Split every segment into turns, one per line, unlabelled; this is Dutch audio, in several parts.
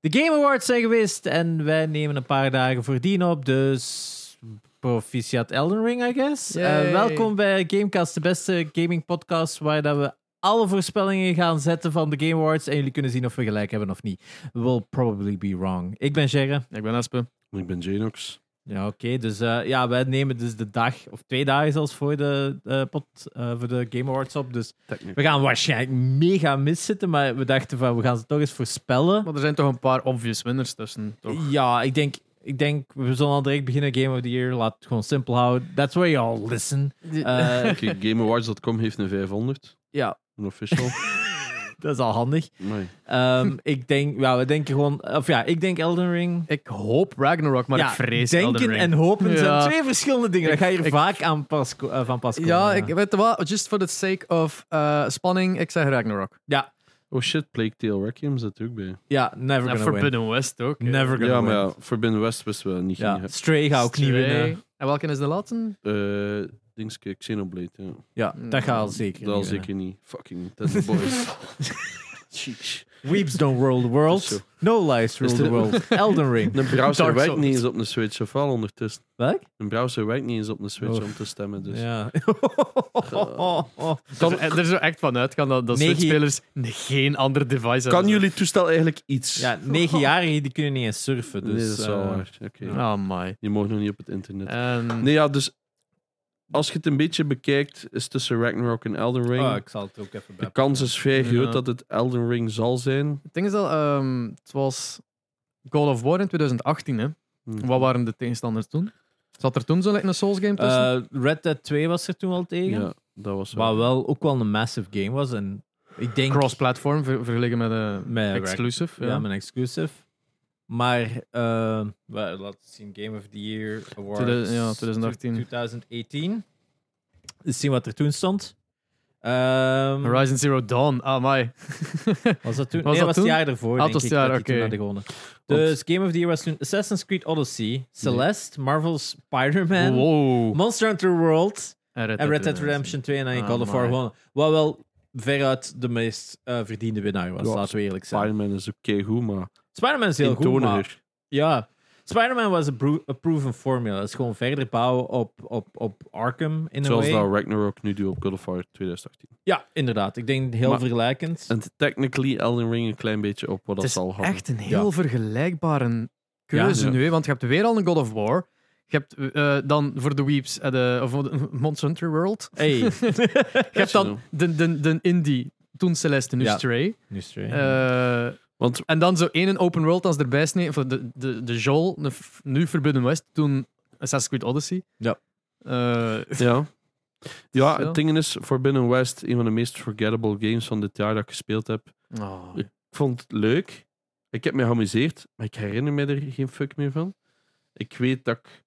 De Game Awards zijn geweest en wij nemen een paar dagen voordien op, dus proficiat Elden Ring, I guess.
Yay.
Eh, welkom bij Gamecast, de beste gaming podcast waar dat we alle voorspellingen gaan zetten van de Game Awards en jullie kunnen zien of we gelijk hebben of niet. We will probably be wrong. Ik ben Gerre.
Ik ben Aspen.
Ik ben Janox.
Ja, oké. Dus eh, ja, wij nemen dus de dag, of twee dagen zelfs, voor de, eh, pot, eh, voor de Game Awards op. Dus we gaan waarschijnlijk mega miszitten, maar we dachten van, we gaan ze toch eens voorspellen.
Maar er zijn toch een paar obvious winners tussen, toch?
Ja, ik denk, ik denk, we zullen al direct beginnen. Game of the Year, laat het gewoon simpel houden. That's where you all listen. Eh,
Kijk, GameAwards.com heeft een 500.
Ja.
Een official.
dat is al handig.
Amai.
Ehm, ik denk, ja, we denken gewoon, of ja, ik denk Elden Ring.
Ik hoop Ragnarok, maar
ja,
ik vrees
denken
Elden Ring.
en hopen
Ja.
zijn twee verschillende dingen.
Ik-
Dat ga je hier
ik-
vaak aan pas, ko- eh, van pas komen.
Ja, ik weet je wat, just for the sake of eh, spanning, ik zeg Ragnarok.
ja,
Oh shit, Plague Tale Requiem zit er ook bij.
ja, never gonna win.
West ook. hè.
Never gonna
Ja,
win.
maar ja, Forbidden West wist wel niet.
Ja,
Ja.
Stray ga ook niet
Stray.
winnen.
En welke is de laatste?
Eh Dingske, Xenoblade. Ja.
Ja, dat
Mm.
gaat zeker niet
Dat
winnen.
was zeker niet. Fucking Tender Boys. Sheesh.
Weeps don't rule the
Dat is
world.
zo.
No lies rule
Is
the
dit-
world. Elden Ring.
Een browser
Dark
werkt
Souls.
niet eens op een Switch, of wel ondertussen.
Welk?
Een browser werkt niet eens op een Switch
Oh.
om te stemmen. Dus.
Ja.
Kan, er is er echt van uitgaan dat, dat
Negen-
Switch-spelers geen ander device
Kan
hebben.
jullie toestel eigenlijk iets?
ja, negenjarigen die kunnen niet eens surfen. Dus,
nee, dat is wel
eh,
waar. Oké.
Oh my.
Die mogen nog niet op het internet.
En-
Nee, ja, dus als je het een beetje bekijkt, is tussen Ragnarok en Elden Ring.
oh, ik zal het ook even bij.
De kans is vrij groot
Ja.
dat het Elden Ring zal zijn.
Het ding is dat, ehm, het was Call of War in 2018, hè.
Hm.
Wat waren de tegenstanders toen? Zat er toen zo like, een Souls game tussen?
Eh, Red Dead 2 was er toen al tegen.
Hm. Ja, dat was
Wat
wel.
wel ook wel een massive game was. En ik denk.
Cross-platform, ver- vergeleken met, eh
Met Ragnarok.
exclusive.
Ja, mijn exclusive. Maar, eh wel, laten we zien, Game of the Year Awards.
Tweede- ja, 2018.
2018. Eens zien wat er toen stond. Ehm,
Hmm. Horizon Zero Dawn, ah my.
Was dat toen? nee,
Was dat
was
toen?
het jaar ervoor,
Ah,
denk
het was
ik,
het jaar,
dat die toen
oké.
hadden gewonnen. Dus Game of the Year was toen Assassin's Creed Odyssey, Celeste, Marvel's Spider-Man,
wow.
Monster Hunter World
En Red
en Red Dead Redemption 2 en dan
Ah,
Call of War
amai.
gewonnen. Wat wel veruit de meest eh, verdiende winnaar was,
Ja,
laten we eerlijk zijn.
Spider-Man is oké goed, maar
Spider-Man is heel goed, maar...
eentoniger.
Ja. Spider-man was een pro- een proven formula. Dat is gewoon verder bouwen op, op, op Arkham, in een
Zoals
way.
dat Ragnarok nu doet op God of War 2018.
Ja, inderdaad. Ik denk heel
Maar-
vergelijkend.
En technically Elden Ring een klein beetje op wat
Het
dat
is
zal hadden.
echt een heel vergelijkbare keuze
Ja.
nu, hè, want je hebt weer al een God of War. Je hebt eh, dan voor de Weeps, eh, de, of voor de- Monster Hunter World.
Hey,
Je hebt dan de, de, de Indie, toen Celeste, nu
Ja.
Stray.
nu straight.
Eh,
Want
en dan zo één een open world als erbij snee. Of de, de, de Joel, de f- nu Forbidden West, toen Assassin's Creed Odyssey.
Ja.
Eh,
ja. Ja,
Zo.
het ding is, Forbidden West, een van de meest forgettable games van dit jaar dat ik gespeeld heb.
oh.
Ik vond het leuk. Ik heb me geamuseerd, maar ik herinner me er geen fuck meer van. Ik weet dat ik,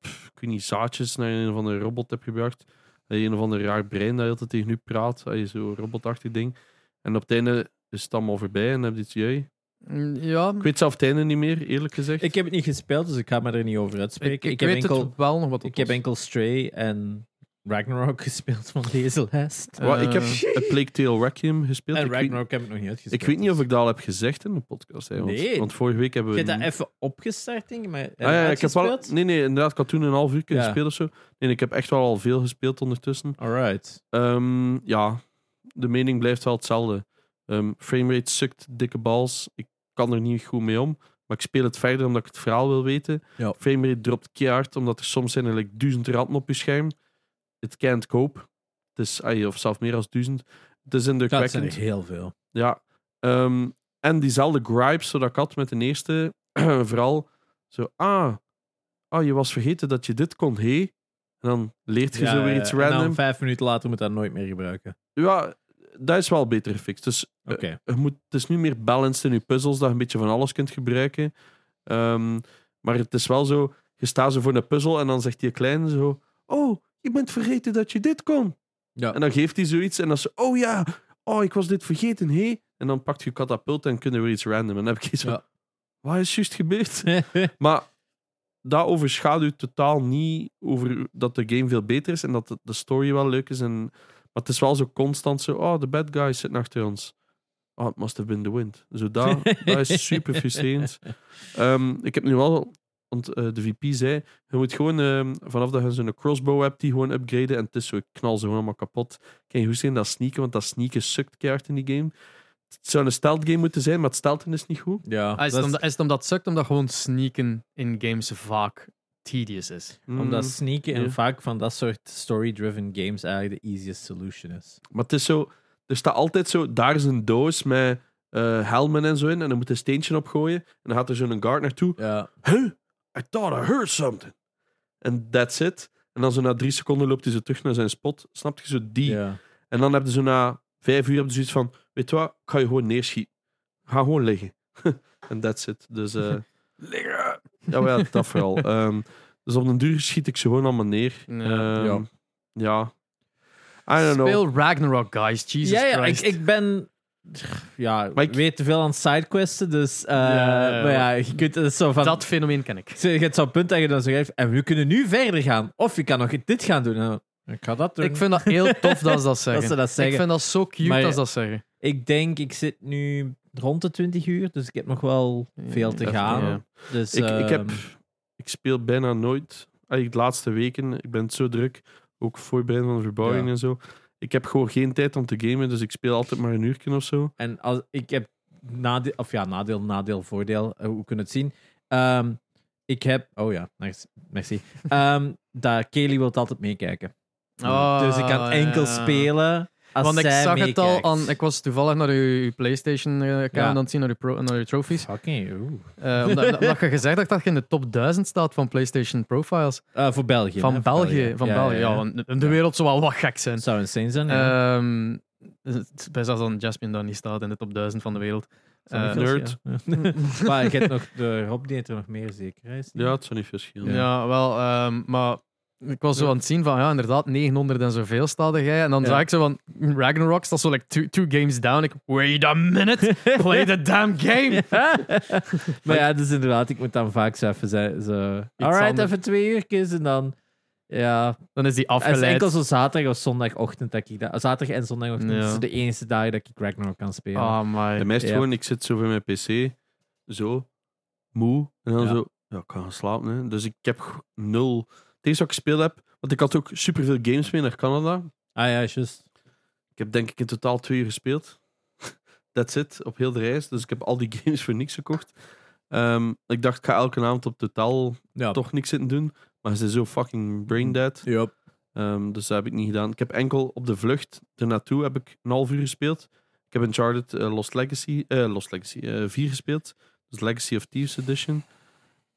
pff, ik weet niet, zaadjes naar een of andere robot heb gebracht. Dat Een of ander raar brein dat altijd tegen u praat. Dat je Zo'n robotachtig ding. En op het einde is het allemaal voorbij en heb je iets jij.
Mm, Ja,
Ik weet zelf het einde niet meer, eerlijk gezegd.
Ik heb het niet gespeeld, dus ik ga me er niet over uitspreken. Ik, heb,
weet
enkel,
het wel nog wat
ik heb enkel Stray en Ragnarok gespeeld van deze lijst.
Wel, ik heb
eh,
een Plague Tale Requiem gespeeld.
En
Ik weet,
Ragnarok heb ik nog niet
ik
uitgespeeld.
weet niet of ik dat al heb gezegd in de podcast. Hè, want,
Nee.
want vorige week hebben
Ik
we...
heb dat even opgestart, denk ik, maar heb
Ah
je
ja, ik heb wel,
uitgespeeld?
nee, nee, inderdaad. Ik had toen een half uur
Ja.
gespeeld of zo. Nee, ik heb echt wel al veel gespeeld ondertussen.
Alright.
Ehm, ja, de mening blijft wel hetzelfde. Ehm, framerate sukt dikke bals. Ik kan er niet goed mee om. Maar ik speel het verder omdat ik het verhaal wil weten.
Ja.
Framerate dropt keihard omdat er soms zijn er like duizend ratten op je scherm. Het can't cope. Het is, ai, of zelfs meer dan duizend. Het is
Dat zijn er
indrukwekkend.
heel veel.
Ja. Ehm, en diezelfde gripes zodat ik had met de eerste. vooral zo, ah, ah, je was vergeten dat je dit kon, hé. En dan leert je
Ja,
zo weer
ja,
iets
en dan
random.
vijf minuten later moet dat nooit meer gebruiken.
Ja, dat is wel beter gefixt. Dus eh,
Oké.
je moet, het is nu meer balanced in je puzzels, dat je een beetje van alles kunt gebruiken. Ehm, maar het is wel zo, je staat zo voor een puzzel en dan zegt die kleine zo... Oh, je bent vergeten dat je dit kon.
Ja.
En dan geeft hij zoiets en dan zo... Oh ja, oh, ik was dit vergeten, hé. En dan pakt je katapult en kunnen weer iets random. En dan heb ik iets van...
Ja.
Wat is juist gebeurd? Maar dat overschaduwt totaal niet over dat de game veel beter is en dat de- de story wel leuk is. En, maar het is wel zo constant zo, oh, de bad guys zitten achter ons. Oh, it must have been the wind. Zo, dat, dat is super frustrerend. Ehm, ik heb nu al, want eh, de VP zei, je moet gewoon ehm, vanaf dat je zo'n crossbow hebt, die gewoon upgraden en het is zo, ik knal ze gewoon allemaal kapot. Kan je goed zien dat sneaken, want dat sneaken sukt keihard in die game. Het zou een stealth game moeten zijn, maar het stealthen is niet goed.
Ja,
Ah, is, het omdat, is het omdat het sukt, omdat gewoon sneaken in games vaak tedious is?
Mm,
omdat sneaken
ja.
en vaak van dat soort story-driven games eigenlijk de easiest solution is.
Maar het is zo, er staat altijd zo, daar is een doos met eh, helmen en zo in, en dan moet je een steentje opgooien, en dan gaat er zo'n guard naartoe.
Ja.
Huh? I thought I heard something. En that's it. En dan zo na drie seconden loopt hij zo terug naar zijn spot. Snap je zo die?
ja.
En dan heb je zo na vijf uur heb je zoiets van: Weet je wat, ik ga je gewoon neerschieten. Ga gewoon liggen. En that's it. Dus, eh liggen! Ja, maar ja, dat vooral. Ehm, dus op den duur schiet ik ze gewoon allemaal neer.
Eh,
Ja.
Ehm,
Ja.
ja. I don't know.
Speel Ragnarok, guys. Jesus
ja, ja ik,
Christ.
ik ben. Ja,
Maar ik-
weet te veel aan sidequesten, dus. eh,
Ja, ja.
maar ja, je kunt het zo van.
Dat fenomeen ken ik.
Je hebt zo'n punt dat je dan zo geeft. En we kunnen nu verder gaan. Of je kan nog dit gaan doen. En dan, ik ga dat doen.
Ik vind dat heel tof dat ze dat zeggen.
ze dat zeggen.
Ik vind dat zo cute
Maar-
dat ze dat zeggen.
Ik denk, ik zit nu rond de 20 uur, dus ik heb nog wel veel te
Even,
gaan.
ja.
Dus,
Ik, ik, heb,
ehm,
ik speel bijna nooit. Eigenlijk de laatste weken, ik ben zo druk. Ook voorbereiden van de verbouwing
Ja.
en zo. Ik heb gewoon geen tijd om te gamen, dus ik speel altijd maar een uurtje of zo.
En als, ik heb nadeel, of ja, nadeel, nadeel, voordeel, eh, hoe kunnen we het zien? Ehm, ik heb, oh ja, merci. merci. Ehm dat Kelly wil altijd meekijken.
Ah,
dus ik kan enkel
ja.
spelen als
Want ik
zij
zag het
meekijkt.
al aan. Ik was toevallig naar je PlayStation-account
Ja.
eh, aan het zien, naar je, pro, naar je trophies.
Fucking, oeh.
Eh, omdat, omdat je gezegd hebt dat je in de top 1000 staat van PlayStation Profiles.
Eh, voor België. hè,
Van
voor
België. Van België. Ja, want de- de wereld zou wel wat gek zijn.
Het zou insane zijn. ja.
Ehm, het is best als dan Jasmine daar niet staat in de top 1000 van de wereld.
Zou niet
eh,
veel
nerd.
zijn. maar je hebt nog de Rob die heeft er nog meer zeker. hè, is het niet?
Ja, het zou niet verschillen.
Ja, wel, ehm, maar ik was zo aan het zien van, ja, inderdaad, 900 en zoveel staat jij. En dan
Ja.
zag ik zo van, Ragnarok staat zo like two, two games down. Ik, wait a minute, play the damn game.
Maar ja, dus inderdaad, ik moet dan vaak zo even zeggen. Zo, alright,
anders.
even twee uurtjes en dan. Ja,
Dan is die
het is
afgeleid.
enkel zo zaterdag of zondagochtend dat ik dat. Zaterdag en zondagochtend
Ja.
is de enige dagen dat ik Ragnarok kan spelen.
Ah, my.
En mij is het
Ja.
gewoon, ik zit zo bij mijn pc, zo, moe, en dan
Ja.
zo, ja, ik kan gaan slapen. Hè. Dus ik heb g- nul. Het eerste wat ik gespeeld heb, want ik had ook superveel games mee naar Canada.
Ah ja, juist.
Ik heb denk ik in totaal twee uur gespeeld. That's it, op heel de reis. Dus ik heb al die games voor niks gekocht. Ehm, ik dacht, ik ga elke avond op totaal
Ja.
toch niks zitten doen. Maar ze zijn zo fucking brain dead.
Yup.
Ehm, dus dat heb ik niet gedaan. Ik heb enkel op de vlucht ernaartoe heb ik een half uur gespeeld. Ik heb Uncharted eh, Lost Legacy, eh, Lost Legacy eh, 4 gespeeld. Dus Legacy of Thieves Edition.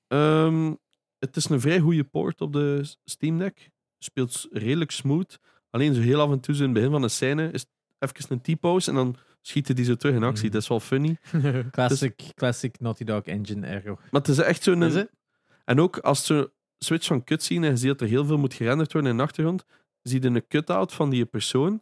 Ehm, het is een vrij goede port op de S- Steam Deck. Speelt s- redelijk smooth. Alleen zo heel af en toe, zo in het begin van een scène, is het even een t-pose en dan schieten die zo terug in actie.
Mhm.
Dat is wel funny.
Classic,
Dus-
classic Naughty Dog Engine error.
Maar het is echt zo'n...
Is het?
En ook als ze switch van cutscene en je ziet dat er heel veel moet gerenderd worden in de achtergrond, zie je een cut-out van die persoon.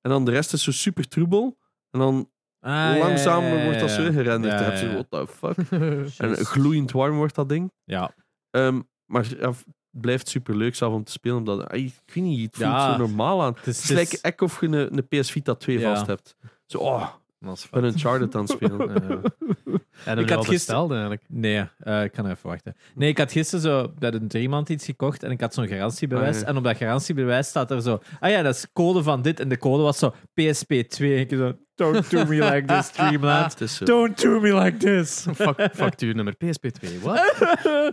En dan de rest is zo super troebel. En dan
Ah, ja, ja,
langzaam
ja, ja,
wordt dat
ja.
zo gerenderd.
Ja,
Dan heb
ja,
je,
ja.
what the fuck. En
Juist.
gloeiend warm wordt dat ding.
Ja.
Ehm, maar ja, het blijft super leuk zelf om te spelen. Omdat, ai, ik weet niet, het voelt
Ja.
zo normaal aan.
Het is,
Het is like ek of je een, een PS Vita 2
Ja.
vast hebt. Zo, oh, ik ben Uncharted aan het spelen. Eh,
En
Ik
ik
had
had
gister-
gesteld eigenlijk.
Nee, eh, ik kan even wachten. Nee, ik had gisteren zo bij de iemand iets gekocht en ik had zo'n garantiebewijs.
Ah, ja.
En op dat garantiebewijs staat er zo: ah ja, dat is code van dit. En de code was zo PSP2. En ik zo: Don't do me like this, Dreamland.
het is zo.
Don't do me like this.
Fac- factuurnummer PSP2, wat?
nee,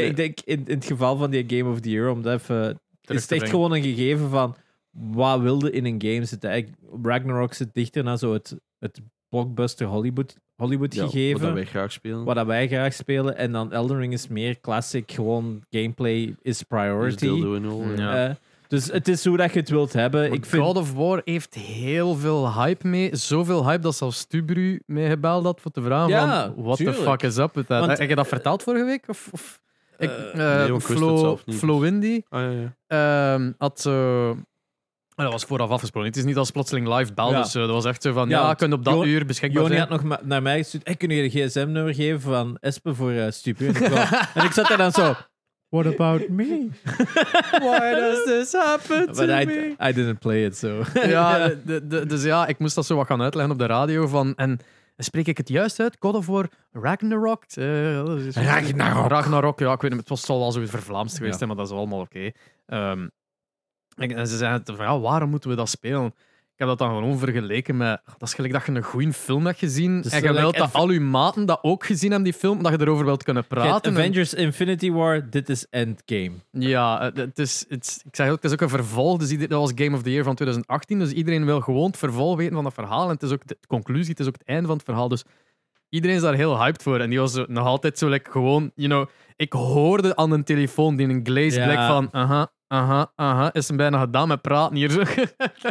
Nee.
ik denk in, in het geval van die Game of the Year, om dat even. Is het echt
brengen.
gewoon een gegeven van wat wilde in een game zitten? Eigenlijk, Ragnarok zit dichter naar zo het, het blockbuster Hollywood, Hollywood
Ja,
gegeven.
Wat wij graag spelen.
wat dat wij graag spelen. En dan Elden Ring is meer classic, gewoon gameplay is
Dus
priority.
dildo en al, eh.
Ja.
Eh, dus het is hoe dat je het wilt hebben.
Maar
ik vind,
God of War heeft heel veel hype mee. Zoveel hype dat zelfs Tubru mij gebeld had voor te vragen
Ja,
van... What the
tuurlijk.
fuck is up with that?
Want-
heb je dat verteld vorige week? Of, of, ik, eh,
nee, want ik wist het
Flo,
zelf niet.
Flo Windy
Ah, ja, ja.
ehm, had zo... maar dat was vooraf afgesproken. Het is niet als plotseling live belde.
Ja.
Dus, eh, dat was echt zo van,
Ja,
ja,
want
kun je op dat
Jo-
uur beschikbaar
Joni
zijn.
had nog ma- naar mij gestuurd. Ik kun je de gsm-nummer geven van Espen voor eh Stupu? En ik, wou- en ik zat daar dan zo. What about me?
Why does this happen
But I, I didn't play it, so...
Ja, de- de- de- dus ja, ik moest dat zo wat gaan uitleggen op de radio. Van, en spreek ik het juist uit? God of War Ragnarok? Eh, dat is-
Ragnarok.
Ragnarok, ja, ik weet niet. Het was, zal wel zoiets vervlaamst geweest
Ja.
zijn, maar dat is allemaal oké. Ehm, en, en ze zeiden van, ja, waarom moeten we dat spelen? Ik heb dat dan gewoon vergeleken met... ah, Dat is gelijk dat je een goede film hebt gezien.
Dus
en
zo
je wilt
like
dat
even-
al je maten dat ook gezien hebben, die film. Dat je erover wilt kunnen
Kijk,
praten. en-
Avengers Infinity War, dit is Endgame.
ja, het- het is, het is- ik zeg ook, het is ook een vervolg. Dus ieder- dat was Game of the Year van 2018. Dus iedereen wil gewoon het vervolg weten van dat verhaal. En het is ook de conclusie, het is ook het einde van het verhaal. Dus iedereen is daar heel hyped voor. En die was zo- nog altijd zo like, gewoon, you know, ik hoorde aan een telefoon die in een glazed
Ja.
blik van, aha, aha, aha, is hem bijna gedaan met praten hier. Zo.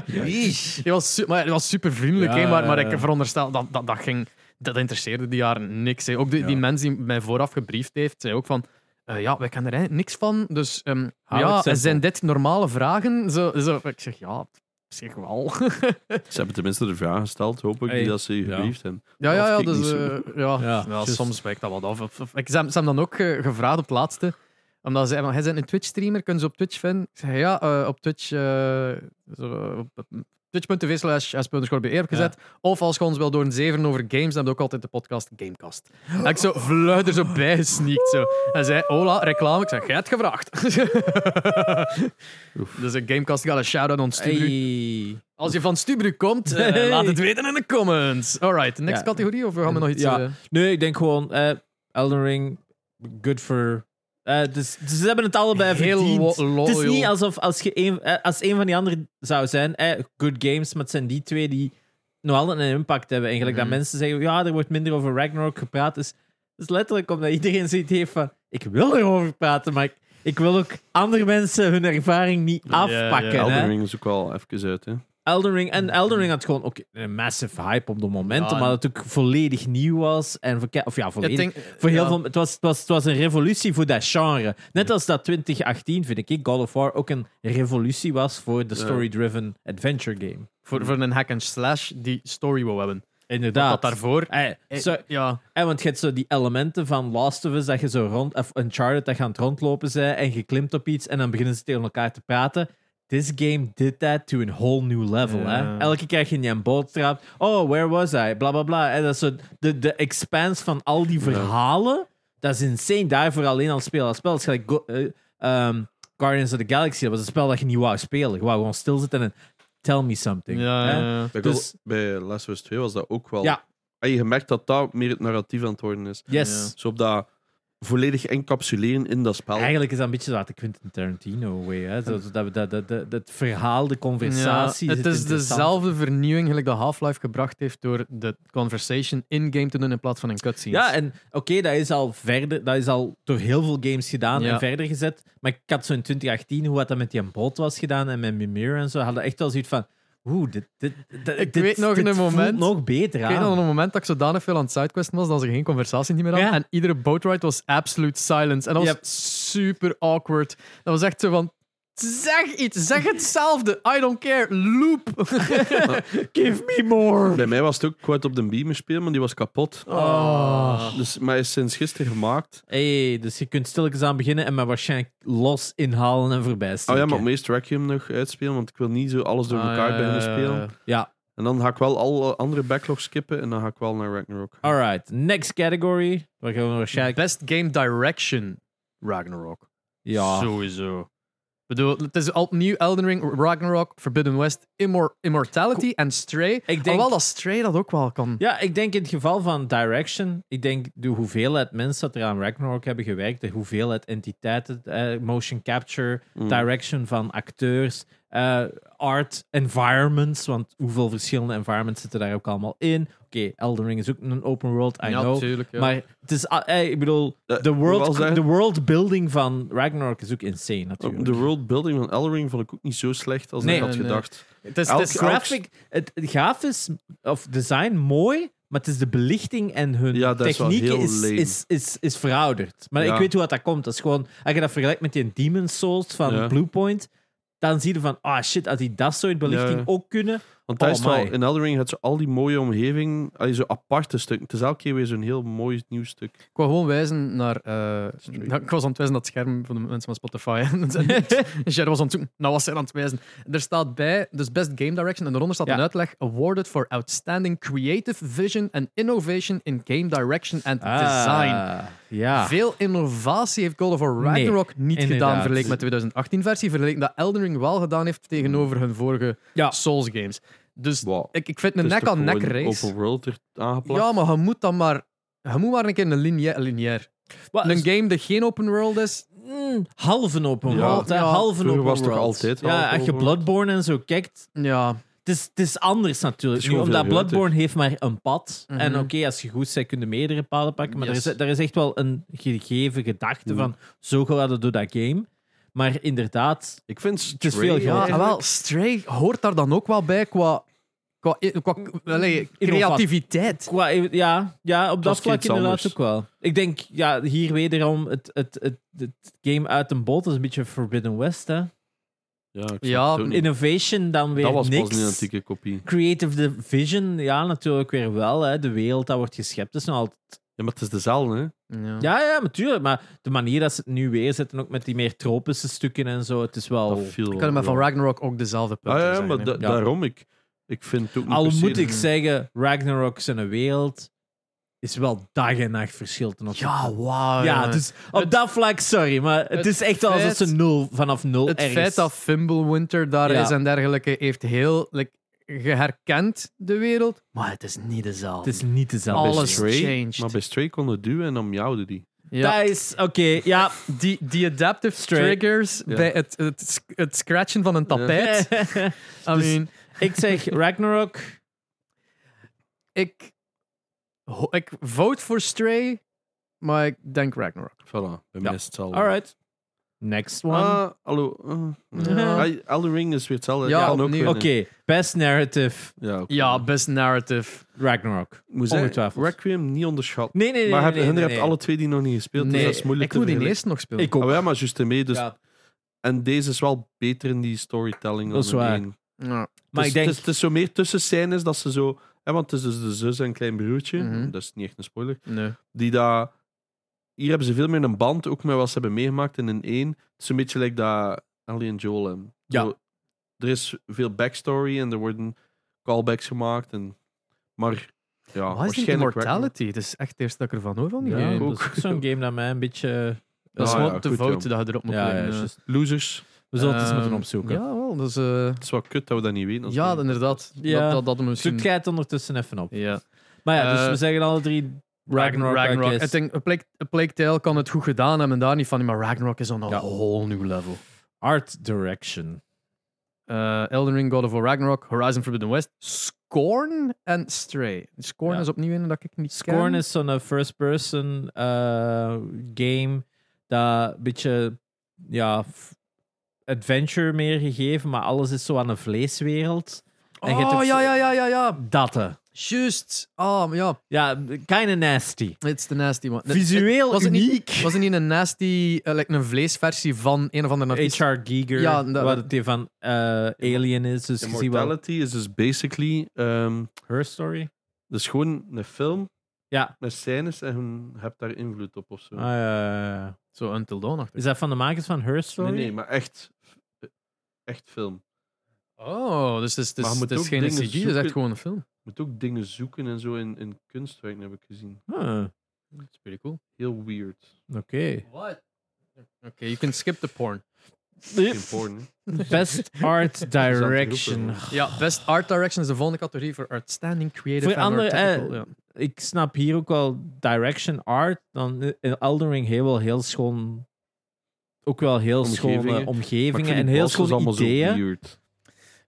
Die was, su- maar ja, die was super vriendelijk,
Ja,
hè, maar, maar
ja, ja.
ik veronderstel dat dat, dat ging. Dat interesseerde die jaren niks. Hè. Ook die,
Ja.
die mens die mij vooraf gebriefd heeft, zei ook van. eh, ja, wij kennen er eigenlijk niks van. Dus ehm,
Hou het
ja,
simpel.
zijn dit normale vragen? Zo, zo. Ik zeg ja, op zich wel.
Ze hebben tenminste de vraag gesteld, hoop ik,
Hey.
die dat ze
Ja.
geliefd hebben.
ja, ja,
Of
ja,
kijk niet
dus,
zo.
eh, ja,
Ja,
ja,
juist.
soms wijkt dat wat af. Of- of- Ik, ze, hebben- ze hebben dan ook eh, gevraagd op het laatste, omdat ze hebben, hij zijn een Twitch-streamer, kunnen ze op Twitch vinden? Ik zeg ja, eh, op Twitch, eh, zo, op- op twitch.tv slash s.score.be heb ik gezet. Of als je ons wel door een zeven over games, dan heb je ook altijd de podcast Gamecast. En ik zo vlug er zo bij gesneakt. Zo. Hij zei, hola, reclame. Ik zeg, jij hebt gevraagd. dus een Gamecast, ik ga een shout-out aan Stubru.
Hey.
Als je van Stubru komt, eh,
Hey.
laat het weten in de comments. Alright, next
Ja.
categorie of we gaan we nog iets...
Ja.
eh,
Nee, ik denk gewoon eh, Elden Ring, good for. eh, dus, dus ze hebben het allebei
Heel
verdiend.
lo- loyal.
Het is niet alsof als, je een, eh, als een van die anderen zou zijn, eh, good games, maar het zijn die twee die nog altijd een impact hebben. Eigenlijk
Mhm.
dat mensen zeggen, ja, er wordt minder over Ragnarok gepraat. Dus het is letterlijk omdat iedereen zoiets heeft van, ik wil erover praten, maar ik, ik wil ook andere mensen hun ervaring niet
ja.
afpakken.
Ja,
hè.
Elden Ring is ook wel even uit, hè.
Elden Ring. En Elden Ring had gewoon ook een massive hype op dat moment,
Ja,
omdat het ook volledig nieuw was. En voor, ke- of ja, volledig.
denk-
voor heel
ja.
veel, het, was, het, was, het was een revolutie voor dat genre. Net als dat 2018, vind ik, God of War ook een revolutie was voor de story-driven adventure game.
voor, voor een hack and slash die story wou hebben.
Inderdaad.
Dat daarvoor.
Eh, zo,
ja.
eh, want je hebt zo die elementen van Last of Us, dat je zo rond, of Uncharted, dat je aan het rondlopen bent en je klimt op iets en dan beginnen ze tegen elkaar te praten. This game did that to a whole new level.
Ja.
Hè? Elke keer krijg je in een boodschap. Oh, where was I? Bla bla bla. En dat is zo de, de expanse van al die verhalen. Dat is insane. Daarvoor alleen al spelen als spel. Dat is gelijk Go- eh, ehm, Guardians of the Galaxy. Dat was een spel dat je niet wou spelen. Je wou gewoon stilzitten en tell me something.
Ja,
hè.
ja, ja.
Dat
Dus-
wel- bij Last of Us 2 was dat ook wel.
Ja.
En je merkt dat dat meer het narratief aan het worden is.
Yes.
Zo op dat volledig encapsuleren in dat spel.
Eigenlijk is dat een beetje wat de Quentin Tarantino way. Hè? Zo, zo dat, dat, dat, dat, dat verhaal, de conversatie.
Ja, het
zit
is
interessant.
dezelfde vernieuwing gelijk dat Half-Life gebracht heeft door de conversation in-game te doen in plaats van een cutscene.
Ja, en oké, dat is al verder, dat is al door heel veel games gedaan
Ja.
en verder gezet. Maar ik had zo in 2018, hoe wat dat met die bot was gedaan en met Mimir en zo, hadden echt wel zoiets van. Oeh, dit, dit, dit,
Ik
dit-
weet nog
dit
een
voelt
moment-
nog beter
Ik
aan.
weet nog een moment dat ik zodanig veel aan het sidequesten was dat ze geen conversatie niet meer hadden.
Ja.
En iedere boatride was absolute silence. En dat was
Yep.
super awkward. Dat was echt zo van... Zeg iets, zeg hetzelfde. I don't care. Loop.
Give me more!
Bij mij was het ook kwijt op de beamer spelen, maar die was kapot.
Oh.
Dus, maar hij is sinds gisteren gemaakt. Oh
Hey, dus je kunt stilletjes aan beginnen en maar waarschijnlijk los inhalen en voorbij
Oh ja,
steken.
maar het meest Requiem nog uitspelen, want ik wil niet zo alles door
Ah,
elkaar
ja,
beginnen
ja, ja,
spelen.
ja.
Ja,
En dan ga ik wel alle andere backlogs skippen en dan ga ik wel naar Ragnarok.
alright. Next category. Waar gaan we waarschijnlijk...
Best Game Direction Ragnarok.
Ja.
Sowieso. Ik bedoel, het is opnieuw Elden Ring, Ragnarok, Forbidden West, Immor- Immortality en Stray. Ik
denk-
Alhoewel dat Stray dat ook wel
Hmm.
kan.
Ja, ik denk in het geval van Direction, ik denk de hoeveelheid mensen dat er aan Ragnarok hebben gewerkt, de hoeveelheid entiteiten, eh, motion capture,
Hmm.
direction van acteurs, eh, art, environments, want hoeveel verschillende environments zitten daar ook allemaal in. Oké, Elden Ring is ook een open world, I know.
tuurlijk, ja.
Maar het is, ah, eh, ik bedoel, de
Eh, ik wil
world,
zeggen-
de world building van Ragnarok is ook insane natuurlijk.
De worldbuilding van Elring vond ik ook niet zo slecht als
Nee.
ik had
Nee, nee.
gedacht.
Het is, het
elk-
is
elk-
graphic, het, het grafisch of design mooi, maar het is de belichting en hun
Ja, dat is wel
technieken
heel
is,
lame.
is, is, is verouderd. Maar
Ja.
ik weet hoe dat, dat komt. Dat is gewoon, als je dat vergelijkt met die Demon Souls van
Ja.
Bluepoint, dan zie je van, ah shit, als die dat soort belichting
Ja.
ook kunnen,
Want daar
Oh,
is het wel,
my.
in Eldering had ze al die mooie omgeving, allee, zo aparte stukken. Het is elke keer weer zo'n heel mooi nieuw stuk.
Ik wou gewoon wijzen naar... eh,
Stream.
nou, ik was aan het wijzen naar het scherm van de mensen van Spotify. en Jer was aan het zoeken. Nou was zij aan het wijzen. Er staat bij, dus Best Game Direction. En daaronder staat
Ja.
een uitleg. Awarded for Outstanding Creative Vision and Innovation in Game Direction and Design.
Ah, ja.
Veel innovatie heeft God of War
Nee,
Ragnarok niet gedaan
inderdaad.
vergeleken met de 2018-versie. Vergeleken dat Elden Ring wel gedaan heeft tegenover hun vorige
Ja.
Souls games. Dus
Wow.
ik, ik vind een nek-aan-nek race.
Open world er aangeplakt.
Ja, maar je moet dan maar... Je moet maar een keer een lineair... lineair.
Wat-
Een game dat geen open world is.
Mm, halven open
Ja.
world. hè,
Ja.
halven
Vroeger
open
was het toch
world.
altijd half
Ja, als je
open world?
Bloodborne en zo kijkt,
Ja.
het is, het is anders natuurlijk.
Het is
nu,
gewoon
omdat
veel groter.
Bloodborne heeft maar een pad.
Mhm.
En oké, als je goed bent, kun je meerdere paden pakken. Maar
Yes.
er, is, er is echt wel een gegeven gedachte
Mhm.
van, zo gaat het door dat game. Maar inderdaad,
Ik vind
Het is veel Ja,
Ja, en wel, Stray hoort daar dan ook wel bij qua... Qua, qua allee, creativiteit.
qua, e- ja, ja, op dat
was
vlak
iets
inderdaad
anders.
ook wel. Ik denk, ja, hier wederom het, het, het, het game uit een bot is een beetje Forbidden West, hè.
Ja, ik snap
Ja,
het ook niet.
Innovation dan weer
Hm. dat was
niks.
pas een antieke kopie.
Creative Division, ja, natuurlijk weer wel. Hè. De wereld dat wordt geschept is nog altijd...
Ja, maar het is dezelfde, hè?
Ja, ja, natuurlijk. Maar de manier dat ze het nu weer zetten, ook met die meer tropische stukken en zo, het is wel...
Dat viel
Ik
wel
kan me van
wel.
Ragnarok ook dezelfde
Ah,
punten
ja,
zeggen,
maar
hè.
da-
Ja.
daarom, ik, ik vind het ook niet
Al
per se
moet
dat-
ik zeggen, Ragnarok zijn wereld is wel dag en nacht verschil ten opzichte
Ja, wauw.
Ja,
jongen.
dus op
Het-
dat vlak, sorry, maar het,
het
is echt wel alsof
feit-
ze nul, vanaf nul
het
ergens...
feit dat Fimblewinter daar
Ja.
is en dergelijke heeft heel... Like, je herkent de wereld, maar het is niet dezelfde.
Het is niet dezelfde.
Bij
alles
Stray-
changed.
Maar bij Stray kon het duwen en dan jouwde die.
ja.
Dat is... Oké, ja.
die, die adaptive
Stray.
triggers
Ja.
bij het, het, sc- het scratchen van een tapijt. I
Dus-
mean,
ik zeg Ragnarok.
ik, ho- ik vote voor Stray, maar ik denk Ragnarok.
Voilà,
Ja.
bij mij is hetzelfde.
Alright. Next one.
Oh. Ah, hallo. ah.
Ja.
Ah, Elden Ring is weer hetzelfde.
Ja,
Die kan ook
opnieuw.
winnen.
Oké, best narrative
Ja, oké.
Ja, best narrative.
Ragnarok.
Ik Moet zeggen,
ongetwijfeld.
Requiem niet onderschat.
Nee, nee, nee.
maar
nee,
heb,
nee,
hun
nee,
hebt
nee.
alle twee die nog niet gespeeld,
Nee,
dus dat is moeilijk
Ik moet
te
die
vergelijken.
eerste nog spelen.
Ik ook.
Ah, ja, maar juist mee. Dus,
Ja.
En deze is wel beter in die
Dat
storytelling dan
is
de
waar.
één.
Ja.
Maar
Dus
ik denk...
het, is, het is zo meer tussen scènes dat ze zo... Hè, want het is dus de zus en klein broertje.
Mhm.
Dat is niet echt een spoiler.
Nee.
Die daar... Hier hebben ze veel meer een band, ook met wat ze hebben meegemaakt in een 1. Het is een beetje like dat Ellie en Joel hebben.
Ja.
Zo, er is veel backstory en er worden callbacks gemaakt. En, maar ja,
Wat is die
waarschijnlijk...
Immortality? Het is echt eerst dat ik ervan hoor van die
ja,
game.
ook.
dat is ook zo'n game dat mij een beetje...
Dat is
Ah,
gewoon
ja,
de
goed,
fout
ja.
dat je erop moet
Ja, ja,
leggen.
juist.
Losers.
We zullen het eens
Ehm,
moeten opzoeken.
Ja, wel. Dus, eh,
Het is wel kut dat we dat niet weten. als
ja,
we-
inderdaad.
Ja.
Dat, dat, dat misschien...
Zoek jij Dus het ondertussen even op.
Ja.
Maar ja, dus
Hm. Eh,
we zeggen alle drie Ragnarok. I guess.
Ik denk, A Plague, A Plague Tale kan het goed gedaan hebben, daar niet van, maar Ragnarok is on a
Ja.
whole new level.
Art direction.
Eh, Elden Ring, God of War, Ragnarok, Horizon Forbidden West, Scorn en Stray. Scorn
Ja.
is opnieuw in dat ik niet
Scorn
ken.
is zo'n eh, first-person eh, game dat een beetje ja, f- adventure meer gegeven, maar alles is zo aan een vleeswereld. en je hebt
Oh,
ook
ja,
zo-
ja, ja, ja, ja.
Datte.
Juist. Oh, maar ja.
Ja, kinda nasty.
It's the nasty one.
Visueel
was het niet-
uniek.
Was het niet een nasty, eh, like een vleesversie van een of andere artiest?
H.R. Giger,
Ja, dat-
wat het die van eh, Alien is. Dus je ziet wel...
Immortality is dus basically... ehm
Her Story?
dat is gewoon een film
Ja.
met scènes en je hebt daar invloed op of zo.
Ah, ja, ja, ja.
Zo, Until Dawn.
Oh.
achter.
Is dat van de makers van Her Story?
Nee, nee, maar echt, eh, echt film.
Oh, dus het is, het is,
Maar je moet
het is
ook
geen
dingen
CG, het is echt
zoeken.
gewoon een film.
Je moet ook dingen zoeken en zo in, in kunstwerken, heb ik gezien.
Ah,
Dat is pretty cool.
Heel weird.
Oké.
What? Oké, you can skip the porn.
Geen porn, hè.
Best Art Direction.
Ja, best art direction is de volgende categorie voor outstanding creative
Voor
and
andere,
or technical.
eh,
ja.
Ik snap hier ook wel direction art. Dan in Elden Ring heel wel heel schoon. Ook wel heel
Omgevingen.
schone
Maar ik
omgevingen
vind
en
die
heel
bosses
schone
allemaal Zo
ideeën.
weird.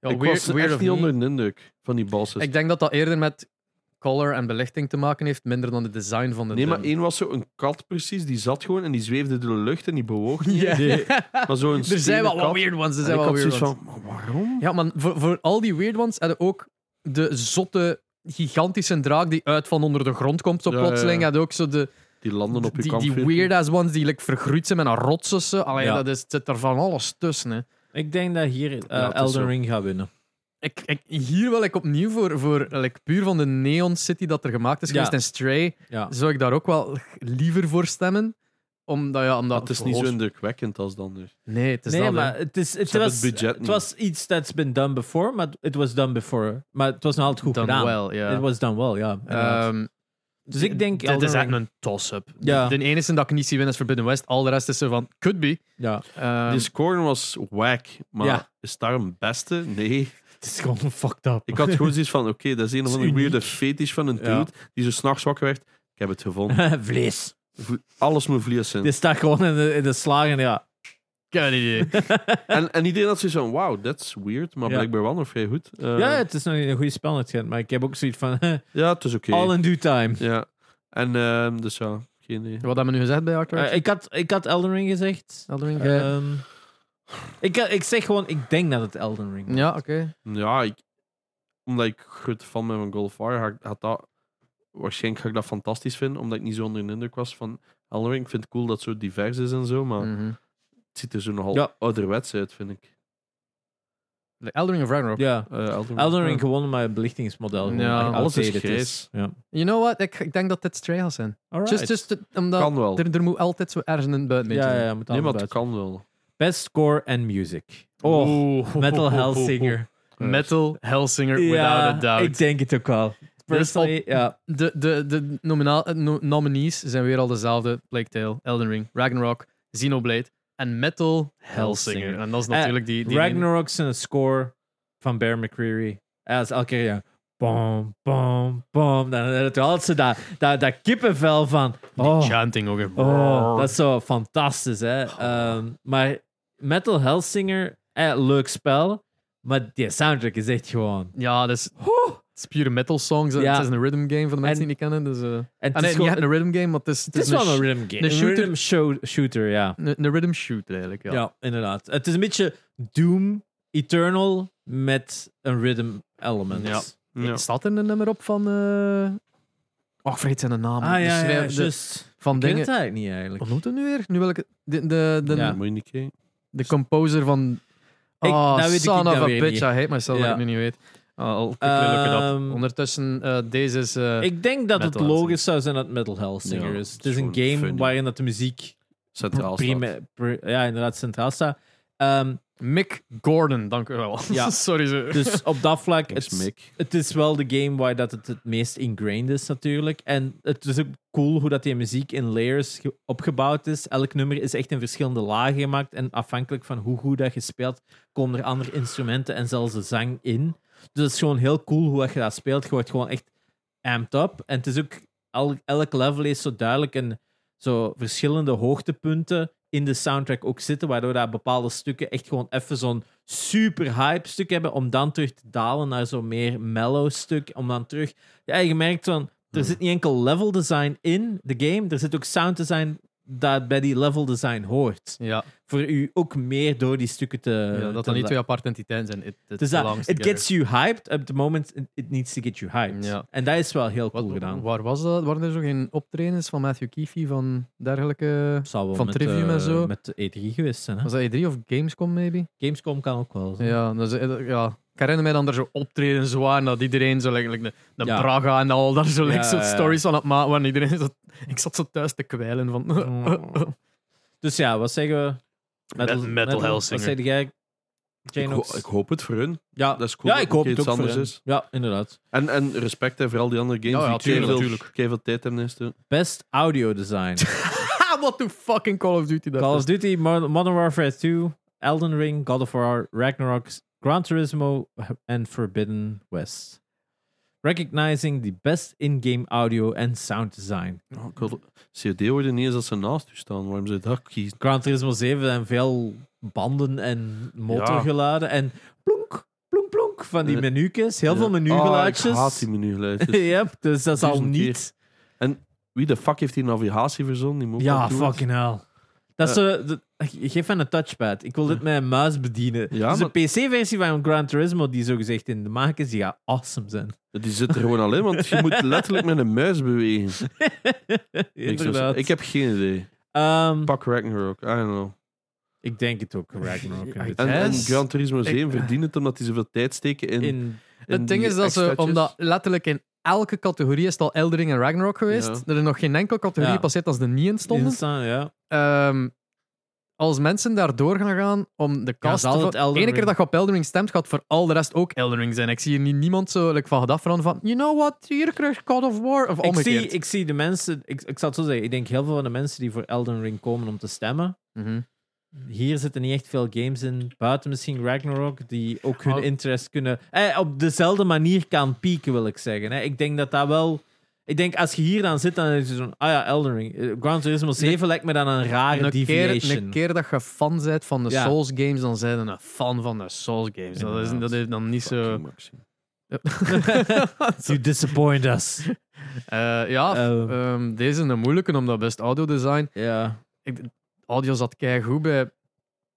Ja,
ik
weird-
was
weird
echt
of
niet
niet.
onder de indruk van die bosses.
Ik denk dat dat eerder met color en belichting te maken heeft, minder dan het design van de
Nee, maar
dun.
één was zo een kat precies, die zat gewoon en die zweefde door de lucht en die bewoog niet.
Ja.
Die- Maar zo'n
er zijn wel
stenen
wat
kat.
weird ones. Er
En
zijn wel
ik had
weird
zoiets
ones.
van, maar waarom?
Ja, maar voor, voor al die weird ones hadden ook de zotte, gigantische draak die uit van onder de grond komt zo
Ja, ja, ja.
plotseling. Hadden ook zo de,
Die landen op
die,
je
die
kampvuur.
weird-ass ones die like, vergroeid zijn met een rotsussen. Allee,
Ja.
dat is, het zit er van alles tussen. Hè.
Ik denk dat hier eh,
Ja, het is
Elden
zo.
Ring gaat winnen.
ik, ik, hier wil ik opnieuw voor, voor like, puur van de Neon City dat er gemaakt is
Ja.
geweest en Stray,
Ja.
zou ik daar ook wel liever voor stemmen. Omdat, ja, omdat
Dat is niet zo indrukwekkend als dan dus.
Nee, het is
Nee,
dat, hè.
maar het, is, het,
Ze hebben
was,
het budget
het
niet.
was iets that's been done before, maar it was done before. Maar het was nog altijd goed
Dan
gedaan.
wel, ja.
It was done well, ja.
Eh,
inderdaad.
Ehm,
Dus ik denk
Dit
Elden
is
Ring.
echt een toss-up.
Ja.
De enige dat ik niet zie winnen is Forbidden West. Al de rest is zo van, could be.
ja.
Ehm,
Dus-
Die score was whack, maar
Ja.
is daar een beste? Nee.
Het is gewoon fucked up.
Ik had gewoon zoiets van: oké, dat is een of
is
andere
uniek.
weirde fetish van een dude
Ja.
die zo s'nachts wakker werd. Ik heb het gevonden.
Vlees.
Vo- Alles moet vlees zijn.
Dit staat gewoon in de, in de slagen, ja.
Geen idee.
En, en iedereen had zoiets van: wow, that's weird, maar
Ja.
blijkbaar wel nog vrij goed. Eh,
ja, het is nog niet een goede spel natuurlijk, maar ik heb ook zoiets van... eh,
ja, het is oké.
All in due time.
Ja. En ehm, dus ja, geen idee.
Wat hebben we nu gezegd bij eh, Arthur?
Eh, ik, had, ik had Elden Ring gezegd.
Elden Ring?
Ehm, ik, ik zeg gewoon, ik denk dat het Elden Ring is.
ja, oké.
Ja, ik, omdat ik goed fan ben van God of War, ga ik- had dat, waarschijnlijk ga ik dat fantastisch vinden, omdat ik niet zo onder de indruk was van Elden Ring. Ik vind het cool dat het zo divers is en zo, maar
oh.
Mhm.
het ziet er zo nogal
Mm. Ja.
ouderwets uit, vind ik.
Elden Ring of Ragnarok.
Ja.
Eh, Elden Ring.
Elden Ring gewonnen, maar het belichtingsmodel. gewoon
Ja,
echt
alles is
outdated
grijs.
Ja.
You know what? Ik, ik denk dat dit Stray gaat zijn.
Alright.
Just, just to- omdat
kan wel.
er, er moet altijd zo ergens een buitenbeentje
ja,
zijn.
ja, moet
Nee,
allemaal
maar het
buiten.
kan wel.
Best score en music. Oh, Metal Hellsinger.
Metal Hellsinger,
Ja,
without a doubt.
Ik denk het ook wel. Personally, ja.
De, de, de nomina- eh, no- nominees zijn weer al dezelfde. Plague Tale, Elden Ring, Ragnarok, Xenoblade en Metal Hellsinger.
Hellsinger.
En dat is natuurlijk die... die
Ragnarok zijn score van Bear McCreary. En dat is elke keer, ja. Bom, bom, bom. Dan heb je altijd zo dat, dat, dat kippenvel van. Oh,
chanting ook. hè.
Oh, dat is zo fantastisch, hè. Ehm, maar Metal Hellsinger, eh, leuk spel, maar die soundtrack is echt gewoon...
Ja, dat is,
Huh.
het is pure metal songs. en
Ja.
Het is een rhythm game voor de mensen
En-
die het niet kennen. Dus, eh,
En
ah,
het,
nee,
is gewoon-
niet echt een rhythm game, maar het is,
het is wel een rhythm game.
een shooter.
rhythm show- shooter, ja.
sh- een, een rhythm shoot eigenlijk. Ja.
ja. inderdaad. Het is een beetje Doom Eternal met een rhythm element.
Ja.
Ja.
Staat er een nummer op van... eh Oh, ik vergeet zijn naam.
Ah ja,
De
ja, ja,
schrijver- de-
just.
van
Ik ken het
dingen...
eigenlijk niet, eigenlijk.
Wat noemt het nu weer? Nu wil ik het- De, de, de,
Ja.
Moet je niet kijken.
de composer van...
Ik-
Oh,
dat weet ik
son
niet,
of
dat
a
weet ik
bitch.
niet.
I hate myself dat
Ja.
ik het nu niet weet. Oh, I'll quickly look it up.
Ehm,
Ondertussen, eh, deze is... eh,
Ik denk dat
Metal
het
Hellsinger.
logisch zou zijn dat het Metal Hellsinger
Ja,
is.
het
Het
is
is een
gewoon
game
funny.
waarin dat de muziek
Centraal staat.
prima, pri- ja, inderdaad centraal staat. Ehm,
Mick Gordon, dank u wel.
Ja.
Sorry. Ze.
Dus op dat vlak,
Thanks,
het,
Mick.
het is wel de game waar dat het het meest ingrained is natuurlijk. En het is ook cool hoe dat die muziek in layers ge- opgebouwd is. Elk nummer is echt in verschillende lagen gemaakt. En afhankelijk van hoe goed dat je speelt, komen er andere instrumenten en zelfs de zang in. Dus het is gewoon heel cool hoe dat je dat speelt. Je wordt gewoon echt amped up. En het is ook, el- elk level is zo duidelijk een, zo verschillende hoogtepunten in de soundtrack ook zitten, waardoor daar bepaalde stukken echt gewoon even zo'n super hype stuk hebben, om dan terug te dalen naar zo'n meer mellow stuk, om dan terug... Ja, je merkt van, er zit niet enkel level design in de game, er zit ook sound design dat bij die level design hoort.
ja,
Voor u ook meer door die stukken te...
ja, dat
te
dan niet
la-
twee aparte entiteiten zijn. It, it
dus dat,
belongs
it
together.
gets you hyped at the moment it- it needs to get you hyped.
Ja.
En dat is wel heel cool
Wat-
gedaan.
Waar was dat? Waren er zo geen optredens van Matthew Keefe van dergelijke...
Zou wel
van
met,
Trivium
eh,
en zo?
Met de E3 geweest zijn. Hè?
Was dat E3 of Gamescom, maybe?
Gamescom kan ook wel. zijn.
Ja, dat is, eh, ja. ik herinner mij dan er zo optredens waren dat iedereen zo like, like, de, de
Ja.
Braga en al daar zo like,
Ja,
zo
ja, ja.
stories aan het maken waren. Iedereen zo, ik zat zo thuis te kwijlen van...
Oh. Dus ja, wat zeggen we?
Metal-
Metal Hellsinger.
Wat zeg jij?
Ik, ho-
Janox?
ik hoop het voor hun.
ja.
dat is cool
ja,
dat
ik hoop
het
het
iets
ook voor
anders
hen.
is.
Ja, inderdaad.
En, en respect hè, voor al die andere games
Ja, ja,
die keiveel-
tuurlijk, tuurlijk.
keiveel tijd hebben is te-
Best audio design.
Ha, what the fucking Call of Duty dat
Call
is.
of Duty, Mo- Modern Warfare 2, Elden Ring, God of War, Ragnarok, Gran Turismo en Forbidden West. Recognizing the best in-game audio and sound design.
Oh, ik had- COD hoorde niet eens dat ze naast u staan. Waarom zou je dat kiezen?
Gran Turismo 7 en veel banden en motorgeluiden en plonk, plonk, plonk van die
Eh,
menu's. Heel veel
Ja.
menugeluidjes.
Ah, ik haat die menugeluidjes.
yep, dus dat is al
Duizend keer.
niet...
Wie de fuck heeft die navigatie verzonnen? Die moet ook
Ja,
dat Eh. doen.
fucking hell. Dat is zo- dat- geef aan een touchpad. Ik wil dit met een muis bedienen.
Ja,
dus
maar-
de PC-versie van Gran Turismo, die zogezegd in de maak is, die gaat awesome zijn.
Die zit er gewoon alleen, want je moet letterlijk met een muis bewegen. Ik, zou-
Inderdaad.
ik heb geen idee.
Ehm,
Pak Ragnarok, I don't know.
Ik denk het ook, Ragnarok.
Ja,
in dit
En, en
Yes.
Gran Turismo 7
Ik-
verdient het omdat die zoveel tijd steken in. in
in,
Het ding
die
is dat ze,
extraatjes.
omdat letterlijk in elke categorie is het al Eldering en Ragnarok geweest,
Ja.
er is nog geen enkele categorie
Ja.
passeert als er niet in
in
stonden.
staan, ja.
Ehm, als mensen daardoor gaan gaan om de cast...
zal
te-
het
de
Elden
ene
Ring-
keer dat je op Eldering stemt, gaat voor al de rest ook Eldering zijn. Ik zie hier niet, niemand zo like, van gedacht veranderen van, you know what, hier krijg je God of War, of
ik,
omgekeerd.
zie, ik zie de mensen, ik, ik zal het zo zeggen, ik denk heel veel van de mensen die voor Elden Ring komen om te stemmen,
Mhm.
hier zitten niet echt veel games in, buiten misschien Ragnarok, die ook hun
Oh.
interest kunnen... Eh, op dezelfde manier kan pieken, wil ik zeggen. Hè. Ik denk dat dat wel... Ik denk, als je hier dan zit, dan is het zo'n... Ah ja, Elden Ring. Eh, Gran Turismo 7 lijkt me dan een rare
Een keer,
deviation.
een keer dat je fan bent van de
Ja.
Souls games, dan zijn je een fan van de Souls games. Dat is, dat is dan niet zo.
you disappoint us.
Eh, ja,
Oh.
ehm, deze is een moeilijke, omdat best audiodesign.
Ja.
Audio zat kei goed bij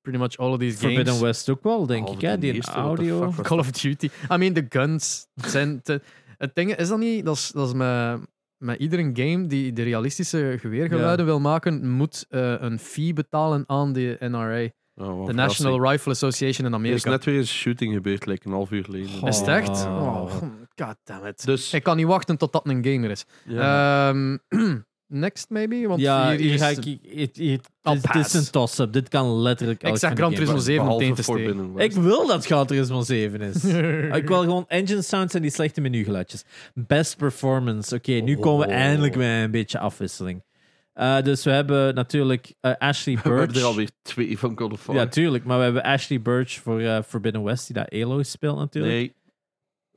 pretty much all of these
Forbidden
games.
West ook wel,
Oh,
denk ik.
Behalve
Hè?
de
Die
eerste, what the
audio.
fuck was
Call of Duty. I mean, de guns. Het zijn te- het ding is dat niet, dat is, dat is met, met iedere game die de realistische geweergeluiden wil maken, moet eh, een fee betalen aan de NRA, de National Rifle Association in
Oh, Er is
Amerika.
net weer een shooting gebeurd, like een half uur geleden.
Goh.
Is het echt?
Oh.
Oh, God damn it.
Dus
Ik kan niet wachten tot dat een gamer is.
ja,
Ehm, next, maybe? Want
ja,
hier,
hier,
is-
ga ik. het- het-
I'll
het is
pass.
een toss-up. Dit kan letterlijk.
Ik
elk
zeg
van de
Gran
games
Turismo
worden.
7 om teen
behalve
te steken.
Forbidden
Ik
West.
wil dat Gran Turismo 7 is. ik wil gewoon engine sounds en die slechte menugeluidjes. Best performance. Oké, nu komen we
Oh.
eindelijk bij een beetje afwisseling. Eh, dus we hebben natuurlijk eh, Ashley
We hebben er
Birch.
alweer twee van God of War.
Ja, tuurlijk. Maar we hebben Ashley Birch voor eh, Forbidden West, die dat Elo speelt natuurlijk.
nee,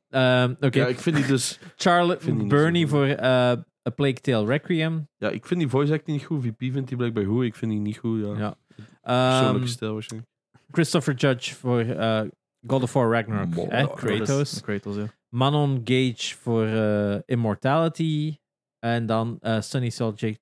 Ehm, Oké,
ja, ik vind die dus...
Charlie
vind die niet
Bernie
zo
voor eh, A Plague Tale Requiem.
Ja, ik vind die voice acting niet goed. VP vindt die blijkbaar goed. Ik vind die niet goed, ja.
Ja.
Persoonlijke
Ehm,
stijl waarschijnlijk.
Christopher Judge voor eh, God of War Ragnarok.
Mo-
eh,
Dat
Kratos.
is- Kratos, ja.
Manon Gage voor eh, Immortality. En dan eh, Sunny Soljic.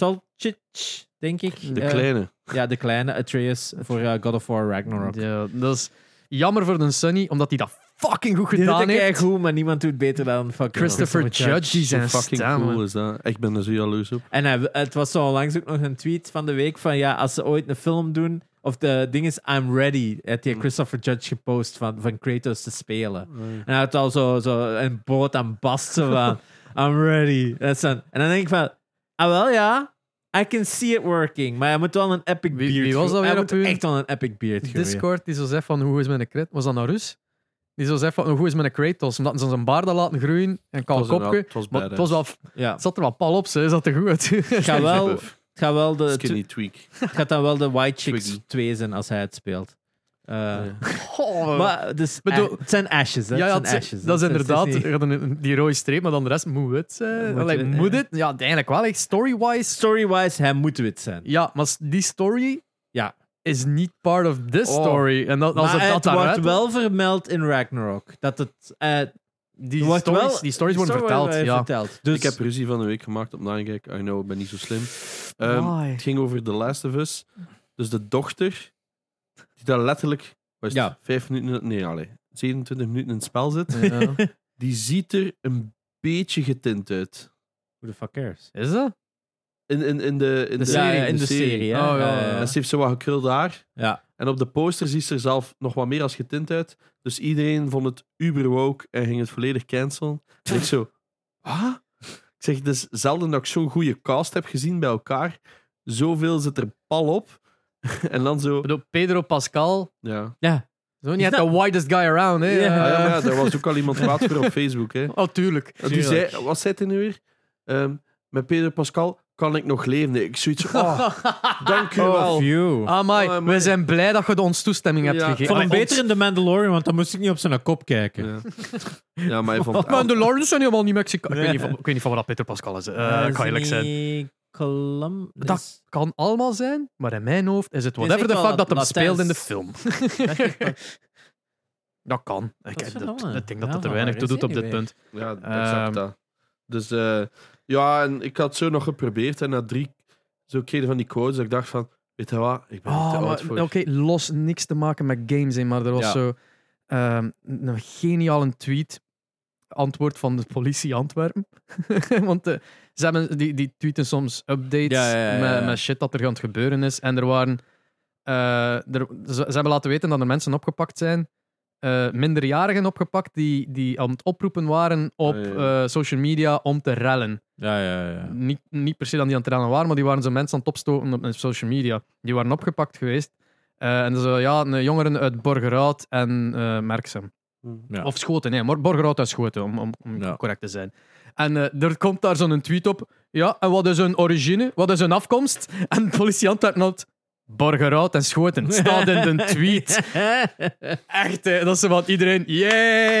Soljic, denk ik.
De
Eh,
kleine.
Ja, de kleine Atreus voor eh, God of War Ragnarok.
Ja, dat is jammer voor de Sunny, omdat hij dat fucking goed
Dit
gedaan
is
heeft.
echt goed, maar niemand doet beter dan fucking
Christopher Judge, die
Hoe
zijn
fucking
stem.
cool
man.
is dat? Ik ben er zo jaloers op.
En hij- het was zo onlangs ook nog een tweet van de week van ja, als ze ooit een film doen, of de ding is I'm ready, had
Mm.
die Christopher Judge gepost van, van Kratos te spelen. En hij had al zo, zo een boot aan basten van I'm ready. Dat is dan- en dan denk ik van, ah wel ja, I can see it working, maar hij moet wel een epic
Wie-
beard
wie was dat
groeien. Hij
weer op
moet
uw-
echt wel een epic beard groeien.
Discord die zo zegt van hoe is mijn crit? Was dat naar Rus? Die zo zegt van hoe is mijn Kratos? Omdat ze zijn baarden laten groeien en kan
Het was inderdaad-
kopje.
het was
Maar het, was wel,
Ja.
het zat er wel pal op, ze. Is dat te goed? uit.
Het gaat wel, het gaat wel
Eh,
de,
Skinny tweak.
het gaat dan wel de White Chicks
Twiggy.
2 zijn als hij het speelt. Eh,
Ja.
Goh.
Maar dus,
Bedoel-
eh, het zijn ashes, hè?
ja, ja,
het zijn
het-
ashes.
dat is
Het
inderdaad eh,
het is niet-
er hadden een- die rode streep, maar dan de rest moet het zijn.
Moet
Allee,
het,
moet
ja.
het? Ja, eigenlijk wel. echt. Story-wise,
Story-wise, hij moet wit zijn.
ja, maar s- die story
Ja.
is niet part of this
Oh.
story. En dat, als
maar
het dat
het wordt
daaruit-
wel vermeld in Ragnarok. Dat het, eh,
die
wordt
stories,
wel-
die stories
die
worden
story
verteld. ja.
verteld. Dus
Ik heb ruzie van de week gemaakt op Nijgek. I know, ik ben niet zo slim. Ehm,
Why?
het ging over The Last of Us. Dus de dochter, die daar letterlijk was
Ja.
vijf minuten, nee, allee, 27 minuten in het spel zit,
Ja.
die ziet er een beetje getint uit.
Who the fuck cares?
Is dat?
In, in, in de, in de,
Ja, in de serie. hè.
Oh, ja,
Eh,
ja.
En ze heeft zo wat gekruld haar.
ja.
En op de poster ziet ze er zelf nog wat meer als getint uit. Dus iedereen vond het uber woke en ging het volledig cancelen. En ik zo, wat? Ik zeg, het is zelden dat ik zo'n goede cast heb gezien bij elkaar. Zoveel zit er pal op. en dan zo,
Ik bedoel, Pedro Pascal.
ja.
Zo
Is
niet
dat-
de widest guy around, hè?
Ja.
Eh,
Ah, ja, maar ja, daar was ook al iemand kwaad voor op Facebook. Hè.
Oh, tuurlijk.
Die
dus
zei, wat zei hij nu weer? Ehm, met Pedro Pascal kan ik nog leven. Nee, Ik zoiets van, oh, dank u wel.
Of you.
Ah, Amai,
Oh, amai.
we zijn blij dat je de ah, ons toestemming hebt
Ja.
gegeven.
Ik vond hem
Allee,
beter in The Mandalorian, want dan moest ik niet op zijn kop kijken.
Ja. ja, maar hij vond
ons- Maar de Lawrence zijn helemaal niet Mexico. Ik,
Nee.
weet niet, van- ik weet niet van waar dat Peter Pascal is. eh,
Eh,
kan eerlijk
is
zijn.
niet Colum-
Dat kan allemaal zijn, maar in mijn hoofd is het
is
whatever
echt
the
wel
fuck dat hem
Latijns.
speelt in de film.
is-
Dat kan. Ik,
Dat is
dat-
verdomme.
ik denk dat
Ja,
dat
maar
er weinig
waar
toe
is
doet op
hij
dit
nu
punt.
Ja,
Ehm.
exact dat. Dus eh, ja, en ik had zo nog geprobeerd. En na drie zo kregen van die quotes, dat ik dacht van, weet je wat, ik ben er te
Oh, maar-
oud voor.
Oké, los niks te maken met games in, maar er was
Ja.
zo ehm, een geniale tweet. Antwoord van de politie Antwerpen. Want eh, ze hebben, die, die tweeten soms updates
Ja, ja, ja, ja, ja.
Met, met shit dat er aan het gebeuren is. En er waren eh, Eh, er, ze, ze hebben laten weten dat er mensen opgepakt zijn. eh, minderjarigen opgepakt die, die aan het oproepen waren op
Ah, ja, ja.
eh, social media om te rellen.
Ja, ja, ja.
Niet, niet per se dat die aan het rellen waren, maar die waren zo mensen aan het opstoten op, op social media. Die waren opgepakt geweest. Eh, en zo, ja, een jongeren uit Borgerhout en eh Merksem.
Hm.
Ja.
Of Schoten, nee, Mor- Borgerhout uit Schoten, om, om, om
Ja.
correct te zijn. En eh, er komt daar zo'n tweet op. Ja, en wat is hun origine? Wat is hun afkomst? En de politieant daar noemt Borgerhout en Schoten. Staat in de tweet. Echt, hè, dat is wat iedereen...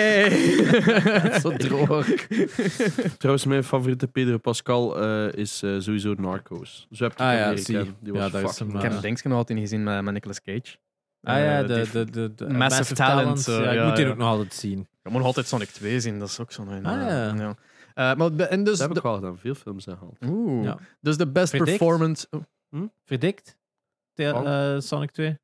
Yay!
Zo droog. Trouwens, mijn favoriete Pedro Pascal eh, is eh, sowieso Narcos. Zo heb ik
Ah,
hem
ja,
leren
zie.
kennen. Die
Ja,
was
daar is
fucking
hem,
Ik
eh,
heb Dings nog altijd niet gezien met, met Nicolas Cage.
Ah ja,
Eh,
de,
die-
de, de, de-
Massive Talent, eh,
ja, ik
ja,
moet die
ja.
ook nog altijd zien.
Je moet nog altijd Sonic 2 zien, dat is ook zo'n... eh,
Ah, ja.
ja. Eh, maar, de- en dus...
Dat heb
de-
ik wel gedaan. Veel films gehaald.
Oeh.
Ja.
Dus de best
Verdikt.
performance...
Verdikt? Te-
Oh.
eh, Sonic 2?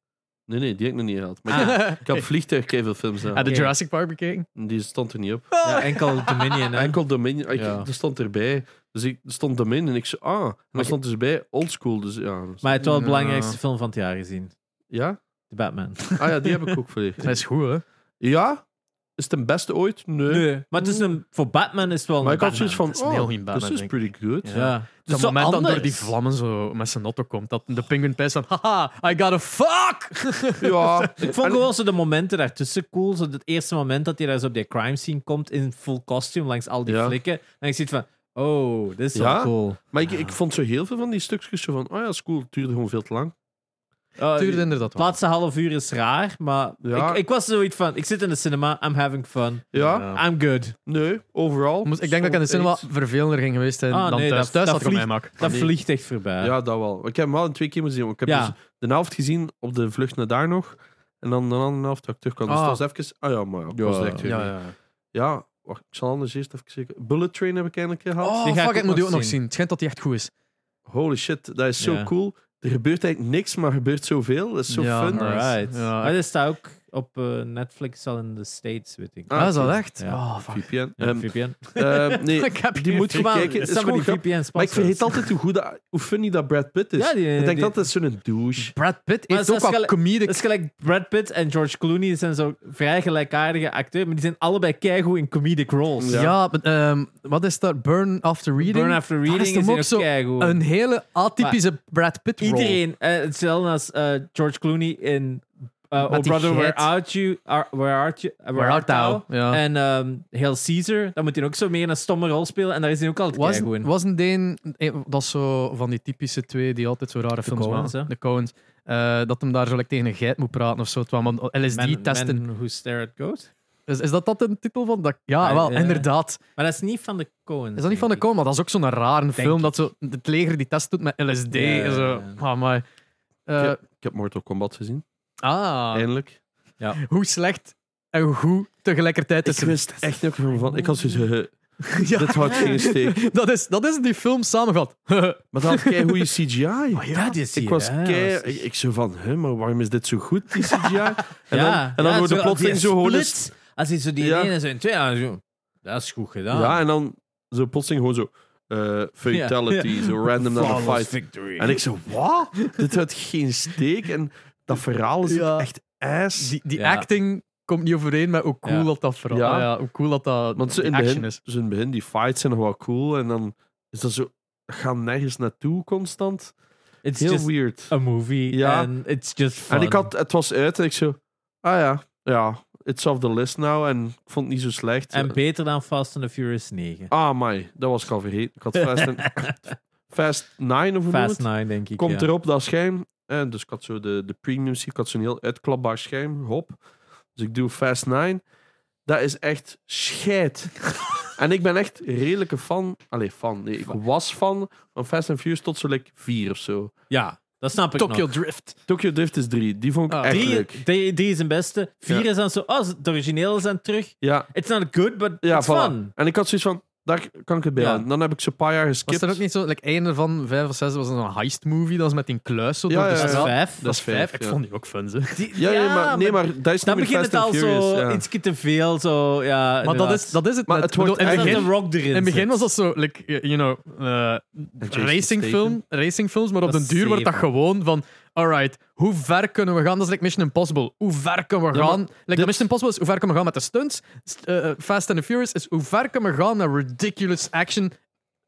Nee, nee, die heb ik nog niet gehaald. Maar ik, ik heb vliegtuig veel films
Ah,
gehaald.
de Jurassic Park bekeken?
Die stond er niet op.
Ja, enkel Dominion. Hè?
Enkel Dominion. ah, Ik,
Ja.
Er stond erbij. Dus ik er stond Dominion en ik zei, ah. En
Maar-
dan stond dus bij oldschool. Dus ja.
Maar het wel de
Ja.
belangrijkste film van het jaar gezien.
ja?
De Batman.
Ah ja, die heb ik ook volledig.
Dat is goed, hè?
Ja? Is het een beste ooit? Nee.
Maar het is een, voor Batman is het wel
Maar
een
ik had
Batman.
zoiets van,
Het is een heel
oh,
geen Batman,
this is
denk
pretty good.
Ja. ja. Dus
dat
zo
moment dat door
anders.
die vlammen zo met zijn auto komt, dat de penguin pijs van, haha, I got a fuck!
Ja.
Ik vond gewoon zo de momenten daartussen cool. Zo het eerste moment dat hij daar zo op die crime scene komt in full costume langs al die
Ja.
flikken. En ik zie van, oh, dit is
Ja?
wel cool.
Maar ik, ik vond zo heel veel van die stukjes zo van, oh ja, school duurde gewoon veel te lang.
Eh,
Tuurde inderdaad
Het
wel.
laatste half uur is raar, maar
Ja.
ik, ik was zoiets van, ik zit in de cinema, I'm having fun,
Ja,
Ja.
I'm good.
nee, overal.
Moest- Ik denk dat ik in de cinema
Echt.
vervelender ging geweest zijn
Ah,
dan
nee,
thuis.
dat-
thuis
dat
had ik op mijn
vliegt-
mak.
Dat
Nee.
vliegt echt voorbij.
Ja, dat wel. Ik heb hem wel in twee keer moeten zien. want Ik heb
Ja.
dus de helft gezien op de vlucht naar daar nog. En dan de andere helft dat ik terug kan. Dus
Ah.
dat was even... Ah ja, maar ja, ik was direct weer
Ja,
mee.
ja, ja.
Ja, wacht, ik zal anders eerst even zeggen. Bullet Train heb ik eindelijk gehaald.
Oh,
Die ga ik
fuck,
ook
ik moet die
nog
ook nog
zien.
zien. Het schijnt dat die echt goed is.
Holy shit, dat is zo
Ja.
cool. Er gebeurt eigenlijk niks, maar gebeurt zoveel. Dat is zo
Ja,
fun.
maar-
Alright.
Ja.
Maar dat staat ook op eh, Netflix al in de States, weet ik.
Ah,
Ah, is dat
oké.
echt?
Ja.
Oh, fuck.
VPN.
Ja,
Ehm,
VPN.
ehm, nee,
Ik heb
die
geen
moet je
Come on,
kijken. Het is
somebody
gewoon grappig.
VPN
Maar ik
sponsors.
vergeet altijd hoe, goed dat, hoe funny dat Brad Pitt is.
Ja, die-
ik denk
die-
dat dat zo'n douche.
Brad Pitt
Maar
heeft
dat is
ook wel
gelijk-
comedic...
Dat is gelijk Brad Pitt en George Clooney, die zijn zo vrij gelijkaardige acteurs, maar die zijn allebei keigoed in comedic roles.
Ja.
Ja, maar, ehm, wat is dat? Burn After Reading?
Burn After Reading
dat is,
is,
hem
die
ook
ook
zo
keigoed.
Een hele atypische Brad Pitt rol.
Iedereen, eh, hetzelfde als eh, George Clooney in eh, Oh
Met die
Brother, Where
geit.
Art You? Are, where Art You? eh,
Where Art Thou? Ja.
En ehm Hail Caesar, dan moet hij ook zo meer een stomme rol spelen en daar is hij ook altijd
Was,
keigoed in.
was een Deen, eh, dat is zo van die typische twee die altijd zo rare films
Coens,
maken.
hè?
De Coens. Eh, dat hem daar zo like, tegen een geit moet praten of zo. terwijl man
Men-
LSD testen.
Men Who Stare at Goat.
Is, is dat dat een titel van? Dat, ja,
Ah,
wel,
ja.
inderdaad.
Maar dat is niet van de Coen.
Is dat niet van de Coen? Maar dat is ook zo'n rare film.
ik.
Dat zo, het leger die test doet met LSD.
Ja,
en zo.
ja,
Ah, maar.
Ja. Ik heb Mortal Kombat gezien,
ah,
eindelijk.
hoe slecht en hoe goed tegelijkertijd is
ik wist echt niet meer van. Ik had zoiets eh,
het. Ja.
dit houdt geen steek.
dat, is, dat is die film samengevat.
Maar dat had goede CGI.
Ja, die is
ik
hier,
was
hè.
kei...
Dat is-
Ik, ik zo van, hè, maar waarom is dit zo goed, die CGI? En dan,
Ja,
en dan
ja,
wordt
zo-
de plotseling
die
zo gewoon... eens-
split, Als hij zo die
Ja.
ene zo in twee aan zo, Dat is goed gedaan.
Ja, en dan zo plotseling gewoon zo... eh, fatality,
Ja.
zo random naar de
Flawless
fight.
victory.
En ik zo, wat? dit houdt geen steek. En dat verhaal is
Ja.
ook echt ass.
Die, die
Ja.
acting komt niet overeen met hoe cool
Ja.
dat dat verhaal
Ja.
ja. hoe cool dat dat
Want zo
die
in, het
action
begin,
is.
zo in het begin, die fights zijn nog wel cool. En dan is dat zo... Gaan nergens naartoe constant.
It's
Heel
just
weird.
a movie.
Ja.
And it's just fun.
En ik had, het was uit en ik zo, ah ja, ja, it's off the list now. En ik vond het niet zo slecht.
En beter dan Fast and the Furious 9.
ah, my, dat was ik al vergeten. Ik had Fast, en, Fast 9 of hoe noem
Fast
het?
9, denk ik.
Komt
ja.
erop dat scherm. En dus ik had zo de, de premium seat, ik had zo'n heel uitklapbaar scherm, hop. Dus ik doe Fast 9. Dat is echt scheid. en ik ben echt redelijke fan. Allee, fan. Nee, ik was fan van Fast and Furious tot zo like 4 of zo.
Ja, dat snap ik
Tokyo
nog.
Drift.
Tokyo Drift is 3. Die vond ik
Ah.
echt
Drie,
leuk.
drie- drie is een beste. Vier
Ja.
is dan zo, oh, het origineel is dan terug.
Ja,
It's not good, but
Ja,
it's
voilà.
fun.
En ik had zoiets van, daar kan ik het bij
Ja.
aan. Dan heb ik ze een paar jaar
Was
geskipt.
er ook niet zo, like, één ervan, vijf of zes, was een heist movie, dat was met die kluis zo
Ja,
door
ja,
de
Eh, ja.
Dat is
straat.
vijf.
Dat is vijf,
Ik
ja.
vond die ook fun, ze.
Die-
Ja, ja, maar, nee,
maar
maar dat is
dan
niet
begint
meer
het
Fast
al
and Furious.
zo
ja.
ietsje te veel. Zo, ja,
Maar dat is, dat is het
Maar
net.
het
Ik bedoel,
wordt
in, het
dat
eigenlijk-
de rock
begin,
erin
in het begin
zit.
was dat zo, like, you know, eh,
Jason
racingfilm,
Statham.
racingfilms, maar
Dat
op
is
den duur wordt dat
zeven.
gewoon van, alright, hoe ver kunnen we gaan? Dat is like Mission Impossible. Hoe ver kunnen we
Ja, maar
gaan? Like
dit-
Mission Impossible is hoe ver kunnen we gaan met de stunts. St- eh, eh, Fast and the Furious is hoe ver kunnen we gaan met ridiculous action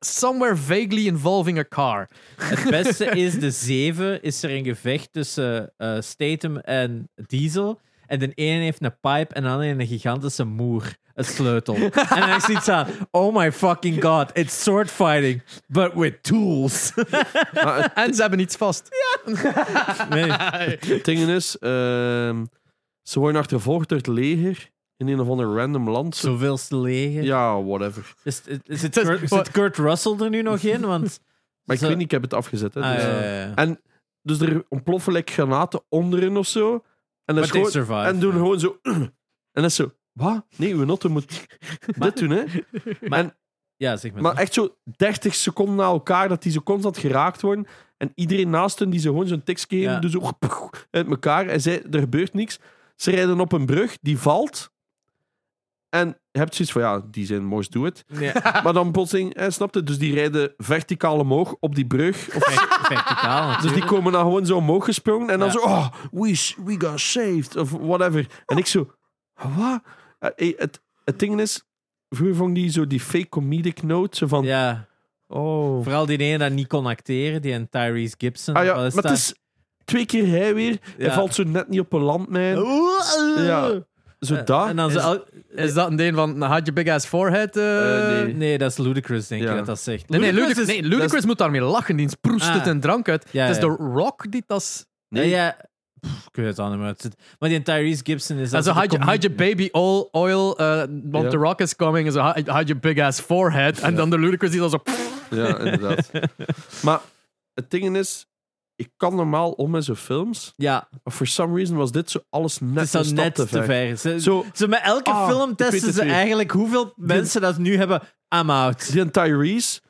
somewhere vaguely involving a car.
Het beste is de 7 is er een gevecht tussen eh Statham en Diesel. En de ene heeft een pipe en de andere een gigantische moer. Een sleutel. en hij ziet zo, oh my fucking god, it's sword fighting, but with tools.
Maar
En ze hebben iets vast.
nee.
het ding is, ehm, ze worden achtervolgd door het leger in een of ander random land. Ze-
Zoveelste leger.
Ja, whatever.
Is, is, is het
Het is-
Kurt, zit Kurt Russell er nu nog in? Want,
Maar ik
Zo-
weet niet, ik heb het afgezet. Hè,
Ah,
dus-
ja, ja, ja.
En dus er ontploffen like, granaten onderin of zo. En, dat
But
is
they
gewoon,
survive.
en doen gewoon zo. En dat is zo. Wat? Nee, uw notte moet dit doen, hè?
Ja, zeg maar.
Maar echt zo 30 seconden na elkaar dat die zo constant geraakt worden. En iedereen naast hen die ze gewoon zo'n tiks geven,
Ja.
dus zo uit elkaar. En zij, er gebeurt niks. Ze rijden op een brug, die valt. En je hebt zoiets van, ja, die zijn most do it.
Nee,
Maar dan plotseling, hè, snap je? Dus die rijden verticaal omhoog op die brug. Of-
ver- verticaal
dus die
natuurlijk.
komen dan gewoon zo omhoog gesprongen. En dan
Ja.
zo, oh, we, s- we got saved. Of whatever. En ik zo, wat? Eh, eh, het, het ding is, vroeger vond ik die zo die fake comedic note. Zo van,
Ja,
oh...
vooral die ene dat niet kon acteren, die en Tyrese Gibson.
Ah ja,
Wat
maar
is
het
dat?
is twee keer hij weer. Hij
Ja.
valt zo net niet op een landmijn.
Oh.
Ja, zo
Eh,
daar.
En dan
Is-
ze al-
Is dat een ding van, had je big ass forehead? eh?
Eh, nee.
Nee, dat is Ludacris, denk
Ja.
ik, dat dat zegt.
Nee, nee, Ludacris,
Ludacris is-
nee, Ludacris
dat
moet daarmee lachen. Die proest
Ah.
het en drank uit.
Ja,
het is
ja.
de Rock die dat...
Nee, ja, pff, ik weet het al niet meer. Het zit- Maar die Tyrese Gibson is...
En zo,
altijd
hide,
de
your- hide your baby all oil, eh, want
Ja.
the rock is coming. En zo, hide, hide your big ass forehead. En dan de ludicrous die dan zo...
Ja, inderdaad. maar het ding is, ik kan normaal om met zo'n films.
Ja,
Maar for some reason was dit zo alles net,
het is
een
dan
stap
net
te ver.
Ze,
Zo,
ze met elke
Ah,
film
ik weet
testen
het
ze
weer.
eigenlijk hoeveel mensen dat nu hebben. I'm out.
die en Tyrese,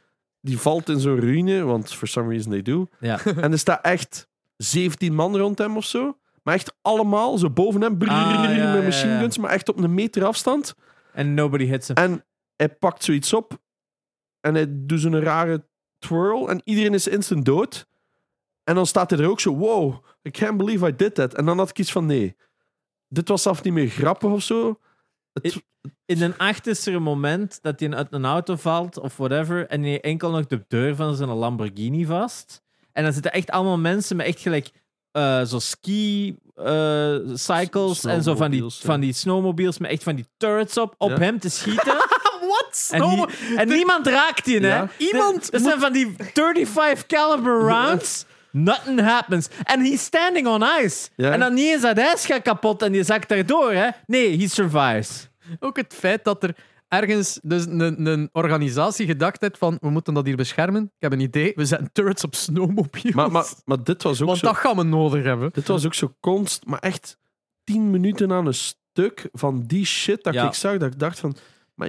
die valt in zo'n ruïne, want for some reason they do.
Ja.
en er staat echt 17 man rond hem of zo. Maar echt allemaal, zo boven hem,
Ah, ja, ja, ja.
met machine guns, maar echt op een meter afstand.
En nobody hits hem.
En hij pakt zoiets op. En hij doet zo'n rare twirl. En iedereen is instant dood. En dan staat hij er ook zo... Wow, I can't believe I did that. En dan had ik iets van... Nee, dit was zelf niet meer grappig of zo. Het,
Ik- In een acht is er een moment dat hij uit een auto valt of whatever. En hij enkel nog de deur van zijn Lamborghini vast. En dan zitten echt allemaal mensen met echt gelijk eh, zo ski eh, cycles en zo van die,
Snowmobiles, ja.
van die snowmobiles met echt van die turrets op op
Ja.
hem te schieten.
Wat?
En, nie- en niemand raakt die, hè?
Ja.
Iemand. Dat zijn van die 35 caliber rounds. Nothing happens. En he's standing on ice.
Ja.
En dan niet eens dat ijs gaat kapot en die zakt daardoor, hè? Nee, he survives.
Ook het feit dat er ergens dus een, een organisatie gedacht heeft van... We moeten dat hier beschermen. Ik heb een idee. We zetten turrets op snowmobiles.
maar, maar, maar dit was ook
want
zo...
dat gaan we nodig hebben.
Dit was ook zo konst. Maar echt tien minuten aan een stuk van die shit dat
Ja.
ik zag. Dat ik dacht van...
Maar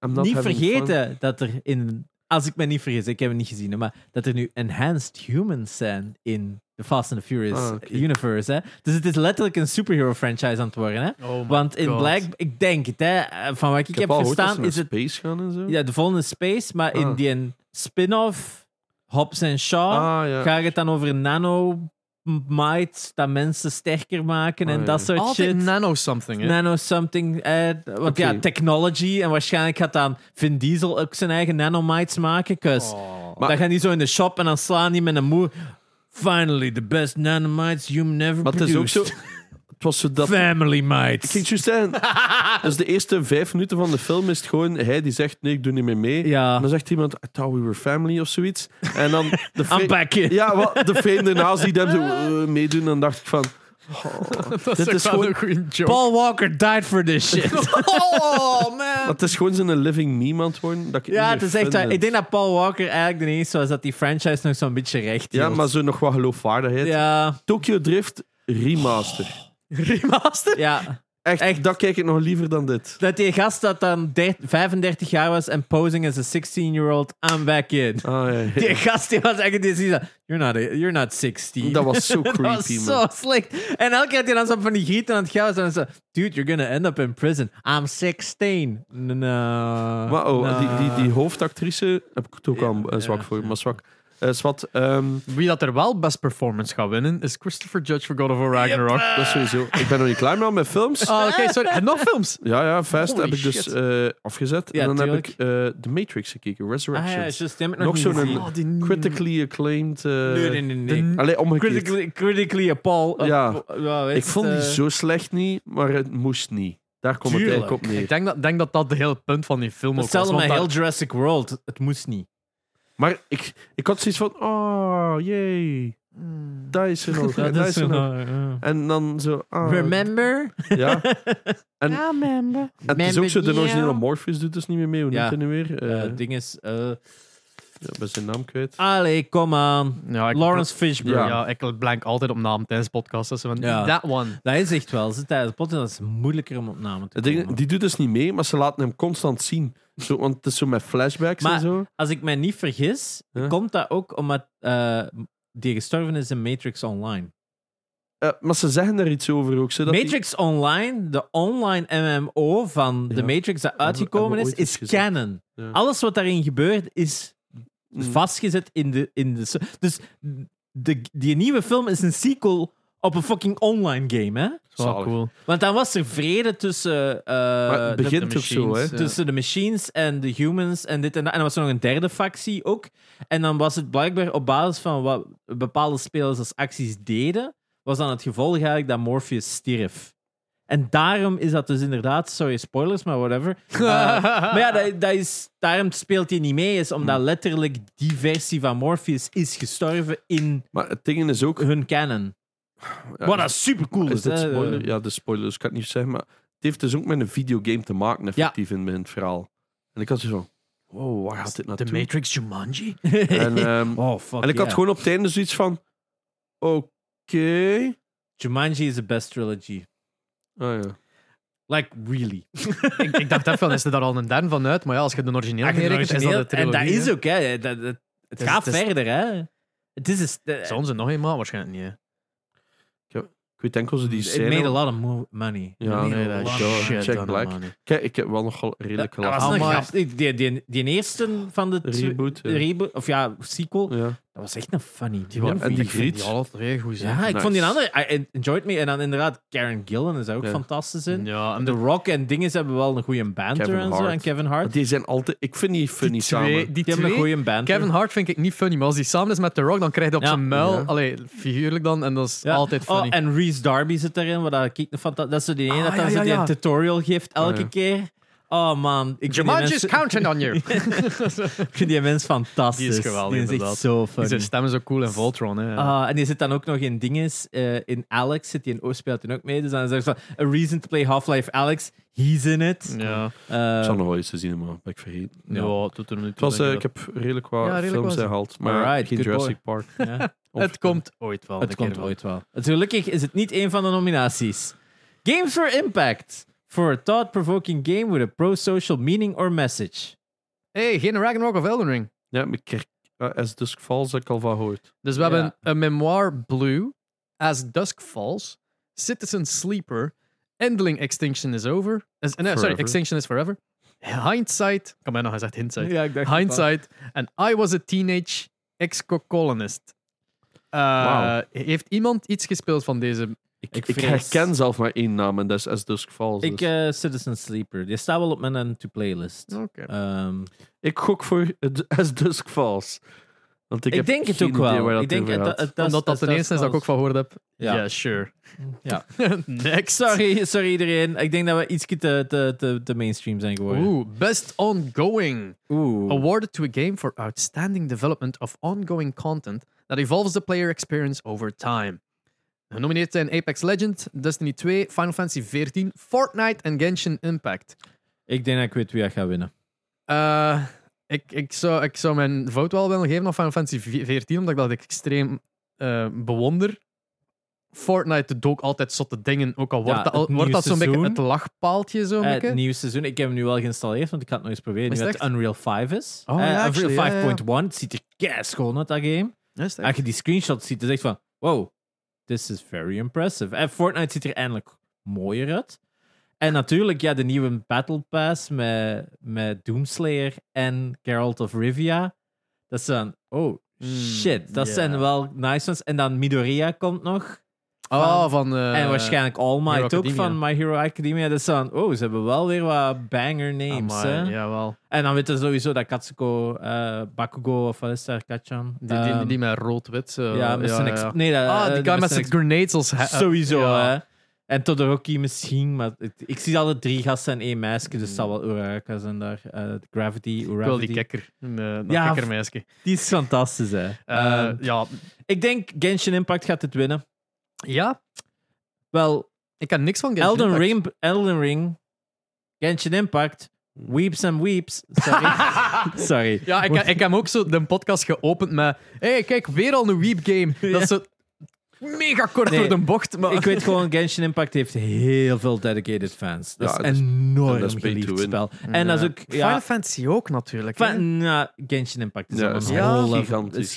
I'm not
niet
having
vergeten dat er in. Als ik me niet vergis, ik heb het niet gezien, hè, maar dat er nu enhanced humans zijn in de Fast and the Furious
Ah, oké.
universe. Hè? Dus het is letterlijk een superhero franchise aan het worden. Hè?
Oh
Want in Black, ik denk het, hè, van wat ik,
Ik
heb
heb al gehoord dat
verstaan,
ze
is
naar
het
space gaan en zo.
Ja, de volgende Space, maar in
Ah.
die een spin-off, Hobbs en Shaw,
Ah, ja.
ga je het dan over nanomites, dat mensen sterker maken en
Ah,
dat
ja.
soort
Altijd
shit.
nano-something, hè?
Nano-something, eh, want
Oké.
ja, technology. En waarschijnlijk gaat dan Vin Diesel ook zijn eigen nanomites maken. Cause
Maar-
dan gaan die zo in de shop en dan slaan die met een moer. Finally, the best nanomites human ever
Maar het is
produced.
ook zo... Het was zo dat...
Family
Ik
mites.
ging het juist zeggen. dus de eerste vijf minuten van de film is het gewoon hij die zegt: Nee, ik doe niet meer mee.
Ja.
En dan zegt iemand: I thought we were family of zoiets. En dan de
I'm
vreemde.
back in.
Ja, wat, de vreemde naast die dan zo eh, meedoen. Dan dacht ik van:
Dat
Dit
is,
is
gewoon
gewoon-
een goede joke.
Paul Walker died for this shit.
Oh, man.
Het is gewoon zo'n living niemand worden. Dat ik
Ja, het
niet meer
is echt
vind.
waar. Ik denk dat Paul Walker eigenlijk de enige was dat die franchise nog zo'n beetje recht hield.
Ja, maar zo nog wat geloofwaardigheid.
Ja,
Tokyo Drift Remaster.
Remaster?
ja.
Echt,
Echt.
dat kijk ik nog liever dan dit.
Dat die gast dat dan der- 35 jaar was en posing as a 16-year-old, I'm back in.
Ah, ja, ja.
Die gast die was echt die zei, you're not, a- you're not 16.
Dat was zo creepy,
Dat was
man.
zo slecht. En elke keer dat hij dan zo van die gieten aan het gaan was, dan zo, dude, you're gonna end up in prison. I'm 16. No.
Maar oh,
no.
die, die, die hoofdactrice heb ik het ook al eh, zwak voor, maar zwak. Eh, is wat, ehm,
Wie dat er wel best performance gaat winnen, is Christopher Judge voor God of War Ragnarok.
dat
Ah.
is sowieso. Ik ben nog niet klaar man, met films.
Oh, oké, sorry. En nog films?
Ja, ja, Fast
Holy
heb ik dus
shit.
eh, afgezet.
Ja,
en dan
tuurlijk.
heb ik eh, The Matrix gekeken,
Ah,
Resurrection.
ja, just, die heb ik
Nog
nog
zo'n-
zo'n
Oh, Critically acclaimed. eh
Nee, nee, nee. nee.
de-
Allee, omgekeerd.
Critically, critically appalled. eh,
Ja.
po- ja, weet
Ik vond die
eh,
zo slecht niet, maar het moest niet. Daar komt
Tuurlijk.
het eigenlijk op
Ik
neer.
denk dat, denk dat dat de hele punt van die film ook was.
Hetzelfde
want
met
daar-
heel Jurassic World. Het moest niet.
Maar ik, ik had zoiets van, oh, jee, daar is ze
Hmm.
nog.
Ja,
en daar is ze nog. En dan zo, ah.
Remember?
Ja. En,
remember.
en het is ook zo, de
Remember
originele
you?
Morpheus doet dus niet meer mee. Hoe
Ja.
noemt hij nu weer? Eh,
Eh, ding is... eh,
ja, ik ben zijn naam kwijt.
allee, kom aan.
Ja, ik,
Lawrence Fishburne.
Ja.
ja. ik blank altijd op naam tijdens podcasts. Dus van,
Ja.
That one.
Dat is echt wel. Zit tijdens de pot en dat is moeilijker om op namen te
Het
komen.
ding, die doet dus niet mee, maar ze laten hem constant zien. Zo, want het is zo met flashbacks en
Maar-
zo.
Als ik mij niet vergis,
Ja.
komt dat ook omdat eh, die gestorven is in Matrix Online.
Eh, maar ze zeggen daar iets over ook. Zodat die-
Matrix Online, de online MMO van de
Ja.
Matrix dat
Hebben-
uitgekomen
hebben we
is,
ooit iets
is
gezegd.
canon.
Ja.
Alles wat daarin gebeurt is
Mm.
vastgezet in de, in de. Dus de, die nieuwe film is een sequel op een fucking online game, hè?
Zo
Zalig.
cool.
Want dan was er vrede tussen, eh,
Maar het
de- eh.
begint ook zo, hè. Dus,
machines, ja.
tussen de machines en de humans en dit en dat. En dan was er nog een derde factie ook. En dan was het blijkbaar op basis van wat bepaalde spelers als acties deden, was dan het gevolg eigenlijk dat Morpheus stierf. En daarom is dat dus inderdaad, sorry spoilers, maar whatever. Eh, maar ja, dat, dat is, daarom speelt hij niet mee, is omdat
Hmm.
letterlijk die versie van Morpheus is gestorven in
Maar het ding is ook...
hun canon.
Ja, Eh,
Wat dat super cool
Is
is.
dit
hè. eh.
spoiler? Ja, de spoilers. Ik kan het niet zeggen, maar het heeft dus ook met een videogame te maken, effectief, in, in het verhaal. En ik had zo van, wow, waar gaat dit
The
naartoe?
Matrix Jumanji?
En, ehm,
oh, fuck
en ik had
yeah.
gewoon op het einde zoiets van, oké.
Jumanji is the best trilogy.
Ah, ja.
Like, really.
ik, ik dacht even, is er daar al een derde van uit? Maar ja, als je de originele
Echt een
neerrekent, is dat
origineel-
de
en
trilogie.
dat is
hè.
ook, hè. Dat, dat- het
is-
gaat
het is-
verder, hè. Het is... is- eh,
Zullen ze nog eenmaal? Waarschijnlijk niet. hè.
Ik weet enkel ze die
it
scène...
made a lot of mo- money.
Ja,
It made
nee,
a
dat is
lot
zo.
of shit
Jack
ton of
Black.
money.
Kijk, ik heb wel nogal
Dat,
redelijk
dat was
gelachen.
een
Amai.
grap. Die, die, die, die eerste van de... tw-
Reboot, ja.
reboot, Of ja, sequel.
Ja.
Dat was echt een funny. Die
Ja,
waren
en die
vier.
ik vind
griet.
Die alle twee goed zijn.
Ja, ik vond die
Nice.
andere... I enjoyed me. En dan inderdaad Karen Gillan is daar ook
Ja.
fantastisch in.
Ja, en
The
de
Rock en dinges hebben wel een goede banter
Kevin
en zo.
Hart.
En Kevin Hart.
Die zijn altijd... Ik vind die funny
die
samen.
twee, die
Die hebben een
twee
goede banter.
Kevin Hart vind ik niet funny, maar als die samen is met The Rock, dan krijg je op
Ja.
zijn muil.
Ja.
Allee, figuurlijk dan, en dat is
Ja.
altijd funny.
Oh, en Reese Darby zit erin. Wat dat, ik van, dat is zo die ene
Ah,
dat dan
ja,
zo
ja,
die
ja.
een tutorial geeft elke
ja.
keer. Oh man, ik vind die,
Jumanji's
mensen,
counting on you.
ik vind die mens fantastisch.
Die is geweldig,
Die is echt
inderdaad.
zo
Die zijn
funny.
stem is ook cool en Voltron, hè.
Ah, en die zit dan ook nog in dinges. eh, in Alex zit die in oh, speelt hij ook mee. Dus dan zegt ze van, a reason to play Half-Life Alex. He's in it.
ja.
Eh,
Ik zal nog wel eens te zien, maar ben ik vergeten.
Ja, het doet er niet
Het
toe,
was,
denk
eh,
ik
ik heb redelijk wat
Ja, redelijk
films
wat.
gehaald, maar
Alright,
geen
good
Jurassic Park.
ja,
dat. Het komt ooit wel.
het
een
komt
keer
ooit wel. Het- gelukkig is het niet een van de nominaties. Games for Impact. For a thought-provoking game with a pro-social meaning or message.
hey, geen Ragnarok of Elden Ring.
Ja, maar Kirk, eh, As Dusk Falls heb ik al van gehoord.
Dus we
Ja.
hebben een memoir Blue, As Dusk Falls, Citizen Sleeper, Endling Extinction is Over. Is, nee, sorry,
Forever.
Extinction is Forever. Hindsight, ik had mij nog gezegd Hindsight.
ik dacht
Hindsight. En I Was a Teenage Ex-Colonist. Eh,
Wauw.
Heeft iemand iets gespeeld van deze?
Ik,
Ik
ik,
vrees-
herken zelf maar één naam en dat is As Dusk Falls.
Ik,
dus.
eh, Citizen Sleeper. Die staat wel op mijn end to playlist. Ehm,
ik gok voor het As Dusk Falls. Want ik,
ik
heb
denk het
geen
ook
idee
wel.
waar dat
ik denk
over gaat.
Omdat dat de eerste is dat ik ook van gehoord heb.
Ja.
Ja, Hm. sure.
Ja.
Next.
Sorry, sorry iedereen. Ik denk dat we iets te, te, te, te mainstream zijn geworden.
Oeh, best ongoing.
Oeh.
Awarded to a game for outstanding development of ongoing content that evolves the player experience over time. Genomineerd zijn Apex Legend, Destiny 2, Final Fantasy 14, Fortnite en Genshin Impact.
Ik denk dat ik weet wie dat gaat winnen.
Eh, ik, ik, zou, ik zou mijn vote wel willen geven op Final Fantasy 14, omdat ik dat extreem eh, bewonder. Fortnite doet ook altijd zotte dingen, ook al wordt
Ja,
dat,
het
al- wordt dat zo'n
nieuwe
beetje het
seizoen.
lachpaaltje. Zo
Eh,
beetje.
het nieuwe seizoen. Ik heb hem nu wel geïnstalleerd, want ik had het nog eens proberen.
Is
Nu
het
het Unreal 5 is.
Oh,
Eh,
ja,
Unreal
actually, ja, ja, ja.
5.1. Het ziet er keihard schoon uit, dat game.
Ja, is het
Als je die screenshots ziet, dan zeg je van... Wow, this is very impressive. En Fortnite ziet er eindelijk mooier uit. En natuurlijk, ja, de nieuwe Battle Pass met, met Doomslayer en Geralt of Rivia. Dat is dan... Oh, Shit, dat
Hmm, ja.
zijn wel nice ones. En dan Midoriya komt nog.
Oh, van... eh,
en waarschijnlijk All Might
Hero
ook
Academia.
van My Hero Academia. Dat is dan, oh, ze hebben wel weer wat banger names.
amai,
hè?
ah, eh, Jawel.
En dan weten ze sowieso dat Katsuko, eh, Bakugo of wat is daar, Kachan?
Die, die,
Ehm,
die met rood-wit. eh,
ja, met zijn... ex-
ja.
Nee, dat, eh,
Ah, die guy met zijn grenades als... he- eh,
Sowieso,
ja.
hè. eh, En Todoroki misschien, maar het- ik zie altijd drie gasten en één meisje, dus het zal wel Uraraka zijn daar. Eh, Gravity,
Ik wil die
Uravity.
kekker. Een, eh, dat
Ja,
kekkermeisje.
die is fantastisch, hè.
Eh,
Ehm,
ja.
ik denk Genshin Impact gaat het winnen.
ja,
Wel,
ik kan niks van Genshin
Elden
Impact.
Ring, Elden Ring, Genshin Impact, Weeps and Weeps. Sorry. Sorry.
Ja, ik, ik heb ook zo de podcast geopend met... Hé, hey, kijk, weer al een weep game. Dat is zo mega kort
Nee,
door de bocht. Maar...
Ik weet gewoon, Genshin Impact heeft heel veel dedicated fans. Dat
Ja,
is
dat is-
enorm
en dat is pay to
geliefd
win.
spel.
Mm,
En dat is ook...
Final
Ja,
Fantasy ook natuurlijk. hè.
Fan- nou, Genshin Impact is
Ja,
al
is
een
ja,
whole level.
gigantisch,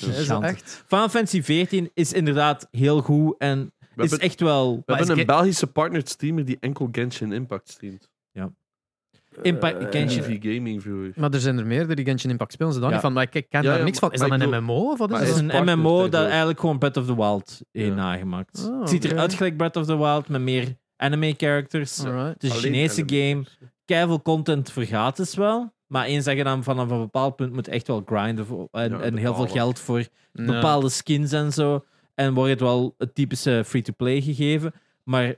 Is
hè. Is
Is dat
gigantisch.
echt?
Final Fantasy 14 is inderdaad heel goed en is
hebben-
echt wel.
We
Maar is
hebben een
Ge-
Belgische partnered streamer die enkel Genshin Impact streamt.
Ja. Impact-
Eh,
Genshin-
MTV Gaming viewer.
Maar er zijn er meer die Genshin Impact spelen. Ze dan
Ja.
niet van, maar ik ik ken
Ja,
daar
ja,
niks van. Is
maar
dat een
ik bedoel-
MMO of wat
maar
is
Het
dat?
is
is
een
partner
MMO dat
tegenwoordig.
eigenlijk gewoon Breath of the Wild heeft
Ja.
nagemaakt.
Oh,
het ziet
oké.
eruit gelijk Breath of the Wild met meer anime characters.
Alright.
Het dus is een
Alleen
Chinese
anime.
game. Keiveel content vergaat is wel. Maar eens dat je dan vanaf een bepaald punt moet echt wel grinden voor- en, en
Ja,
heel veel
betalen.
geld voor
Nee.
bepaalde skins en zo. En wordt het wel het typische free-to-play gegeven. Maar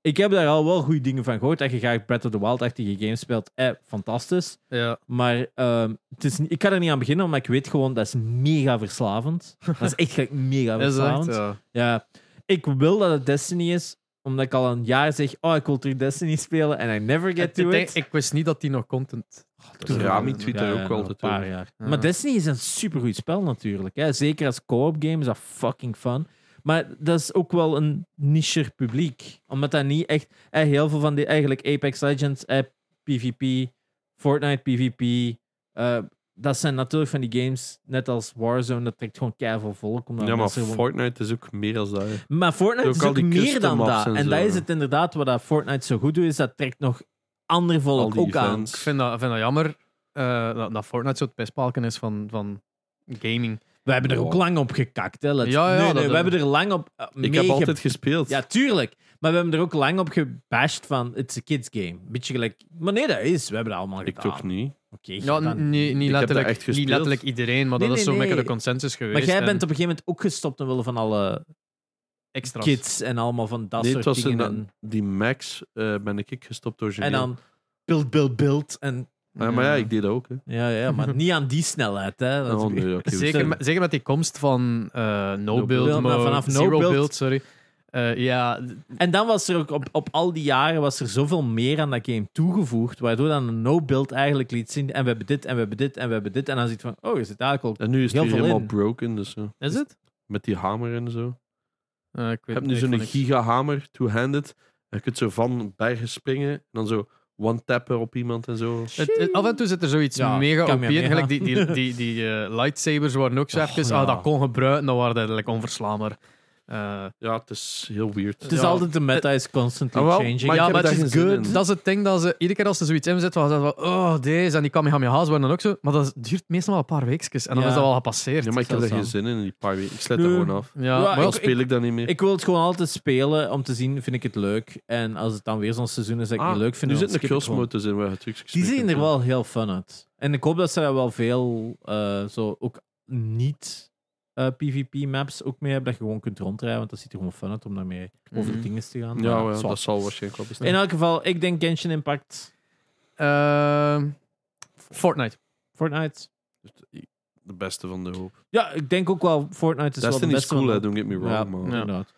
ik heb daar al wel goede dingen van gehoord. Dat je graag Breath of the Wild-achtige games speelt. Eh, fantastisch.
Ja.
Maar ehm, het is, niet- ik kan er niet aan beginnen, omdat ik weet gewoon dat is mega verslavend. Dat is echt gelijk mega
Is dat
verslavend.
echt? Ja.
Ja, ik wil dat het Destiny is, omdat ik al een jaar zeg: Oh, ik wil terug Destiny spelen en I never get
Ik,
to
denk-
it.
ik wist niet dat die nog content...
is
Rami
wel-
tweet
Ja,
daar
ja,
ook
nog
wel
een
altijd
paar
over.
jaar.
Ja.
Maar Destiny is een supergoed spel natuurlijk. Hè. Zeker als co-op game is dat fucking fun. Maar dat is ook wel een nicher publiek. Omdat dat niet echt... hè, heel veel van die... Eigenlijk Apex Legends, hè, PvP, Fortnite PvP... eh, dat zijn natuurlijk van die games, net als Warzone, dat trekt gewoon keiveel volk. Omdat
Ja, maar
mensen gewoon-
Fortnite is ook meer als dat. hè.
maar Fortnite
Ook
is
al
ook
die
meer
custom
dan
maps
dat. En,
en
dat
zo,
is
ja.
het inderdaad, wat dat Fortnite zo goed doet, is dat trekt nog ander
Al
volk
die
ook aan.
events.
Ik vind dat, vind dat jammer eh, dat, dat Fortnite zo het pestpalken is van, van gaming.
We hebben er ook
Ja.
lang op gekakt. Hè. Let's-
Ja, ja,
nee, nee,
dat-
we hebben er lang op eh,
Ik
mee
heb
ge-
altijd gespeeld.
Ja, tuurlijk. Maar we hebben er ook lang op gebashed van, it's a kids game. Beetje gelijk, maar nee, dat is. We hebben dat allemaal
ik
gedaan.
toch niet.
Oké,
Ja,
gedaan.
n- niet, niet,
dat
letterlijk,
echt
niet
gespeeld.
letterlijk iedereen, maar
Nee,
dat is
nee,
zo'n beetje
nee.
de consensus geweest.
maar jij
en
bent op een gegeven moment ook gestopt omwille van alle
extra.
kids en allemaal van dat
Nee, het
soort
was eh,
dingen.
in
En,
die Max eh, ben ik gestopt door
en dan build, build, build. En,
maar ja, ik deed dat ook. Hè.
ja, ja, maar niet aan die snelheid. Hè. Dat is-
Oh, nee, oké, we
Zeker,
zijn-
met, zeker met die komst van eh
No
no-build,
build, maar vanaf
vanaf
no
zero-build,
build-
sorry. Eh, ja, d-
En dan was er ook op, op al die jaren was er zoveel meer aan dat game toegevoegd, waardoor dan een no-build eigenlijk liet zien. En we hebben dit, en we hebben dit, en we hebben dit. En dan zit van, oh, je zit eigenlijk al.
En nu is het
Heel
hier
veel
helemaal
in.
broken. Dus, eh,
is het?
met die hamer en zo.
Eh, ik
Je
weet
hebt nu
ik
zo'n
vond niks.
gigahamer, two-handed. En je kunt zo van bergen springen. En dan zo one-tappen op iemand en zo.
Het- het- af en toe zit er zoiets
Ja,
mega
kan
op
meer
in.
mee
Gelijk
gaan.
die, die, die, die eh, lightsabers waren ook zo
Och,
even...
ja.
Ah, dat kon gebruiken, dat waren eigenlijk onverslaanbaar. Eh,
Ja, het is heel weird.
Het is
Ja.
altijd de meta is constantly
Ah, wel,
changing.
maar ik
ja,
heb
maar het
daar
is
geen zin
good.
in.
Dat is het ding dat ze iedere keer als ze zoiets inzetten, was dat van, oh, deze en die Kamehameha's waren dan ook zo. Maar dat is- duurt meestal wel een paar weekjes en dan
Ja.
is dat al gepasseerd.
Ja, maar ik heb
zelfs
daar geen
aan.
zin in, in die paar weken. Ik sluit
Nee.
dat gewoon af.
Ja,
Ja,
maar
Dan
ik-
speel ik dat niet meer.
Ik wil het gewoon altijd spelen om te zien, vind ik het leuk. En als het dan weer zo'n seizoen is dat ik
Ah,
niet leuk vind,
nu
dan
zitten de
skip ik gewoon.
crossmotors in waar je trucs
Die
gespeeld
zien
hebt,
er
hè.
wel heel fun uit. En ik hoop dat ze daar wel veel, eh, zo ook niet eh, PvP maps ook mee hebben, dat je gewoon kunt rondrijden, want dat ziet er gewoon fun uit om daarmee over
Mhm.
dingen te gaan.
Ja,
Maar
wel,
zwart.
dat zal waarschijnlijk wel bestaan.
In elk geval, ik denk Genshin Impact,
Ehm, Fortnite.
Fortnite.
De beste van de hoop.
Ja, ik denk ook wel Fortnite is wel de
Destiny is
beste.
cool,
van-
hè, don't get me wrong.
ja,
maar-
inderdaad.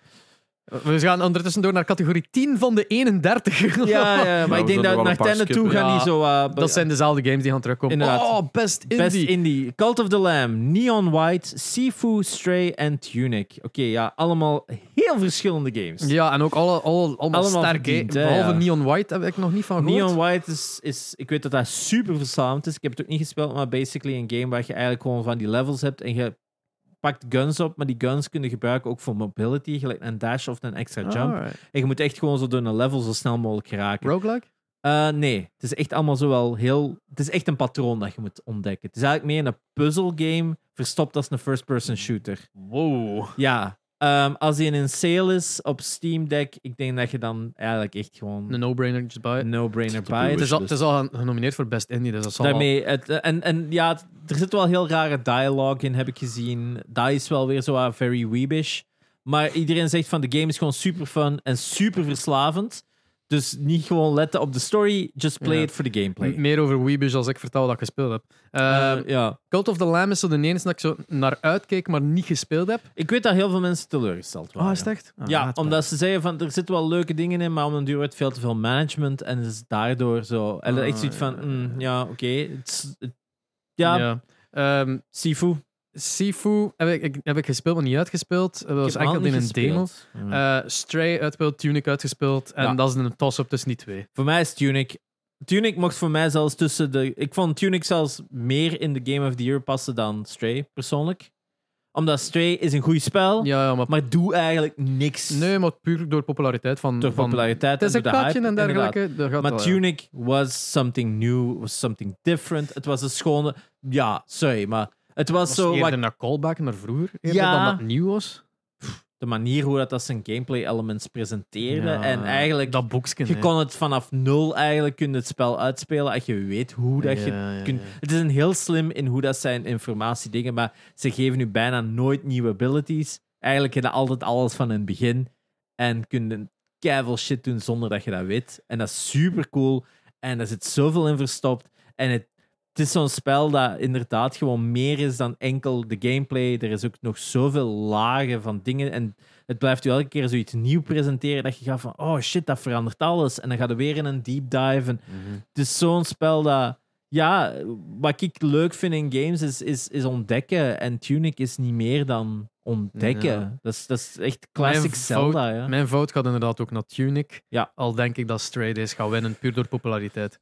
We gaan ondertussen door naar categorie 10 van de 31.
Ja, ja, maar
we
ik denk
zullen
dat
wel
naar
een paar
het einde toe
skippen.
gaan
Ja,
die zo... eh, be-
Dat zijn dezelfde games die gaan terugkomen.
Inderdaad.
Oh, best indie.
Best indie. Cult of the Lamb, Neon White, Sifu, Stray en Tunic. Oké, ja, allemaal heel verschillende games.
Ja, en ook alle, alle, allemaal
Allemaal
sterke.
verdiend, hè,
behalve
ja.
Neon White heb ik nog niet van gehoord.
Neon White is, is, ik weet dat dat super verslavend is. Ik heb het ook niet gespeeld, maar basically een game waar je eigenlijk gewoon van die levels hebt en je pakt guns op, maar die guns kunnen gebruiken ook voor mobility, gelijk een dash of een extra jump.
Alright.
En je moet echt gewoon zo door een level zo snel mogelijk geraken.
Roguelike?
Eh, nee, het is echt allemaal zo wel heel. Het is echt een patroon dat je moet ontdekken. Het is eigenlijk meer een puzzelgame verstopt als een first-person shooter.
Wow.
Ja, ehm, als die in een sale is op Steam Deck, ik denk dat je dan eigenlijk echt gewoon
Een no-brainer, just buy it.
een no-brainer
de boel
buy.
Het
Dus
is, al, het is al genomineerd voor Best Indie, dus dat zal wel-
daarmee, het, eh, en, en ja, het- er zit wel heel rare dialogue in, heb ik gezien. Dat is wel weer zo wat very weebish. Maar iedereen zegt van de game is gewoon super fun en super verslavend. Dus niet gewoon letten op de story, just play
Ja. Mm-hmm.
it for the gameplay.
M- meer over Weebush als ik vertel dat ik gespeeld heb. Eh,
Eh, ja.
Cult of the Lamb is zo de enige dat ik zo naar uitkeek, maar niet gespeeld heb.
Ik weet dat heel veel mensen
Oh,
teleurgesteld waren.
echt? Ah,
Ja, omdat ze zeiden van er zitten wel leuke dingen in, maar om een duur wordt veel te veel management en is het daardoor zo. En
Ah,
echt zoiets van,
ja,
mm,
ja,
ja,
ja.
oké. het is- het- ja,
Ehm,
Sifu. Ik
Sifu heb ik, ik- heb ik gespeeld, maar niet uitgespeeld. Eh, Dat was
heb hem
enkel
al
in een
niet
demo.
gespeeld. Ja.
Eh, Stray uitgespeeld, Tunic uitgespeeld. En
Ja.
dat is een toss-up tussen die twee.
Voor mij is Tunic. Tunic mocht voor mij zelfs tussen de. Ik vond Tunic zelfs meer in de Game of the Year passen dan Stray, persoonlijk. Omdat Stray is een goed spel,
Ja, ja, maar,
maar doe eigenlijk niks.
nee, maar puur door populariteit van...
Door
van
populariteit
het is
en
een
door de hype,
katje en
inderdaad.
dergelijke. dat gaat
Maar
wel, ja.
Tunic was something new, was something different. Het was een schone. Ja, sorry, maar het was,
was
zo.
eerder
wat-
naar callback naar vroeger, eerder
Ja.
dan dat het nieuw was.
De manier hoe dat, dat zijn gameplay elements presenteerde.
Ja,
en eigenlijk,
Dat boekje.
je
hè.
kon het vanaf nul eigenlijk kun je het spel uitspelen. Als je weet hoe dat je.
Ja, ja,
kunt-
ja.
Het is een heel slim in hoe dat zijn informatie dingen, maar ze geven nu bijna nooit nieuwe abilities. Eigenlijk heb je altijd alles van in het begin en kunnen keiveel shit doen zonder dat je dat weet. En dat is super cool en daar zit zoveel in verstopt. En het, het is zo'n spel dat inderdaad gewoon meer is dan enkel de gameplay. Er is ook nog zoveel lagen van dingen en het blijft u elke keer zoiets nieuw presenteren dat je gaat van oh shit, dat verandert alles. En dan gaat er weer in een deep dive en
Mhm.
het is zo'n spel dat. Ja, wat ik leuk vind in games is, is, is ontdekken. En Tunic is niet meer dan ontdekken.
Ja.
Dat, is, dat is echt classic
Mijn
Zelda. Ja.
Mijn fout gaat inderdaad ook naar Tunic.
Ja.
Al denk ik dat Stray Days gaat winnen, puur door populariteit.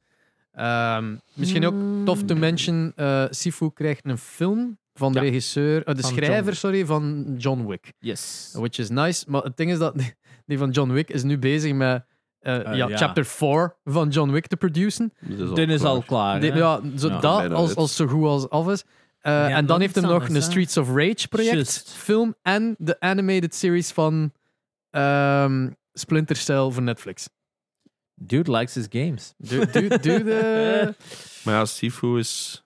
Ehm, misschien ook
Mm.
tof te mention, eh, Sifu krijgt een film van de
Ja.
regisseur, eh, de
Van
schrijver,
John Wick.
sorry, van John Wick.
Yes.
Which is nice, maar het ding is dat die van John Wick is nu bezig met eh,
Eh,
ja,
ja.
chapter 4 van John Wick te produceren.
Dat is al
Dit is
klaar.
al klaar.
Die-
hè?
ja, zo,
Ja.
dat
Bijna
als,
uit.
als zo goed als af is. Eh, en
nog
dan heeft hij
iets
nog
anders,
een
hè?
Streets of Rage project,
Juist.
film en de animated series van ehm, Splinter Cell voor Netflix.
Dude likes his games.
Doe, doe, doe de...
Maar ja, Sifu is,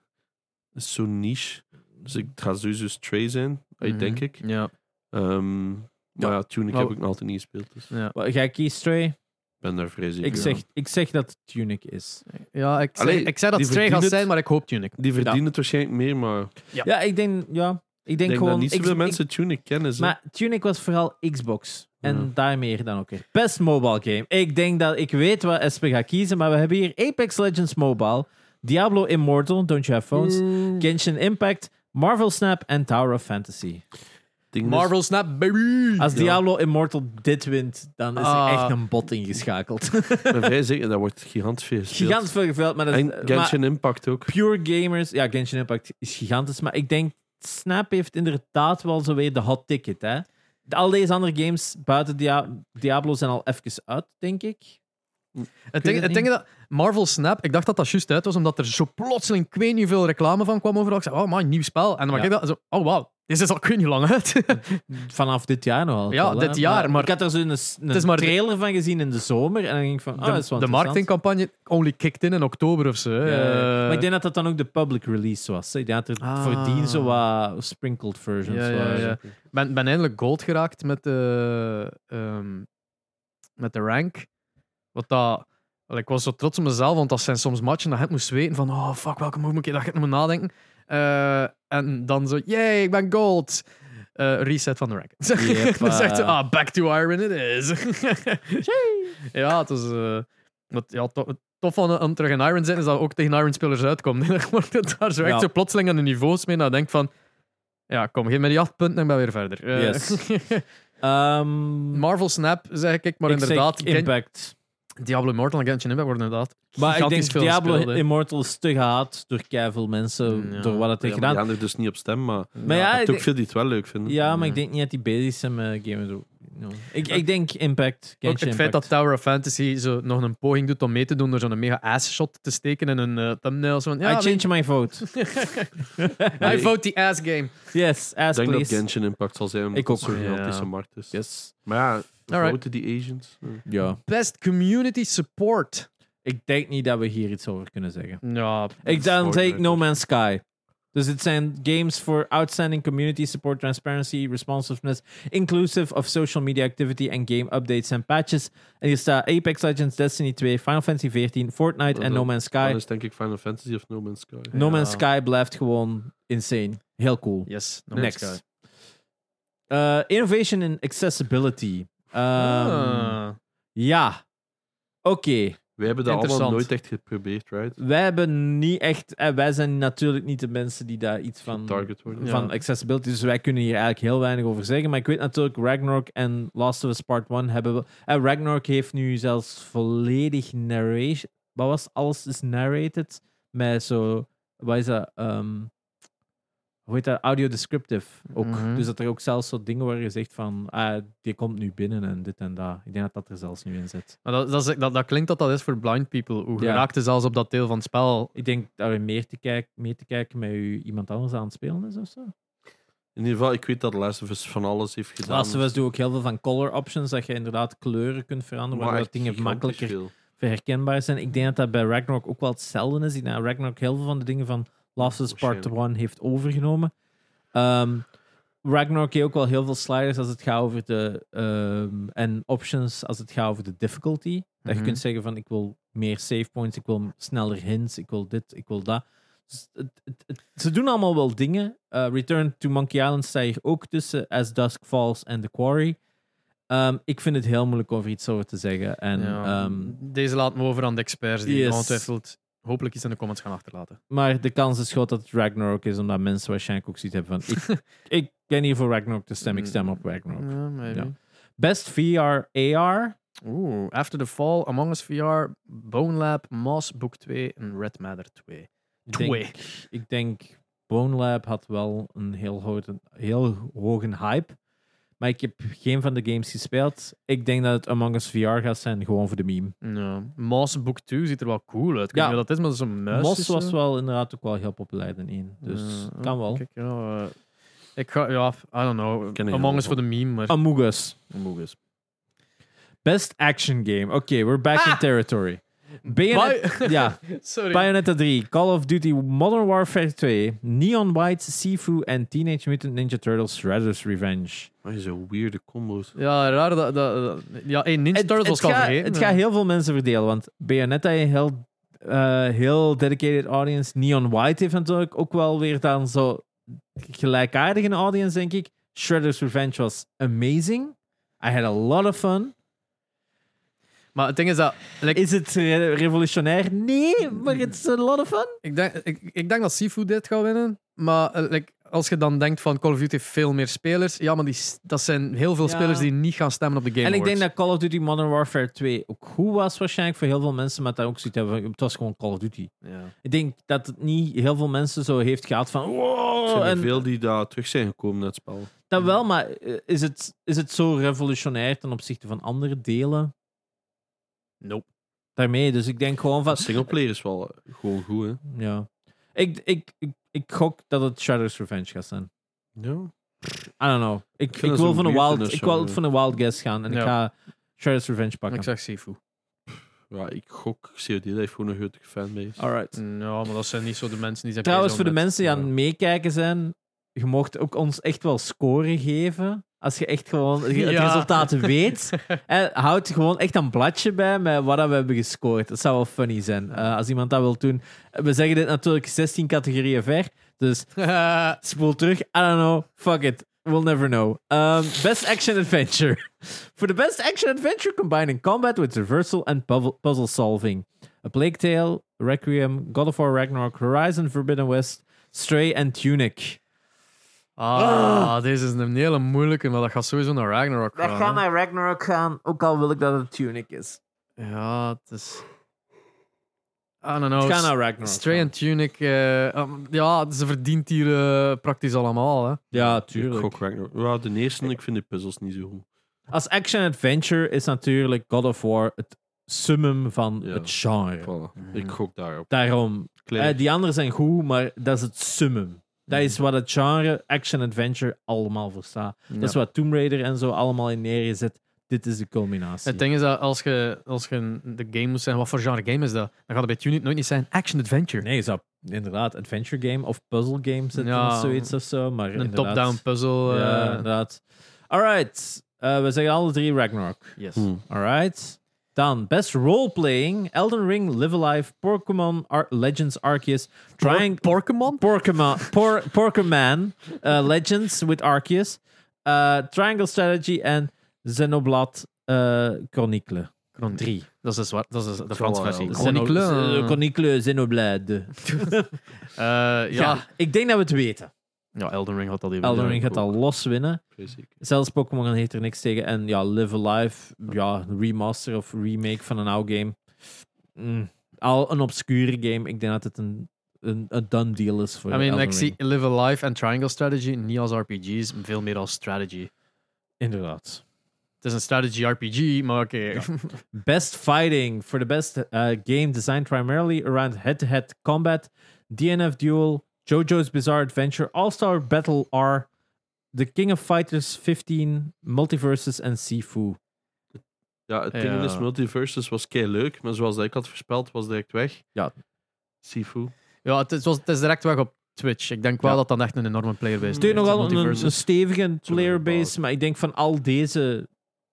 is zo niche. Dus ik ga sowieso Stray zijn, eh,
Mhm.
denk ik.
Ja.
Ehm, maar
Ja.
ja, Tunic
Maar-
heb ik nog altijd niet gespeeld. Dus ik
Ja,
Wat, Ga ik kiezen, Stray?
ben daar vrij zeker
Ik
van.
zeg, ik zeg dat het Tunic is.
ja ik, zei,
Allee,
ik zei dat
die
Stray gaat
verdienen
zijn, maar ik hoop Tunic.
Die verdienen het waarschijnlijk meer, maar ik
Ja, ik denk, ja, ik denk,
denk
gewoon.
dat niet
ik-
zoveel
ik-
mensen Tunic kennen. ze.
Maar Tunic was vooral Xbox. En
Ja.
daar meer dan ook weer. Best mobile game. Ik denk dat ik weet wat Espe gaat kiezen, maar we hebben hier Apex Legends Mobile, Diablo Immortal, Don't You Have Phones,
Mm.
Genshin Impact, Marvel Snap en Tower of Fantasy.
Ding is-
Marvel Snap, baby!
Als
Ja.
Diablo Immortal dit wint, dan is er
Ah.
echt een bot ingeschakeld.
Ik ben vrij zeker, dat wordt gigantisch veel gespeeld.
Gigantisch veel geveld, maar, dat is-
En
maar
Genshin Impact ook.
pure gamers... Ja, Genshin Impact is gigantisch, maar ik denk Snap heeft inderdaad wel zo weer de hot ticket, hè. Al deze andere games buiten Dia- Diablo zijn al even uit, denk ik.
Het
weet
ding,
het
het ding is dat Marvel Snap, ik dacht dat dat juist uit was, omdat er zo plotseling ik weet niet veel reclame van kwam overal. Ik zei, oh man, nieuw spel. En dan
Ja.
dacht ik dat, zo, oh wow, dit is al ik weet niet lang uit.
vanaf dit jaar nog altijd
Ja,
wel, hè.
dit jaar, maar-
Ik had er zo'n een,
is maar de-
trailer van gezien in de zomer. En dan ging ik van, ah, dat is
de,
wel
de
interessant.
marketingcampagne only kicked in in oktober of zo. hè.
Ja, ja, ja.
Eh,
Maar ik denk dat dat dan ook de public release was. hè. Ik denk dat er
Ah.
voordien zo wat sprinkled versions
Ja, ja,
waren.
ja. ben, ben eindelijk gold geraakt met de, ehm, met de rank. Wat dat, wel, ik was zo trots op mezelf, want dat zijn soms matchen dat je het moest weten van oh fuck, welke move moet ik, dat je het moet nadenken. Eh, en dan zo, yay, ik ben gold. Eh, reset van de rank. dan zegt ze, ah, back to iron it is. ja, het is... eh, wat, ja, to- tof van eh, om terug in iron te zijn, is dat ook tegen iron spelers uitkomt. Dan wordt het daar zo echt
Ja.
zo plotseling aan de niveaus mee. Dat denk van, ja, kom, geef me die acht punten en ik ben weer verder. Eh,
Yes. Ehm,
Marvel Snap, zeg ik, maar
ik zeg
inderdaad. Gen-
Impact.
Diablo Immortal en Genshin Impact worden inderdaad.
Maar ik
gigantisch
denk
veel
Diablo
gespeeld, hè.
Immortal is te gehaat door keiveel mensen,
Ja.
door wat het heeft
Mm, Ja,
gedaan.
maar die anderen dus niet op stem, maar
Maar ja,
ik
ik
heb ook
denk-
veel die het wel leuk vinden.
ja, maar
Ja.
ik denk niet dat die bezig zijn met Game of the eh, no. Ik, ik denk Impact. Genshin
Ook het feit dat
Impact.
Tower of Fantasy zo nog een poging doet om mee te doen door zo'n mega ass shot te steken in een eh, thumbnail. Zo van, ja,
I change my vote.
I vote the ass game.
yes,
Ik
as
denk dat
please.
Genshin Impact zal zijn, omdat
Ik ook.
het zo'n gigantische
Ja.
markt is.
Yes.
Maar ja,
Alright.
grote die Asians. eh.
Ja.
Best community support.
Ik denk niet dat we hier iets over kunnen zeggen.
Ja,
Ik dan
Fortnite.
take No Man's Sky. Dus het zijn games for outstanding community support, transparency, responsiveness, inclusive of social media activity and game updates en patches. En hier staat Apex Legends, Destiny 2, Final Fantasy 14, Fortnite en
Oh,
No Man's
Dat
Sky.
is denk ik Final Fantasy of No Man's Sky.
No Man's
Ja.
Sky blijft gewoon insane. Heel cool.
yes. No
Next.
Man's Sky.
Uh, innovation in accessibility. Um,
Ah.
Ja. Oké.
Wij hebben dat allemaal
Interessant.
nooit echt geprobeerd, right?
Wij hebben niet echt... eh, Wij zijn natuurlijk niet de mensen die daar iets van...
Target worden.
Ja.
van accessibility. Dus wij kunnen hier eigenlijk heel weinig over zeggen. Maar ik weet natuurlijk, Ragnarok en Last of Us Part 1 hebben we. En Ragnarok heeft nu zelfs volledig narration. Wat was het? alles is narrated met zo. Wat is dat? ehm, hoe heet dat? Audio descriptive ook.
Mhm.
Dus dat er ook zelfs zo dingen worden gezegd van. Ah, die komt nu binnen en dit en dat. Ik denk dat dat er zelfs nu in zit.
Maar dat, dat, is- dat, dat klinkt dat dat is voor blind people. Hoe
Ja.
geraakt is zelfs op dat deel van het spel?
Ik denk dat we meer te kijken, meer te kijken met u iemand anders aan het spelen is of zo.
In ieder geval, ik weet dat Last of Us van alles heeft gedaan.
Last of Us doet ook heel veel van color options, dat je inderdaad kleuren kunt veranderen,
Maar
waardoor
echt
dingen
gigantisch
makkelijker
veel.
herkenbaar zijn. Ik denk dat dat bij Ragnarok ook wel hetzelfde is. Ik denk dat Ragnarok heel veel van de dingen van Last of Us Part
Waarschijnlijk.
1 heeft overgenomen. Ehm, Ragnarok heeft ook wel heel veel sliders als het gaat over de... ehm, en options als het gaat over de difficulty. Dat je
Mhm.
kunt zeggen van, ik wil meer save points, ik wil sneller hints, ik wil dit, ik wil dat. Dus het- het- het- ze doen allemaal wel dingen. Eh, Return to Monkey Island staat hier ook tussen As Dusk Falls en The Quarry. Ehm, ik vind het heel moeilijk over iets over te zeggen. En
Ja.
ehm,
Deze laat me over aan de experts die
Yes.
ongetwijfeld hopelijk iets in de comments gaan achterlaten.
Maar de kans is groot dat het Ragnarok is, omdat mensen waarschijnlijk ook zoiets hebben van... Ik, ik ben hier voor Ragnarok te stemmen,
Mm.
ik stem op Ragnarok.
Ja,
Ja. Best VR, AR.
Oeh, After the Fall, Among Us VR, Bone Lab, Moss Book 2 en Red Matter 2.
Ik denk, ik denk Bone Lab had wel een heel, hoge, heel hoge hype. Maar ik heb geen van de games gespeeld. Ik denk dat het Among Us VR gaat zijn, gewoon voor de meme.
Ja. Moss Book 2 ziet er wel cool uit. Ik
Ja.
weet niet wat dat is, maar dat is een muis.
Moss
is
was
zo.
wel inderdaad ook wel heel populair in één. Dus
Ja,
kan wel.
Kijk, ja, eh, ik ga, ja, I don't
ken
know.
er
Among
heel
Us voor de meme, maar...
Among Us.
Among Us.
Best action game. Oké, we're back in
Ah!
territory. Bayonet,
Bi-
ja,
Sorry.
Bayonetta 3, Call of Duty Modern Warfare 2, Neon White, Sifu en Teenage Mutant Ninja Turtles Shredder's Revenge.
Maar je zo'n weirde combo's.
ja, raar dat... dat, dat- ja, hey, Ninja Turtles was ik al
gaat-
vergeten.
het gaat heel veel mensen verdelen, want Bayonetta heeft heel, eh, heel dedicated audience. Neon White heeft natuurlijk ook wel weer dan zo gelijkaardig een audience, denk ik. Shredder's Revenge was amazing. I had a lot of fun.
Maar het ding is dat... like,
Is het re- revolutionair? Nee, maar it's a lot of fun.
ik, denk, ik, ik denk dat Sifu dit gaat winnen, maar eh, like, als je dan denkt van Call of Duty heeft veel meer spelers, ja, maar die, s- dat zijn heel veel
Ja.
spelers die niet gaan stemmen op de Game
En ik denk
Awards.
dat Call of Duty Modern Warfare 2 ook goed was waarschijnlijk voor heel veel mensen, maar dat ook zoiets hebben van, het was gewoon Call of Duty.
Ja.
Ik denk dat het niet heel veel mensen zo heeft gehad van
Er
wow,
zijn er
Oh, en
veel die daar terug zijn gekomen naar het spel.
dat wel, maar eh, is het, is het zo revolutionair ten opzichte van andere delen
Nope.
daarmee? Dus ik denk gewoon van,
Singleplayer is wel eh, gewoon goed, hè?
ja. Ik, ik, ik, ik gok dat het Shadow's Revenge gaat zijn.
Ja.
I don't know. Ik, ik,
vind dat
wil,
zo'n
van een
weird
wild,
in
ik
zo'n-
wil van een wild guess gaan en ik
Ja.
ga Shadow's Revenge
Ik
pakken.
zeg Sifu.
ja ik gok COD, dat heeft gewoon een grote fanbase.
Alright.
Ja, maar dat zijn niet zo de mensen die zijn
Trouwens, voor
bezig
de
met-
mensen die aan het meekijken zijn, je mocht ook ons echt wel scoren geven. Als je echt gewoon het
Ja.
resultaat weet. En houd gewoon echt een bladje bij met wat dat we hebben gescoord. Dat zou wel funny zijn, eh, als iemand dat wil doen. We zeggen dit natuurlijk 16 categorieën ver. Dus
Ja.
spoel terug. I don't know. Fuck it. We'll never know. Um, best action adventure. For the best action adventure, combining combat with reversal and puzzle puzzle solving. A Plague Tale, Requiem, God of War Ragnarok, Horizon Forbidden West, Stray and Tunic.
ah, deze is een hele moeilijke, maar dat gaat sowieso naar Ragnarok gaan. hè.
Ragnarok um, oh gaan, ook al wil ik dat het Tunic is.
Ja, het is... I don't know.
Het gaat naar Ragnarok.
Stray
gaan.
en Tunic, eh, um, ja, ze verdient hier eh, praktisch allemaal. Hè.
Ja,
Ik
tuurlijk.
gok Ragnarok. Ja, de eerste, ik vind de puzzels niet zo goed.
Als action-adventure is natuurlijk God of War het summum van
Ja.
het genre.
Voilà. Ik gok daarop.
Daarom,
Claire.
eh, die anderen zijn goed, maar dat is het summum. Dat
Mhm.
is wat het genre action-adventure allemaal verstaat. Dat is wat Tomb Raider en zo allemaal in neergezet. Dit is de culminatie.
Het ding is dat als je, als je een- de game moet zeggen, wat voor genre game is dat? Dan gaat het bij Unit nooit niet zijn action-adventure.
Nee, je zou inderdaad adventure game of puzzle game zitten
Ja,
of zoiets of zo. Maar
een
inderdaad-
top-down puzzle. eh,
Ja, inderdaad. Alright. Eh, we zeggen alle drie Ragnarok.
yes.
Hmm.
Alright. Dan, best roleplaying. Elden Ring, Live Alive, Pokémon Ar- Legends Arceus, Triangle...
Porkemon?
Porkema- Por- Porkeman uh, Legends with Arceus, uh, Triangle Strategy en Xenoblad uh, Chronicle. Drie.
Dat is de, zwart, dat is de
zal
Franse
wel.
versie.
Xeno-
Chronicle.
Z- Chronicle, Xenoblad.
Eh, ja.
Ja,
ja.
ik denk dat we het weten.
Elden Ring had dat even.
Elden
Ja,
Ring
ik
gaat al los winnen.
Basic.
Zelfs Pokémon heeft er niks tegen. En ja, Live Alive, ja, remaster of remake van een oude game. Mm, al een obscure game. Ik denk dat het een, een, een done deal is voor
I mean,
Elden
ik zie
Ring.
Live Alive en Triangle Strategy niet als RPG's, veel meer als strategy.
Inderdaad.
Het is een strategy RPG, maar oké.
Best Fighting for the best uh, game designed primarily around head to head combat, DNF Duel, JoJo's Bizarre Adventure, All Star Battle R, The King of Fighters 15, Multiverses en Sifu.
Ja, het ding
Ja.
is, Multiversus was kei leuk, maar zoals ik had voorspeld, was direct weg.
Ja.
Sifu.
Ja, het is, was- het is direct weg op Twitch. Ik denk wel
Ja.
dat dat echt een enorme playerbase is.
Het heeft nogal een,
Multiverse.
een stevige playerbase,
baas.
maar ik denk van al deze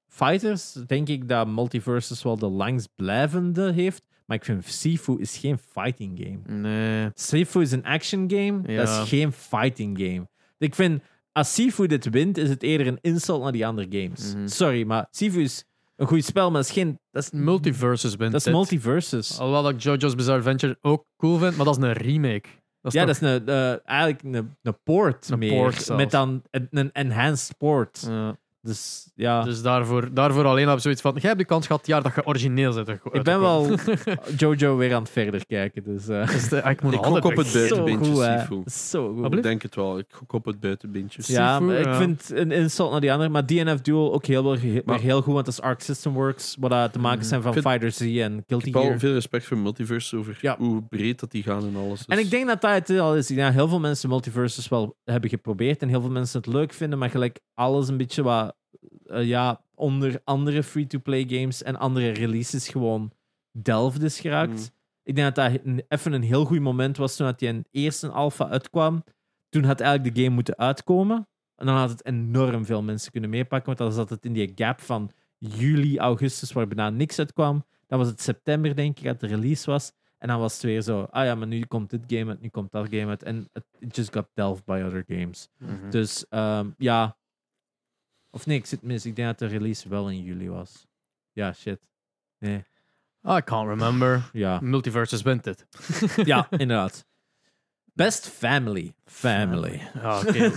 fighters, denk ik dat Multiverses wel de langstblijvende heeft. Maar ik vind Sifu is geen fighting game.
Nee.
Sifu is een action game, dat
Ja.
is geen fighting game. Ik vind, als Sifu dit wint, is het eerder een insult naar die andere games.
Mhm.
Sorry, maar Sifu is een goed spel, maar dat is geen... Dat is,
Multiverses wint
dat is
dit.
multiverses.
Alhoewel Oh, dat ik JoJo's Bizarre Adventure ook cool vind, maar dat is een remake. Dat
ja,
toch-
dat is een, eh, eigenlijk een, een port
Een
meer.
port zelfs. Mm.
met dan een, een enhanced port.
Ja.
Dus ja...
Dus daarvoor, daarvoor alleen op zoiets van: jij hebt de kans gehad het jaar dat je origineel zit.
ik ben wel Jojo weer aan het verder kijken. Dus, eh
ik moet
Ik
altijd
gok
weg.
op het
zo
buitenbeentje
goed, hè.
Sifu.
Zo goed.
Ik denk het wel. Ik gok op het buitenbeentje.
Ja,
Sifu,
maar ik
ja.
vind een insult naar die andere. Maar DNF Duel ook heel, wel- weer
Maar- Hmm.
heel goed, want dat is Arc System Works, wat eh, te maken zijn van
Ik vind-
Fighter Z en
Ik
Guilty
heb al
Gear.
veel respect voor Multiverse over
Ja.
hoe breed dat die gaan en alles.
En ik denk dat dat het al is. Ja, heel veel mensen Multiverses wel hebben geprobeerd en heel veel mensen het leuk vinden, maar gelijk alles een beetje wat eh, ja, onder andere free-to-play games en andere releases gewoon delft is geraakt.
Mm.
Ik denk dat dat een- even een heel goed moment was toen dat die een eerste alpha uitkwam. Toen had eigenlijk de game moeten uitkomen. En dan had het enorm veel mensen kunnen meepakken, want dan zat het in die gap van juli, augustus, waar bijna niks uitkwam. Dan was het september, denk ik, dat de release was. En dan was het weer zo, ah ja, maar nu komt dit game uit, nu komt dat game uit. En het it just got delved by other games.
Mhm.
Dus ehm, ja. Of nee, ik zit mis. Ik denk dat de release wel in juli was. Ja, shit.
I Ah, can't remember.
Ja,
Multiverses wint dit.
ja inderdaad. Best Family. Family.
Ah, oké.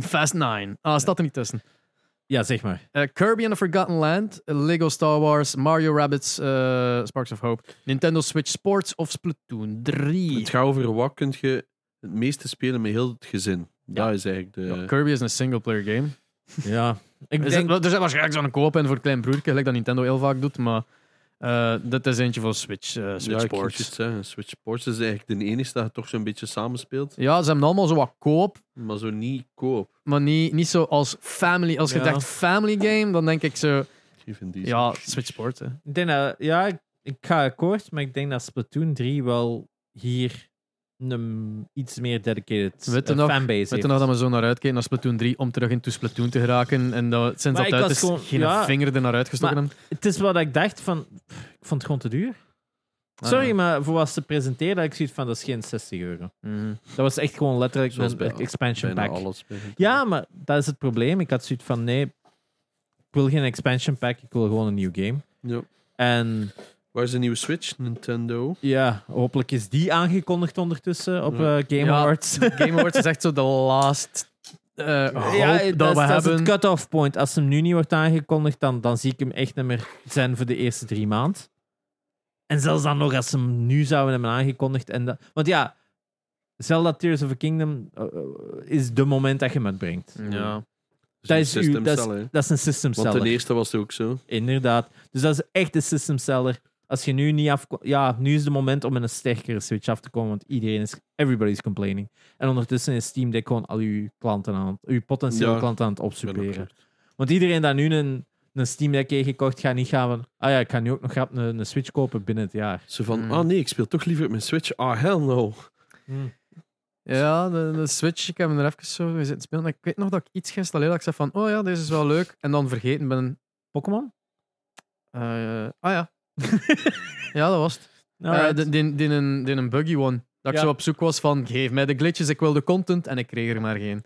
Fast 9. Ah, staat er niet tussen.
Ja, zeg maar.
Eh, Kirby and the Forgotten Land, Lego Star Wars, Mario Rabbits, eh, Sparks of Hope, Nintendo Switch Sports of Splatoon 3.
Het gaat over wat kun je het meeste spelen met heel het gezin.
Ja.
Dat is eigenlijk de...
Ja, Kirby is een singleplayer game.
Ja. Ik
Is het-
denk,
wel, er zit waarschijnlijk zo'n koop in voor het klein broertje, gelijk dat Nintendo heel vaak doet, maar eh dit is eentje voor Switch, eh, Switch
ja, ik wou
Sports.
juist zeggen, Switch Sports is eigenlijk de enige dat je toch zo'n beetje samenspeelt.
Ja, ze hebben allemaal zo wat koop,
Maar zo niet koop.
maar niet, niet zo als family. Als je
Ja.
dacht family game, dan denk ik zo,
Even die
ja, Switch Sports. Hè.
ik denk dat- ja, ik, ik ga akkoord, maar ik denk dat Splatoon 3 wel hier een iets meer dedicated
Weet je
eh,
nog-
fanbase
Weet
heeft.
je nog dat we zo naar uitkeken naar Splatoon 3 om terug in to Splatoon te geraken en dat, we sinds
Maar ik
dat uit
was
is
gewoon-
geen
ja.
vinger er naar uitgestoken
Maar-
hebben.
Het is wat ik dacht van. pff, Ik vond het gewoon te duur.
Ah,
Sorry,
ja.
maar voor wat ze presenteerden, had ik zoiets van dat is geen 60 euro.
Mhm.
Dat was echt gewoon letterlijk
Zoals
een e-
bij
expansion
bijna
pack.
alles. bij het-
Ja, maar dat is het probleem. Ik had zoiets van nee, ik wil geen expansion pack, ik wil gewoon een nieuw game.
Ja.
En
Waar is de nieuwe Switch? Nintendo.
ja, hopelijk is die aangekondigd ondertussen op eh,
Ja.
Game
Ja,
Awards.
Game Awards is echt zo de last eh hoop
Ja, dat,
dat, we
is, dat is
hebben.
het cut-off point. Als hem nu niet wordt aangekondigd, dan, dan zie ik hem echt niet meer zijn voor de eerste drie maanden. En zelfs dan nog als ze hem nu zouden hebben aangekondigd. En dat, want ja, Zelda Tears of a Kingdom eh, eh, is de moment dat je hem uitbrengt.
ja.
Dat
Mm. een
is, uw-
system
dat, is,
seller, hè.
dat is een system
Want ten
seller.
eerste was het ook zo.
Inderdaad. Dus dat is echt een system seller. Als je nu niet afkomt... Ja, nu is het moment om met een sterkere Switch af te komen, want iedereen is... Everybody's complaining. En ondertussen is Steam Deck gewoon al uw klanten aan het... Uw potentiële
Ja,
klanten aan het
Ik ben ook
opsuppleren.
kort.
Want iedereen dat nu een, een Steam Deck heeft gekocht, gaat niet gaan van... Ah ja, ik ga nu ook nog grap een, een Switch kopen binnen het jaar.
Zo van,
Mm.
ah nee, ik speel toch liever op mijn Switch. Ah, hell no.
Hmm. Ja, de, de Switch, ik heb hem er even zo zitten spelen. Ik weet nog dat ik iets geïnstalleerd had. Ik zei van, oh ja, deze is wel leuk. En dan vergeten ben.
Pokémon?
eh, ah ja. ja, dat was het. Eh,
Alright.
die- die- die een- die een buggy one. Dat ik
Ja.
zo op zoek was van, geef mij de glitches, ik wil de content. En ik kreeg er maar geen.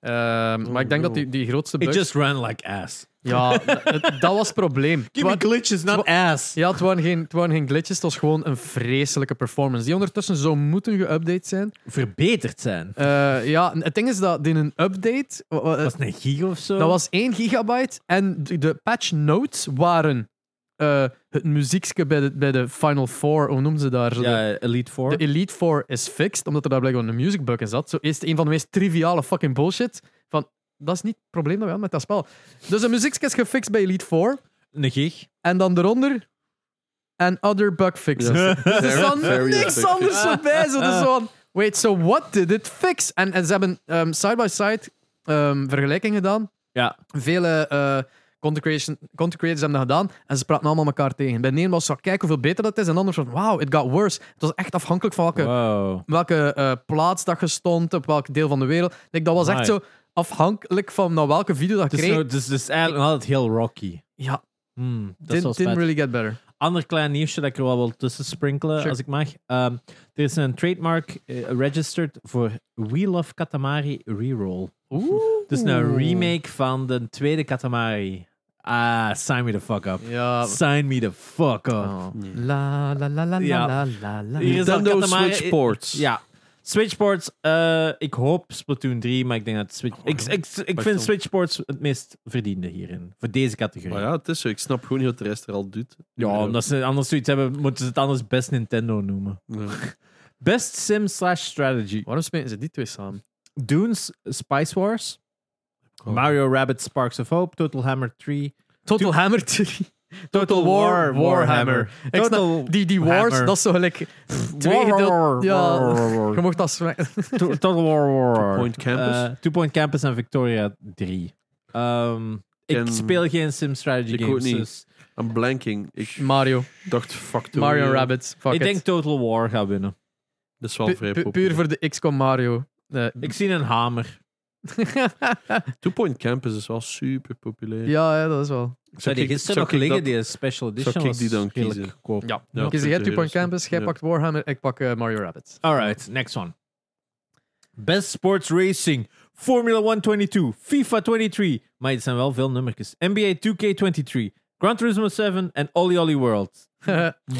Ehm, maar ik denk dat die, die grootste
It
bug...
just ran like ass.
Ja, d- het- dat was het probleem. Het wa-
glitches,
not
ass.
ja, het waren, geen, het waren geen glitches, het was gewoon een vreselijke performance. Die ondertussen zou moeten geüpdate zijn.
Verbeterd zijn.
Eh, ja, het ding is dat in een update... wa- wa-
Was het een gig of zo?
Dat was 1 gigabyte en de- de patch notes waren eh, het muziekje bij de, bij de Final Four, hoe noemen ze daar? Zo de-
ja, Elite Four.
de Elite Four is fixed, omdat er daar blijkbaar een music bug in zat. Zo is het een van de meest triviale fucking bullshit. Van, dat is niet het probleem dat we hadden met dat spel. Dus een muziekje is gefixt bij Elite Four.
Een gig.
En dan eronder... And other bug fixes.
Ja.
Dus er
Very-
staat
very
niks
effective.
anders voorbij. Zo, dus zo van, wait, so what did it fix? En, en ze hebben ehm, side-by-side ehm, vergelijking gedaan.
Ja.
Vele eh content, creation, content creators hebben dat gedaan en ze praten allemaal elkaar tegen. Bij de een was zo, kijk hoeveel beter dat is, en de ander van, wow, it got worse. Het was echt afhankelijk van welke,
Wow.
welke eh, plaats dat je stond, op welk deel van de wereld. Like, dat was echt
Amai.
zo afhankelijk van naar welke video dat je
Dus,
kreeg.
nou, dus, dus eigenlijk nog altijd heel rocky.
Ja,
Hmm, dat is wel
didn't,
spijtig.
didn't really get better.
Ander klein nieuwsje dat ik er wel wil tussen sprinkelen,
Sure.
als ik mag. Ehm, er is een trademark eh, registered voor We Love Katamari Reroll.
Oeh.
Dus een remake van de tweede Katamari. Ah, sign me the fuck up.
Ja.
Sign me the fuck up.
Oh. La la la la
Hmm. Ja.
la la la.
Hier is dat
Nintendo
Katamari-
nou Switch ports.
Ja. Switchports, eh, ik hoop Splatoon 3, maar ik denk dat
Oh,
Switch... ik, ik, ik
Wacht,
vind
dan.
Switchports het meest verdiende hierin. Voor deze categorie.
Maar ja, het is zo. Ik snap gewoon niet wat de rest er al doet.
Ja, omdat ze anders zoiets hebben, moeten ze het anders best Nintendo noemen.
Ja.
Best Sim slash Strategy.
Waarom spelen ze die twee samen?
Dunes, Spice Wars.
Oh.
Mario Rabbit, Sparks of Hope. Total Hammer 3.
Total Hammer 3. Total War, Warhammer. Ik
Total
snap, die, die wars,
Hammer.
dat is zo gelijk twee gedeeld. Ja, je mocht dat smaken.
To- Total War War.
Two Point Campus.
Eh, Two Point Campus en Victoria 3. Ehm, ik
Ken-
speel geen Sim Strategy
Ik ook
games.
niet.
dus
I'm blanking. Ik
Mario,
dacht, fuck de
Mario
wereld.
Rabbit. Fuck
ik
it.
denk Total War gaat winnen.
Dat is wel
Pu-
vrij
pu-
populair.
puur voor de XCOM Mario. Eh,
Ik zie een hamer.
Two Point Campus is dus wel super populair.
ja, ja, dat is wel.
Ik
Zou die
ik-
gisteren
zou
nog
ik
liggen,
dat-
die special edition
zou ik
was
die dan
redelijk
kiezen?
goedkoop.
Ja. er
Ja,
Kies
Twitter
jij Two Point
is-
Campus, jij
ja.
pakt Warhammer, ik pak eh, Mario Rabbit.
All right, next one. Best sports racing. Formula 122, FIFA 23. Maar het zijn wel veel nummertjes. NBA 2K23, Gran Turismo 7 en Olly Olly World.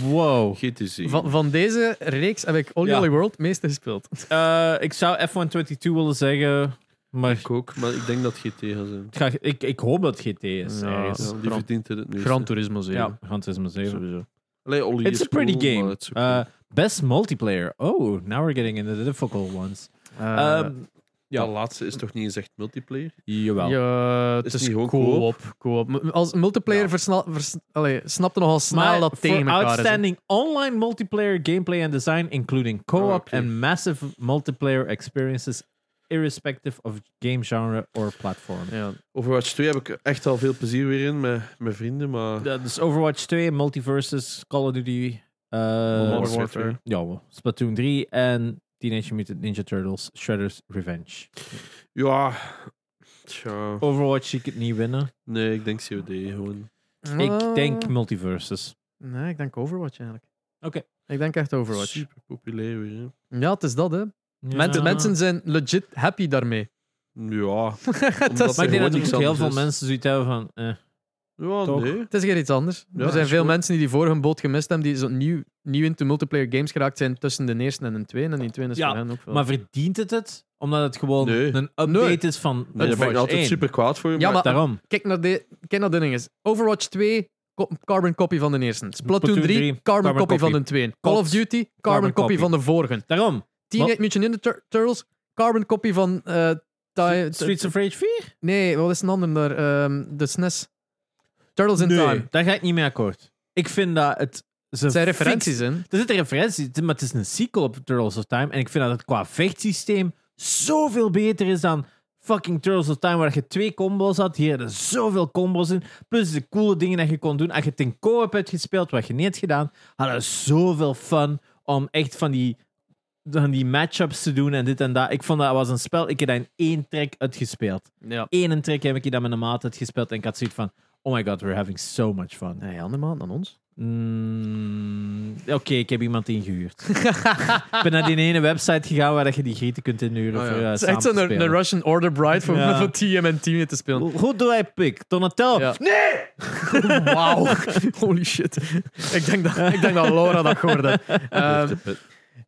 Wow.
GTC.
Eh, van, van deze reeks heb ik Olly
Ja.
Olly World het meeste gespeeld.
Eh, ik zou F122 willen zeggen, maar
Ik ook, maar ik denk dat GT gaat zijn.
ik, ga, ik, ik hoop dat GT is.
Ja.
ergens.
Ja, die
Gran-
verdient het nu.
Turismo
Ja, Gran Turismo 7.
Allee, Olly
It's
is
a pretty
cool,
game.
maar het is ook cool.
Uh, best multiplayer. Oh, now we're getting into the difficult ones.
Uh,
Eh,
Ehm, ja.
Dat laatste is toch niet eens echt multiplayer?
jawel.
Ja,
Is
het is
die gewoon
co-op. co-op. M- Als multiplayer
Ja.
versnel, vers, allee, snapte nogal snel
Maar
dat het
voor
tegen elkaar is. hè.
outstanding online multiplayer gameplay and design, including co-op
Oh, oké.
and massive multiplayer experiences, irrespective of game genre or platform.
Ja.
Overwatch 2 heb ik echt al veel plezier weer in met mijn vrienden, maar...
Dat is Overwatch 2, Multiversus, Call of Duty, eh,
Modern
Warfare.
Warfare.
ja, Splatoon 3 en Teenage Mutant Ninja Turtles Shredder's Revenge.
Ja... Tja...
Overwatch zie ik het niet winnen.
Nee, ik denk COD gewoon. Uh,
Ik denk Multiversus.
Eh, Nee, ik denk Overwatch eigenlijk.
Oké.
Ik denk echt Overwatch.
Super populair weer, hè.
Ja, het is dat, hè. Men-
Ja.
Mensen zijn legit happy daarmee.
Ja...
het, is,
Omdat
Maar ik denk
gewoon
dat er
niks
ook heel
anders
veel
is.
mensen zoiets hebben van... eh,
Ja,
Toch?
nee.
het is weer iets anders.
Ja,
er zijn
is
veel
goed.
mensen die die vorige boot gemist hebben, die zo nieuw, nieuw into multiplayer games geraakt zijn tussen de eerste en de tweede. En die tweede is
Ja,
voor hen ook wel.
maar verdient het het? Omdat het gewoon
Nee.
een update
Nee.
is van
Nee, daar ben ik
Overwatch
altijd
1.
super kwaad voor.
Ja, maar-
Daarom.
Kijk naar, de, kijk naar de ding eens. Overwatch 2, co- carbon copy van de eerste. Splatoon
Splatoon
3,
drie,
carbon,
carbon copy.
copy, van de tweede. Call of
Klopt.
Duty, carbon,
Carbon
copy
copy.
van de vorige.
Daarom.
Teenage Mutant Ninja Tur- Turtles, carbon copy van eh, Time.
Streets of Rage 4?
Nee, wat is een ander daar? Ehm, de SNES. Turtles in Time.
daar ga ik niet mee akkoord. Ik vind dat het... Ze
Het zijn
fix-
referenties in.
Er zitten referenties, in, maar het is een sequel op Turtles of Time. En ik vind dat het qua vechtsysteem zoveel beter is dan fucking Turtles of Time, waar je twee combos had. Hier hadden zoveel combos in. Plus de coole dingen dat je kon doen. Als je het in co-op hebt gespeeld, wat je niet hebt gedaan, hadden we zoveel fun om echt van die, van die matchups te doen en dit en dat. Ik vond dat was een spel, ik heb dat in één track uitgespeeld.
Ja.
Eén track heb ik dat met een maat uitgespeeld en ik had zoiets van, oh my god, we're having so much fun.
Nee, andere maand dan ons.
Mm, Oké, ik heb iemand ingehuurd. ik ben naar die ene website gegaan waar dat je die grieten kunt inhuren.
Oh ja.
voor, eh,
Het is
samen
echt zo'n
te
een,
spelen.
Russian Order Bride voor,
Ja.
voor TMNT te spelen.
Who do I pick? Donatello?
Ja. Nee! Wauw. Holy shit. ik, denk dat, ik denk dat Laura dat hoorde. Ehm,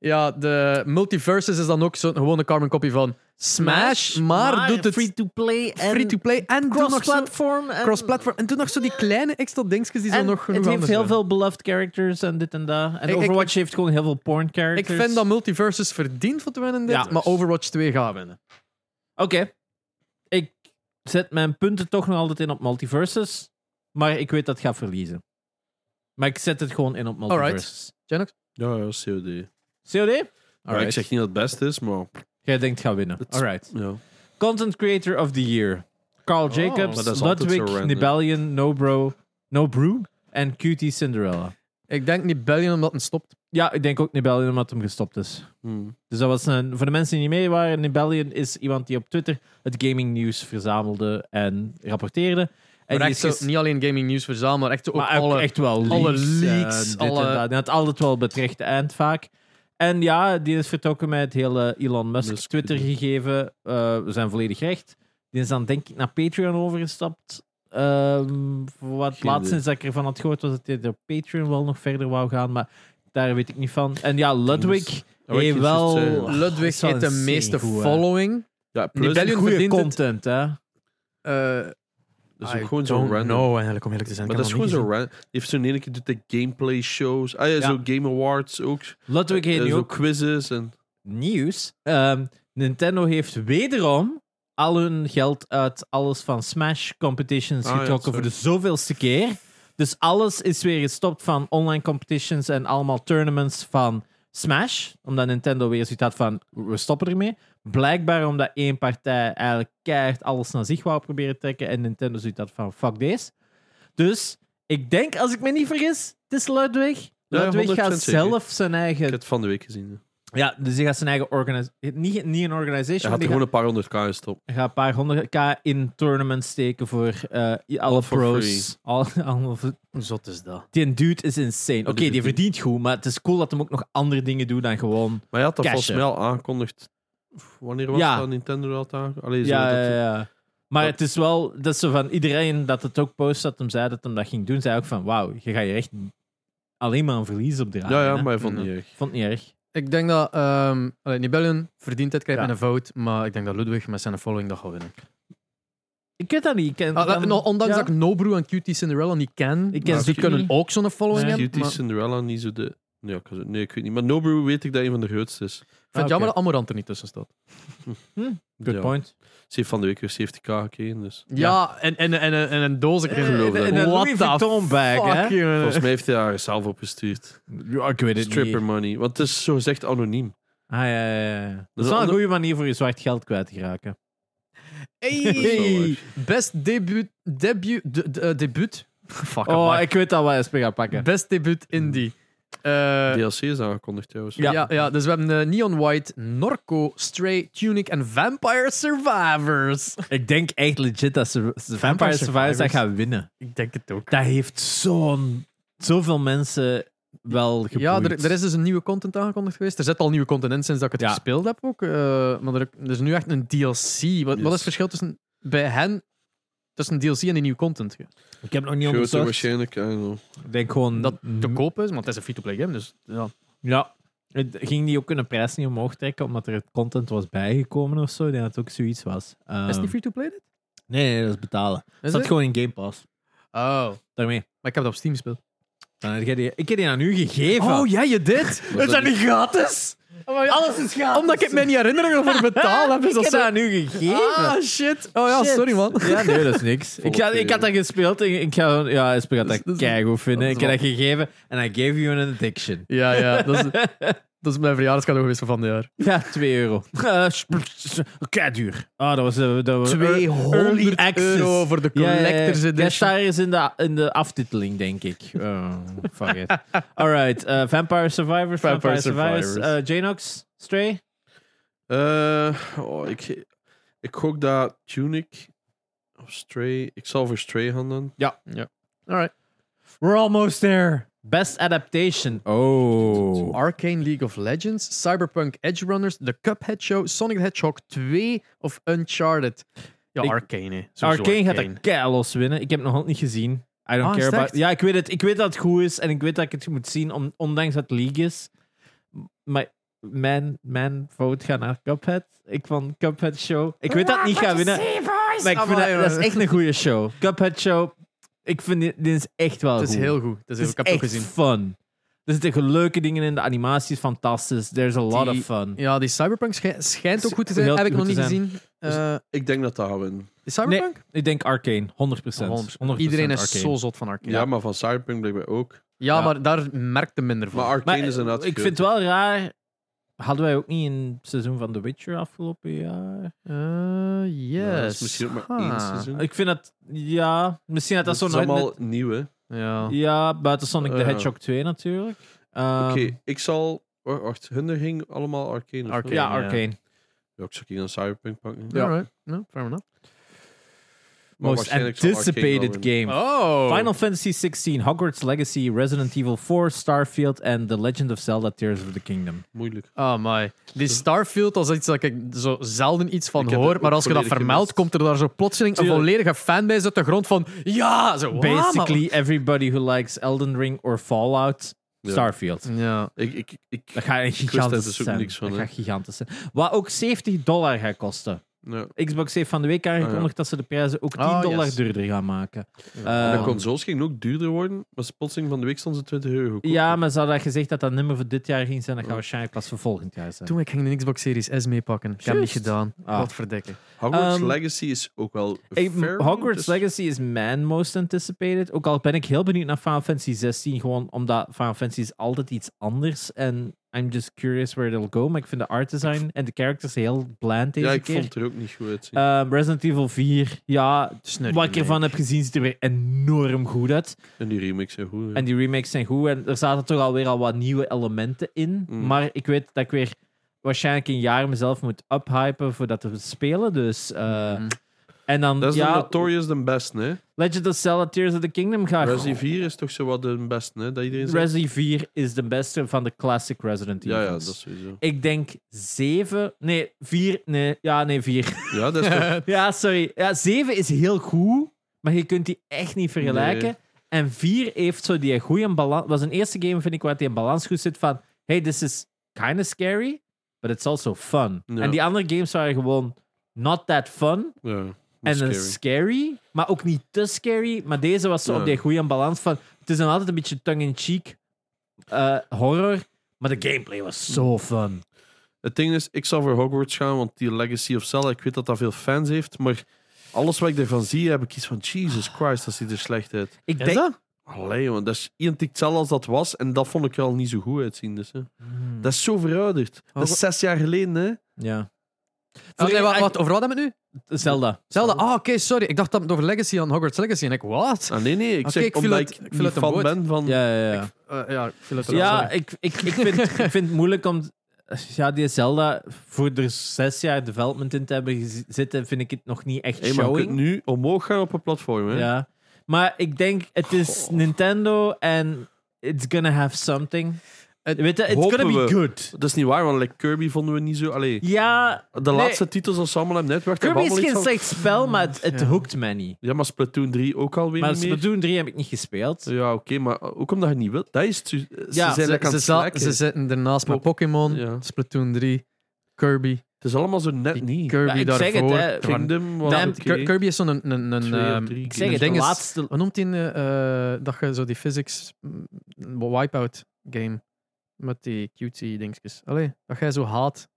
ja, de Multiverses is dan ook zo'n gewone carbon copy van Smash, maar, doet het
free-to-play en
free-to-play en doet nog zo-
cross-platform. en-
cross-platform. En doet nog zo die kleine extra dingetjes die zo
en
nog genoeg
het heeft
anders
heel
zijn.
veel beloved characters en dit en dat. En
Ik- ik-
Overwatch heeft gewoon heel veel porn
Ik
characters.
vind dat Multiverses verdient voor te winnen dit,
Ja.
maar Overwatch 2 gaat winnen.
Oké. Ik zet mijn punten toch nog altijd in op multiverses. Maar ik weet dat het gaat verliezen. Maar ik zet het gewoon in op
Alright.
multiverses.
Jenox?
Ja, ja, COD.
COD?
Maar ik
Alright.
zeg niet dat het best is, maar...
Jij denkt gaan winnen.
Het-
Alright.
Ja.
Content Creator of the Year. Carl
Oh, maar dat
Jacobs,
is altijd zo
Ludwig,
random.
Nibelian, No Bro, No Brew en Cutie Cinderella.
Ik denk niet Belgium omdat het stopt.
Ja, ik denk ook Nibelian omdat hem gestopt is.
Hmm.
Dus dat was een, voor de mensen die niet mee waren, Nibelian is iemand die op Twitter het gaming nieuws verzamelde en rapporteerde. En
Maar
die
echt
is
zo,
ges-
niet alleen gaming nieuws verzamelen, maar echt ook
maar ook
alle...
echt wel leaks.
alle
en
leaks,
dit
alle-
en dat. Hij had altijd wel op het rechte eind vaak. En ja, die is vertrokken met het hele Elon Musk
Musk,
Twitter gegeven. Eh, we zijn volledig recht. Die is dan denk ik naar Patreon overgestapt. Ehm, voor wat het
Geen
laatste
idee.
is dat ik ervan had gehoord was dat hij op Patreon wel nog verder wou gaan, maar daar weet ik niet van. En ja, Ludwig.
Dus- Ja, wat ik
Hey,
juist
wel, Ah,
zei.
dat
eh, Ludwig
is wel
heeft de
insane
meeste
goed, hè.
following.
Ja, plus,
Nibellion
dat
Goede
verdient het.
content, hè?
Eh,
is ook gewoon zo random.
No, eigenlijk om eerlijk te zijn.
Maar
ik
dat is
heb
gewoon
dat
zo
niet
random. Die heeft zo'n ene keer doet de gameplay shows. Ah ja,
Ja.
zo Game Awards ook.
Ludwig heeft
Eh,
nu
zo
ook
quizzes en...
nieuws. Ehm, Nintendo heeft wederom al hun geld uit alles van Smash competitions
Ah, ja,
getrokken voor
sorry.
de zoveelste keer. Dus alles is weer gestopt van online competitions en allemaal tournaments van Smash. Omdat Nintendo weer zoiets had van, we stoppen ermee. Blijkbaar omdat één partij eigenlijk keihard alles naar zich wou proberen trekken. En Nintendo zoiets had van, fuck this. Dus, ik denk, als ik me niet vergis, het is Ludwig.
Ja,
Ludwig
100%
gaat
zeker.
zelf zijn
Ik
eigen
heb het van de week gezien. hè.
ja, dus die gaat zijn eigen organisatie. Niet, niet een
Hij
organization.
had er
die
gewoon
gaat,
een paar honderd k stop.
gaat een paar honderd k in tournaments steken voor eh, alle
for
pros. Al, al-
gezien. Zot is dat.
die dude is insane. Oké, die
verdient-
verdient goed, maar het is cool dat hem ook nog andere dingen doet dan gewoon.
Maar hij had dat
Cashen.
volgens mij al aangekondigd. Wanneer was
Ja.
dat? Nintendo had aangekondigd? Allee, zo
Ja,
dat
ja,
het-
ja. Maar
dat-
het is wel dat ze van iedereen dat het ook post dat hem zei dat hem dat ging doen, zei ook van: Wauw, je gaat je echt alleen maar een verlies opdragen.
ja, ja,
hè."
maar hij vond het
Mhm.
niet erg.
Vond het niet erg.
Ik denk dat ehm allee, Nibellion verdient het, krijgt
Ja.
met een fout. Maar ik denk dat Ludwig met zijn following dat gaat winnen.
Ik weet dat niet. Ik ken,
eh,
Ah,
dan-
nou, ondanks
ja.
dat ik Nobru en Cutie Cinderella niet ken,
Ik ken
maar
ze
die
ook
kunnen
niet.
ook zo'n following
Nee.
hebben.
Cutie
Maar ik vind
Cinderella niet zo de... Nee, ik, kan zo- nee, ik weet niet. Maar Nobru weet ik dat een van de grootste is.
het
Ah, oké.
jammer dat Amorant er niet tussen staat.
Good
Ja.
point.
Ze heeft van de week weer 70k gekregen, dus...
Ja, en, en, en, en, en een doos. Ik
Eh, geloof dat
en, en
niet.
een
What
Louis
the
Vuitton bag, hè?
Fuck, jongen.
Volgens mij heeft hij haar zelf opgestuurd.
Ja, ik weet het niet.
Stripper money. Want het is zo gezegd anoniem.
Ah, ja, ja, ja. Dat is
Dus
wel een
ander-
goede manier voor je zwart geld kwijt te raken.
Hey. Best debuut. Debuut. de- de- eh, debuut. Fuck,
Oh,
amai.
ik weet dat we SP gaan pakken.
Best debuut indie. Eh,
DLC is aangekondigd trouwens.
Ja.
ja. Ja, dus we hebben eh, Neon White, Norco, Stray, Tunic en Vampire Survivors.
Ik denk echt legit dat ze ze Vampire Survivors dat
Survivors.
gaan winnen.
Ik denk het ook.
Dat heeft zo'n... Zoveel mensen wel geboeid.
Ja, er, er is dus een nieuwe content aangekondigd geweest. Er zit al nieuwe content in sinds dat ik het
Ja.
gespeeld heb ook. eh, maar er, er is nu echt een DLC. Wat, wat is het
Yes.
verschil tussen bij hen tussen DLC en die nieuwe content?
Ik heb nog niet
Groter
onderzocht. Ik
waarschijnlijk. I don't know.
denk gewoon...
Dat te koop is, want het is een free-to-play game. Dus ja.
Ja. Het ging die ook een prijs niet omhoog trekken, omdat er content was bijgekomen of zo. Ik denk dat het ook zoiets was.
Is het
Ehm,
niet free-to-play dit?
nee, nee, dat is betalen.
Is
dat zat
het?
gewoon in Game Pass.
Oh,
Daarmee.
maar ik heb dat op Steam gespeeld.
Dan heb jij die, ik heb die aan u gegeven.
Oh, jij je dit?
dat
niet gratis?
Alles is gaaf.
Omdat ik het mij niet herinner dat ik ervoor betaald heb. Is dat
heb
zo...
dat nu gegeven.
Ah, shit. Oh ja,
Shit.
sorry man.
Ja, nee, dat is niks. ik, ga, ik had dat gespeeld. Ik, ik ga, ja, Esper gaat dat
Dat is-
keigoed vinden.
dat
Ik
is
heb dat gegeven en I gave you an addiction.
Ja, ja. Dat is, dat is mijn verjaardagscadeau geweest van dit jaar.
Ja, 2 euro. Eh, sp- sp- Keiduur. Ah, dat was... eh, dat was early access.
euro voor de
Ja, ja, ja.
collectors
Ja,
edition.
staat ergens in de, in de aftiteling, denk ik. Oh, fuck it. Alright, eh, Vampire Survivors. Vampire,
Vampire
Survivors.
Survivors.
Eh, Janox, Stray.
Eh, oh, ik, ik gok dat Tunic of Stray... Ik zal voor Stray gaan dan.
Alright.
We're almost there. Best adaptation. Oh.
Arcane League of Legends, Cyberpunk Edge Runners, The Cuphead Show, Sonic the Hedgehog 2 of Uncharted. Ja,
Ik-
Arcane. hè. Sowieso
Arcane gaat
Arcane.
dat keilos winnen. Ik heb het nog altijd niet gezien. I don't
Ah, is
care
het
about...
echt?
Ja, ik weet het. Ik weet dat het goed is en ik weet dat ik het moet zien, om- ondanks dat het league is. Maar mijn, mijn vote gaat naar Cuphead. Ik van Cuphead Show. Ik weet dat het niet gaat winnen. Maar ik vind
Amai,
dat, dat
jongen.
is echt een goede show. Cuphead Show, ik vind dit, dit is echt wel
Het is
goed.
heel goed.
Het
Het is heel,
is
ik heb het
echt
ook gezien.
fun. Er zitten leuke dingen in, de animatie is fantastisch. There's a lot
Die-
of fun.
Ja, die Cyberpunk schij- schijnt ook goed te zijn.
Heel
Heb ik
goed
nog
te
niet
zijn. Dus
gezien. Eh,
Ik denk dat dat gaat winnen.
is Cyberpunk?
Ik denk Arcane, 100%. 100%
Iedereen is
Arcane.
zo zot van Arcane.
Ja,
Ja,
maar van Cyberpunk blijkbaar ook.
Ja.
maar daar merkte minder van.
Maar
Maar eh,
Arcane is een
ik vind het wel raar. Hadden wij ook niet een seizoen van The Witcher afgelopen jaar?
Eh, yes.
Ja, dat is misschien ook maar één
Ha.
seizoen.
Ik vind dat, ja, misschien had dat
Het
zo
is
nooit.
allemaal
met-
nieuw, hè.
Ja.
Ja, buiten Sonic the
Ja.
Hedgehog 2 natuurlijk. Ehm,
Oké, ik zal... wa- Wacht, hun er ging allemaal Arcane. of
Arcane.
wel?
Ja,
ja.
Arcane.
Ja, ik zou hier een Cyberpunk pakken.
Ja. Alright. No, fair enough.
Maar
Most
waarschijnlijk zal Arcane wel
anticipated
winnen.
game.
Oh.
Final Fantasy 16, Hogwarts Legacy, Resident Evil 4, Starfield en The Legend of Zelda Tears of the Kingdom.
Moeilijk.
Oh my. Die Starfield als iets dat ik zo zelden iets van
Ik heb dat
hoor.
ook
Maar als je dat
volledig
vermeldt,
gemist.
komt er daar zo plotseling een
Tuurlijk.
volledige fanbase uit de grond van. Ja, zo. wow, man.
Basically, everybody who likes Elden Ring or Fallout,
Ja.
Starfield.
Ja.
Ik, ik, ik,
Dat gaat echt
Ik wist daar
gigantisch
dus ook
zijn.
niks van,
dat
hè.
gaat gigantisch zijn. Wat ook 70 dollar gaat kosten.
ja.
Xbox heeft van de week aangekondigd
Ah, ja.
dat ze de prijzen ook 10
Ah,
dollar
yes.
duurder gaan maken.
Ja.
Ehm,
de consoles gingen ook duurder worden, maar sponsoring van de week stond ze 20 euro goedkoop.
Ja, maar ze hadden gezegd dat dat nummer voor dit jaar ging zijn. Dat gaat
Oh.
waarschijnlijk pas voor volgend jaar zijn.
Toen ik ging de Xbox Series S meepakken. Ik heb het niet
Juist.
gedaan.
Ah.
Wat verdikken.
Hogwarts
Ehm,
Legacy is ook wel
Ik-
fair,
Hogwarts
dus-
Legacy is mijn most anticipated. Ook al ben ik heel benieuwd naar Final Fantasy 16, gewoon omdat Final Fantasy is altijd iets anders. En I'm just curious where it'll go. Maar ik vind de art design en de characters heel bland deze
Ja, ik
keer.
vond het er ook niet goed uit.
Ehm, Resident Evil 4, ja,
Snurrie
wat ik ervan heb gezien ziet er weer enorm goed uit.
en die remix zijn goed. ja.
En die remakes zijn goed. En er zaten toch alweer al wat nieuwe elementen in.
Mm.
Maar ik weet dat ik weer waarschijnlijk een jaar mezelf moet uphypen voordat we spelen. Dus, eh,
Mhm.
En dan,
Mm. dat is de
ja,
Notorious de beste, hè?
Legend of Zelda Tears of the Kingdom gaat...
Resi 4 is toch zo wat de beste, hè? Dat iedereen zegt.
Resi 4 is de beste van de classic Resident Evil.
Ja, ja, dat is sowieso.
Ik denk 7... Nee, 4... Nee, ja, nee, 4.
Ja, dat is toch...
ja, sorry. Ja, 7 is heel goed, maar je kunt die echt niet vergelijken.
Nee.
En 4 heeft zo die goede balans... was een eerste game, vind ik, waar die een balans goed zit van... Hey, this is kind of scary, but it's also fun.
Ja.
En die andere games waren gewoon not that fun,
Ja, dat
en
is
een
scary.
scary, maar ook niet te scary. Maar deze was zo
Ja.
op die goede balans van. Het is dan altijd een beetje tongue-in-cheek eh, horror. Maar de gameplay was zo fun.
Het ding is, ik zal voor Hogwarts gaan, want die Legacy of Zelda, ik weet dat dat veel fans heeft, maar alles wat ik ervan zie, heb ik iets van, Jesus Christ, dat ziet er slecht uit.
Ik
Is
denk,
dat?
Allee, jongen, dat is identiek hetzelfde als dat was, en dat vond ik er al niet zo goed uitzien. Dus, hè.
Hmm,
Dat is zo verouderd. Dat is zes jaar geleden, hè.
ja.
Oh, nee,
Voor-
wat, wat, over wat hebben we het nu?
Zelda.
Zelda. Ah, oké, sorry. Ik dacht dat we het over Legacy aan Hogwarts Legacy. En ik, wat?
Ah, nee, nee, ik
Oké,
zeg
ik viel
omdat
uit-
ik,
ik viel
niet
uit de
fan
boot.
ben van...
Ja, ja, ja.
Eh, ja, ik viel het eruit,
Ja,
sorry.
ik, ik, ik, vind, ik vind het moeilijk om. Ja, die Zelda, voor er zes jaar development in te hebben gez- zitten, vind ik het nog niet echt
Hey, maar je
showing.
kunt nu omhoog gaan op een platform, hè. Oh.
Ja. Maar ik denk, het is
Goh.
Nintendo en it's gonna have something.
Het-
Weet je, it's
hopen
gonna be
we.
good.
Dat is niet waar, want like Kirby vonden we niet zo... Allee,
Ja,
de
nee,
laatste titels als ze allemaal hebben netwerk...
Kirby
hebben
is geen
allemaal iets
slecht spel, maar het, het
Ja.
hoekt mij niet.
van- Ja, maar Splatoon 3 ook alweer
Maar
niet meer.
Splatoon 3 heb ik niet gespeeld.
Ja, oké, maar ook omdat je niet wilt. Dat is het. Ze
Ja,
zijn
ze,
lekker aan
ze,
het
za-
slacken.
ze zitten ernaast met Pokémon,
Ja.
Splatoon 3, Kirby.
Het is allemaal zo net
Die
niet.
Ja,
Kirby
ik zeg het,
daarvoor.
hè.
Er waren-
Kingdom was
Damn,
oké.
Ki- Kirby is zo'n een, een, een,
Twee of
ehm,
drie.
Ik zeg
een
het,
ding
de
is-
laatste...
Wat noemt die? eh, eh, dat je zo die physics... mm, Wipeout game. Met die cutie dingetjes. Allee, wat jij zo haat.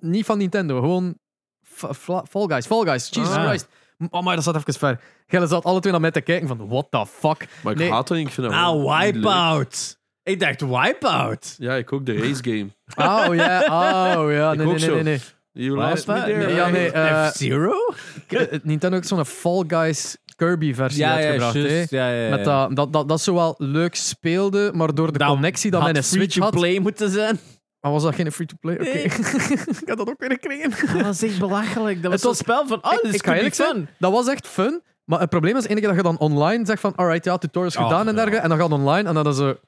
Niet van Nintendo, gewoon fa- fla- Fall Guys. Fall Guys, Jesus
Ah.
Christ. Oh, maar dat zat even ver. Jij zat alle twee naar mij te kijken van, what the fuck?
Maar ik
Nee.
haat dat niet. Ik vind dat
Ah,
gewoon Oh, niet
Wipeout. Ik dacht Wipeout.
leuk. Ja, ik ook. De race game.
Oh ja, oh ja, nee,
Ik
nee,
ook
nee,
zo.
nee, nee.
You lost me there.
Nee, ja,
right?
nee. eh,
F-Zero?
Eh, Nintendo heeft zo'n Fall Guys Kirby-versie uitgebracht. hè?
Ja, ja,
Met dat, dat, dat, dat zo wel leuk speelde, maar door de connectie dat mijn Switch had...
play moeten zijn.
Maar was dat geen free-to-play? Oké.
Nee.
ik had dat ook kunnen krijgen.
Dat was echt belachelijk. Dat was
Het
zo'n
was-
spel van, oh,
Ik-
dit is
ik
could
ga
be
eerlijk zijn,
fun.
Dat was echt fun, maar het probleem is enige dat je dan online zegt van alright, ja, tutorials
Oh,
gedaan en
ja.
dergelijke, en dan gaat online en dan is er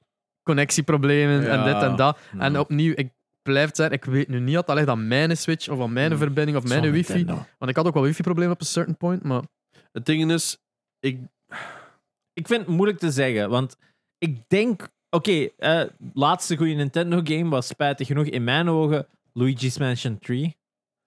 connectieproblemen en
Ja. Hmm.
dit en dat.
Ja.
En opnieuw, ik blijf het zeggen, ik weet nu niet dat dat ligt aan mijn Switch of aan mijn
Hmm.
verbinding of mijn
Zo'n
wifi.
Nintendo.
Want ik had ook wel wifi-problemen op een certain point, maar...
Het ding is, ik,
Ik vind het moeilijk te zeggen, want ik denk... Oké, eh, laatste goede Nintendo-game was spijtig genoeg in mijn ogen Luigi's Mansion 3.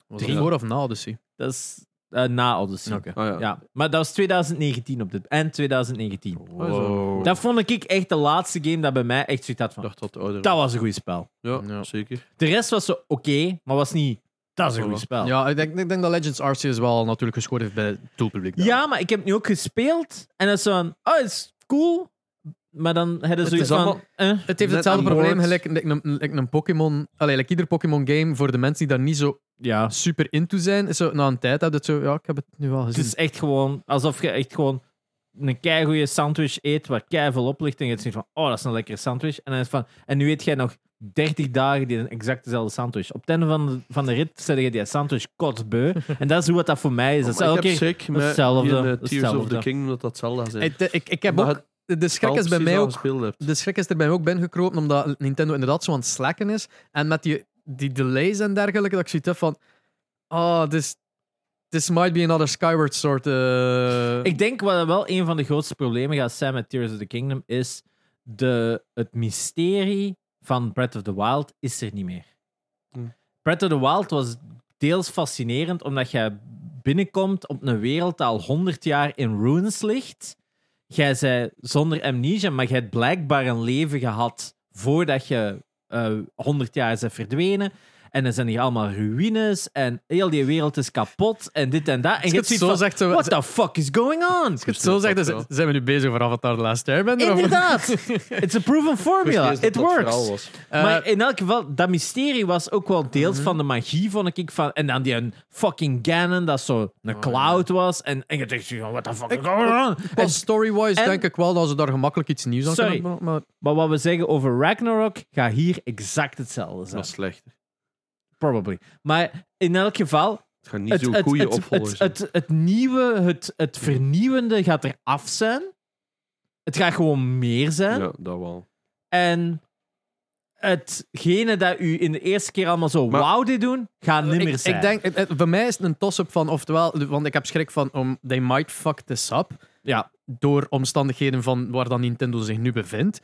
Was dat
Drie?
voor of na Odyssey?
Dat is eh, na Odyssey.
Oké.
ah ja.
Ja, maar dat was 2019 op dit... En 2019.
Oh.
Wow.
Dat vond ik echt de laatste game dat bij mij echt zoiets had
Ik
van...
dacht dat het ouder
Dat was een goed spel.
Ja,
Ja.
zeker.
De rest was zo oké, maar was niet... Dat is een goed spel.
Ja, ik denk, ik denk dat Legends Arceus wel natuurlijk gescoord heeft bij het doelpubliek. daar.
Ja, maar ik heb het nu ook gespeeld. En dat is zo'n... Oh, het is cool. Maar dan hebben ze
Het is
zoiets van...
allemaal-
eh.
Het heeft
Net
hetzelfde
aan boord.
probleem gelijk like een, like een Pokémon... Allee, like ieder Pokémon-game voor de mensen die daar niet zo
ja.
Ah, super into zijn. Is zo, na een tijd heb je het zo... Ja, ik heb het nu al
Het
gezien.
is echt gewoon... Alsof je echt gewoon een keigoede sandwich eet waar kei veel op ligt. En je denkt van... Oh, dat is een lekkere sandwich. En dan is het van... En nu eet jij nog 30 dagen die exact dezelfde sandwich. Op het einde van de, van de rit zet je die sandwich kotsbeu. en dat is hoe wat dat voor mij is. Dat is
Oh, Maar ik
elke
heb
keer-
schrik met
hetzelfde,
die, eh, Tears of
hetzelfde.
the Kingdom dat dat Zelda zijn.
Ik, ik, ik heb
Omdat
ook...
het
De schrik is bij
precies
mij
al
ook...
gespeeld hebt.
De schrik is er bij mij ook binnengekropen, omdat Nintendo inderdaad zo aan het slacken is. En met die, die delays en dergelijke, dat ik zoiets heb van... Ah, this, this might be another Skyward Sword. eh,
Ik denk wat wel een van de grootste problemen gaat zijn met Tears of the Kingdom is de, het mysterie van Breath of the Wild is er niet meer.
Hm.
Hmm.
Breath of the Wild was deels fascinerend omdat jij binnenkomt op een wereld die al 100 jaar in ruins ligt. Jij zei zonder amnesia, maar jij hebt blijkbaar een leven gehad voordat je eh 100 jaar is verdwenen. En er zijn hier allemaal ruïnes en heel die wereld is kapot en dit en dat. En
Als
je
je het
ziet
zo
van,
zegt, zo-
what the fuck is going on?
Als je
Dus
het zo zegt, dan
Ja.
z- zijn we nu bezig voor Avatar The Last Airbender. of-
Inderdaad. It's a proven
Ik wist niet
formula.
eens dat
It
dat verhaal
works.
was.
Eh,
maar in elk geval, dat mysterie was ook wel deels
Mhm.
van de magie, vond ik. Van, en dan die een fucking Ganon, dat zo een
Oh,
cloud was. En, en je denkt, zo, what the fuck is going on?
Qua story-wise
en-
denk ik wel dat ze daar gemakkelijk iets nieuws aan
Sorry.
kunnen. Maar,
Maar wat we zeggen over Ragnarok, gaat hier exact hetzelfde
Dat
zijn.
is slecht.
Probably. Maar in elk geval,
Het gaat niet zo'n goede opvolger
het,
zijn.
het, het nieuwe, het, het vernieuwende gaat eraf zijn. Het gaat gewoon meer zijn.
Ja, dat wel.
En hetgene dat u in de eerste keer allemaal zo
Maar-
wauw dit doen, gaat niet meer
ik,
zijn.
ik denk, het- het- voor mij is het een toss-up van, oftewel, want ik heb schrik van, om they might fuck this up.
Ja.
Door omstandigheden van waar dan Nintendo zich nu bevindt.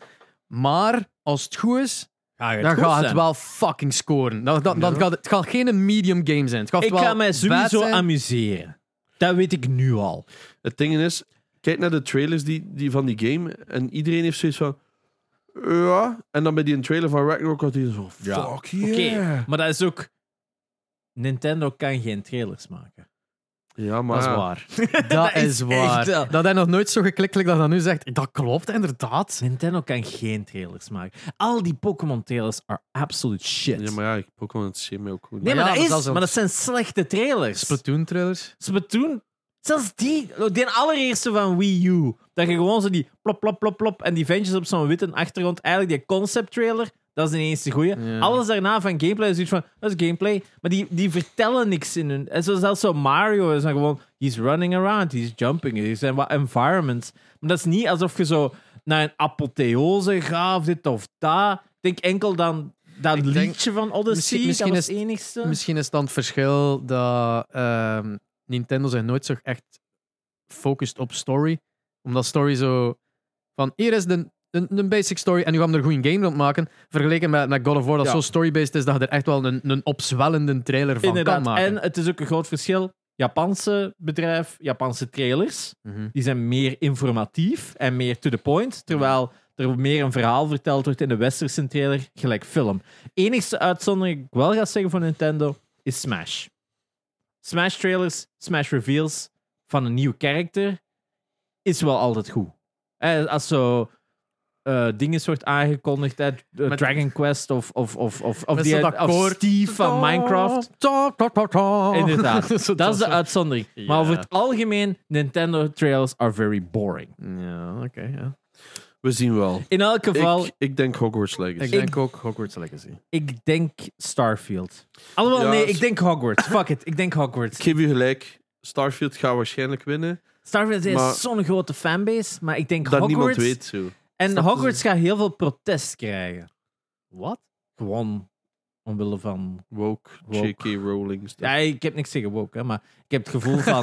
Maar als het goed is, dan gaat het wel fucking scoren. Dan, dan, dan
Ja.
gaat het, het gaat geen medium game zijn. Het gaat
Ik
wel
ga mij
bad
sowieso
zijn.
amuseren. Dat weet ik nu al.
Het ding is, kijk naar de trailers die, die van die game en iedereen heeft zoiets van... Ja, en dan bij die trailer van Ragnarok had hij zo...
Ja.
Fuck yeah.
Oké, maar dat is ook. Nintendo kan geen trailers maken.
Ja, maar...
Dat is waar.
Dat is waar.
echt wel.
Dat hij nog nooit zo geklikkelijk dat hij nu zegt. Dat klopt, inderdaad.
Nintendo kan geen trailers maken. Al die Pokémon trailers are absolute shit.
Ja, maar ja, ik- Pokémon interesseert mij ook gewoon.
Nee, maar,
maar ja,
dat
maar dat
is.
is een-
Maar dat zijn slechte trailers.
Splatoon-trailers.
Splatoon, zelfs die, die allereerste van Wii U, dat je gewoon zo die plop, plop, plop, plop en die ventjes op zo'n witte achtergrond, eigenlijk die concept trailer, dat is ineens de goeie.
Ja.
Alles daarna van gameplay is iets van, dat is gameplay, maar die, die vertellen niks in hun. En zo zelfs zo Mario is dan gewoon, he's running around, he's jumping, er zijn wat environments. Maar dat is niet alsof je zo naar een apotheose gaat, of dit of dat. Ik denk enkel dan dat
Ik denk-
liedje van Odyssey,
Misschien- misschien
dat was het
is-
enigste.
Misschien is dan het verschil dat ehm, Nintendo zich nooit zo echt focust op story. Omdat story zo van hier is de, de, de basic story en nu gaan we er een goede game rond maken. Vergeleken met, met God of War, dat
Ja.
zo story-based is dat je er echt wel een, een opzwellende trailer van
Inderdaad.
kan maken.
En het is ook een groot verschil. Japanse bedrijf, Japanse trailers,
Mhm.
die zijn meer informatief en meer to the point. Terwijl er meer een verhaal verteld wordt in de westerse trailer, gelijk film. Enigste uitzondering, die ik wel ga zeggen voor Nintendo, is Smash. Smash trailers, Smash reveals van een nieuw karakter is wel altijd goed. Eh, als zo eh dingen wordt aangekondigd, eh,
Met-
Dragon Quest of, of, of, of, of,
Met Oh.
die,
zo dat
of
koor.
Steve van Minecraft.
Ta, ta, ta, ta.
Inderdaad.
Zo,
Oh. Dat is de uitzondering. Maar
Ja.
over het algemeen, Nintendo trailers are very boring.
Ja, oké. ja.
We zien wel.
In elk geval,
Ik, ik denk Hogwarts Legacy.
Ik denk ook Hogwarts Legacy.
ik denk Starfield. Alhoewel,
Ja,
nee,
is-
ik denk Hogwarts. Fuck it, ik denk Hogwarts.
Ik geef u gelijk. Starfield gaat waarschijnlijk winnen.
Starfield
Maar-
is zo'n grote fanbase, maar ik denk
Dat
Hogwarts...
niemand weet. Zo.
En
Snap je?
Hogwarts gaat heel veel protest krijgen. Wat? Gewoon omwille van...
Woke,
Woke.
J.K. Rowling. stuff.
Ja, ik heb niks tegen woke, hè, maar ik heb het gevoel van...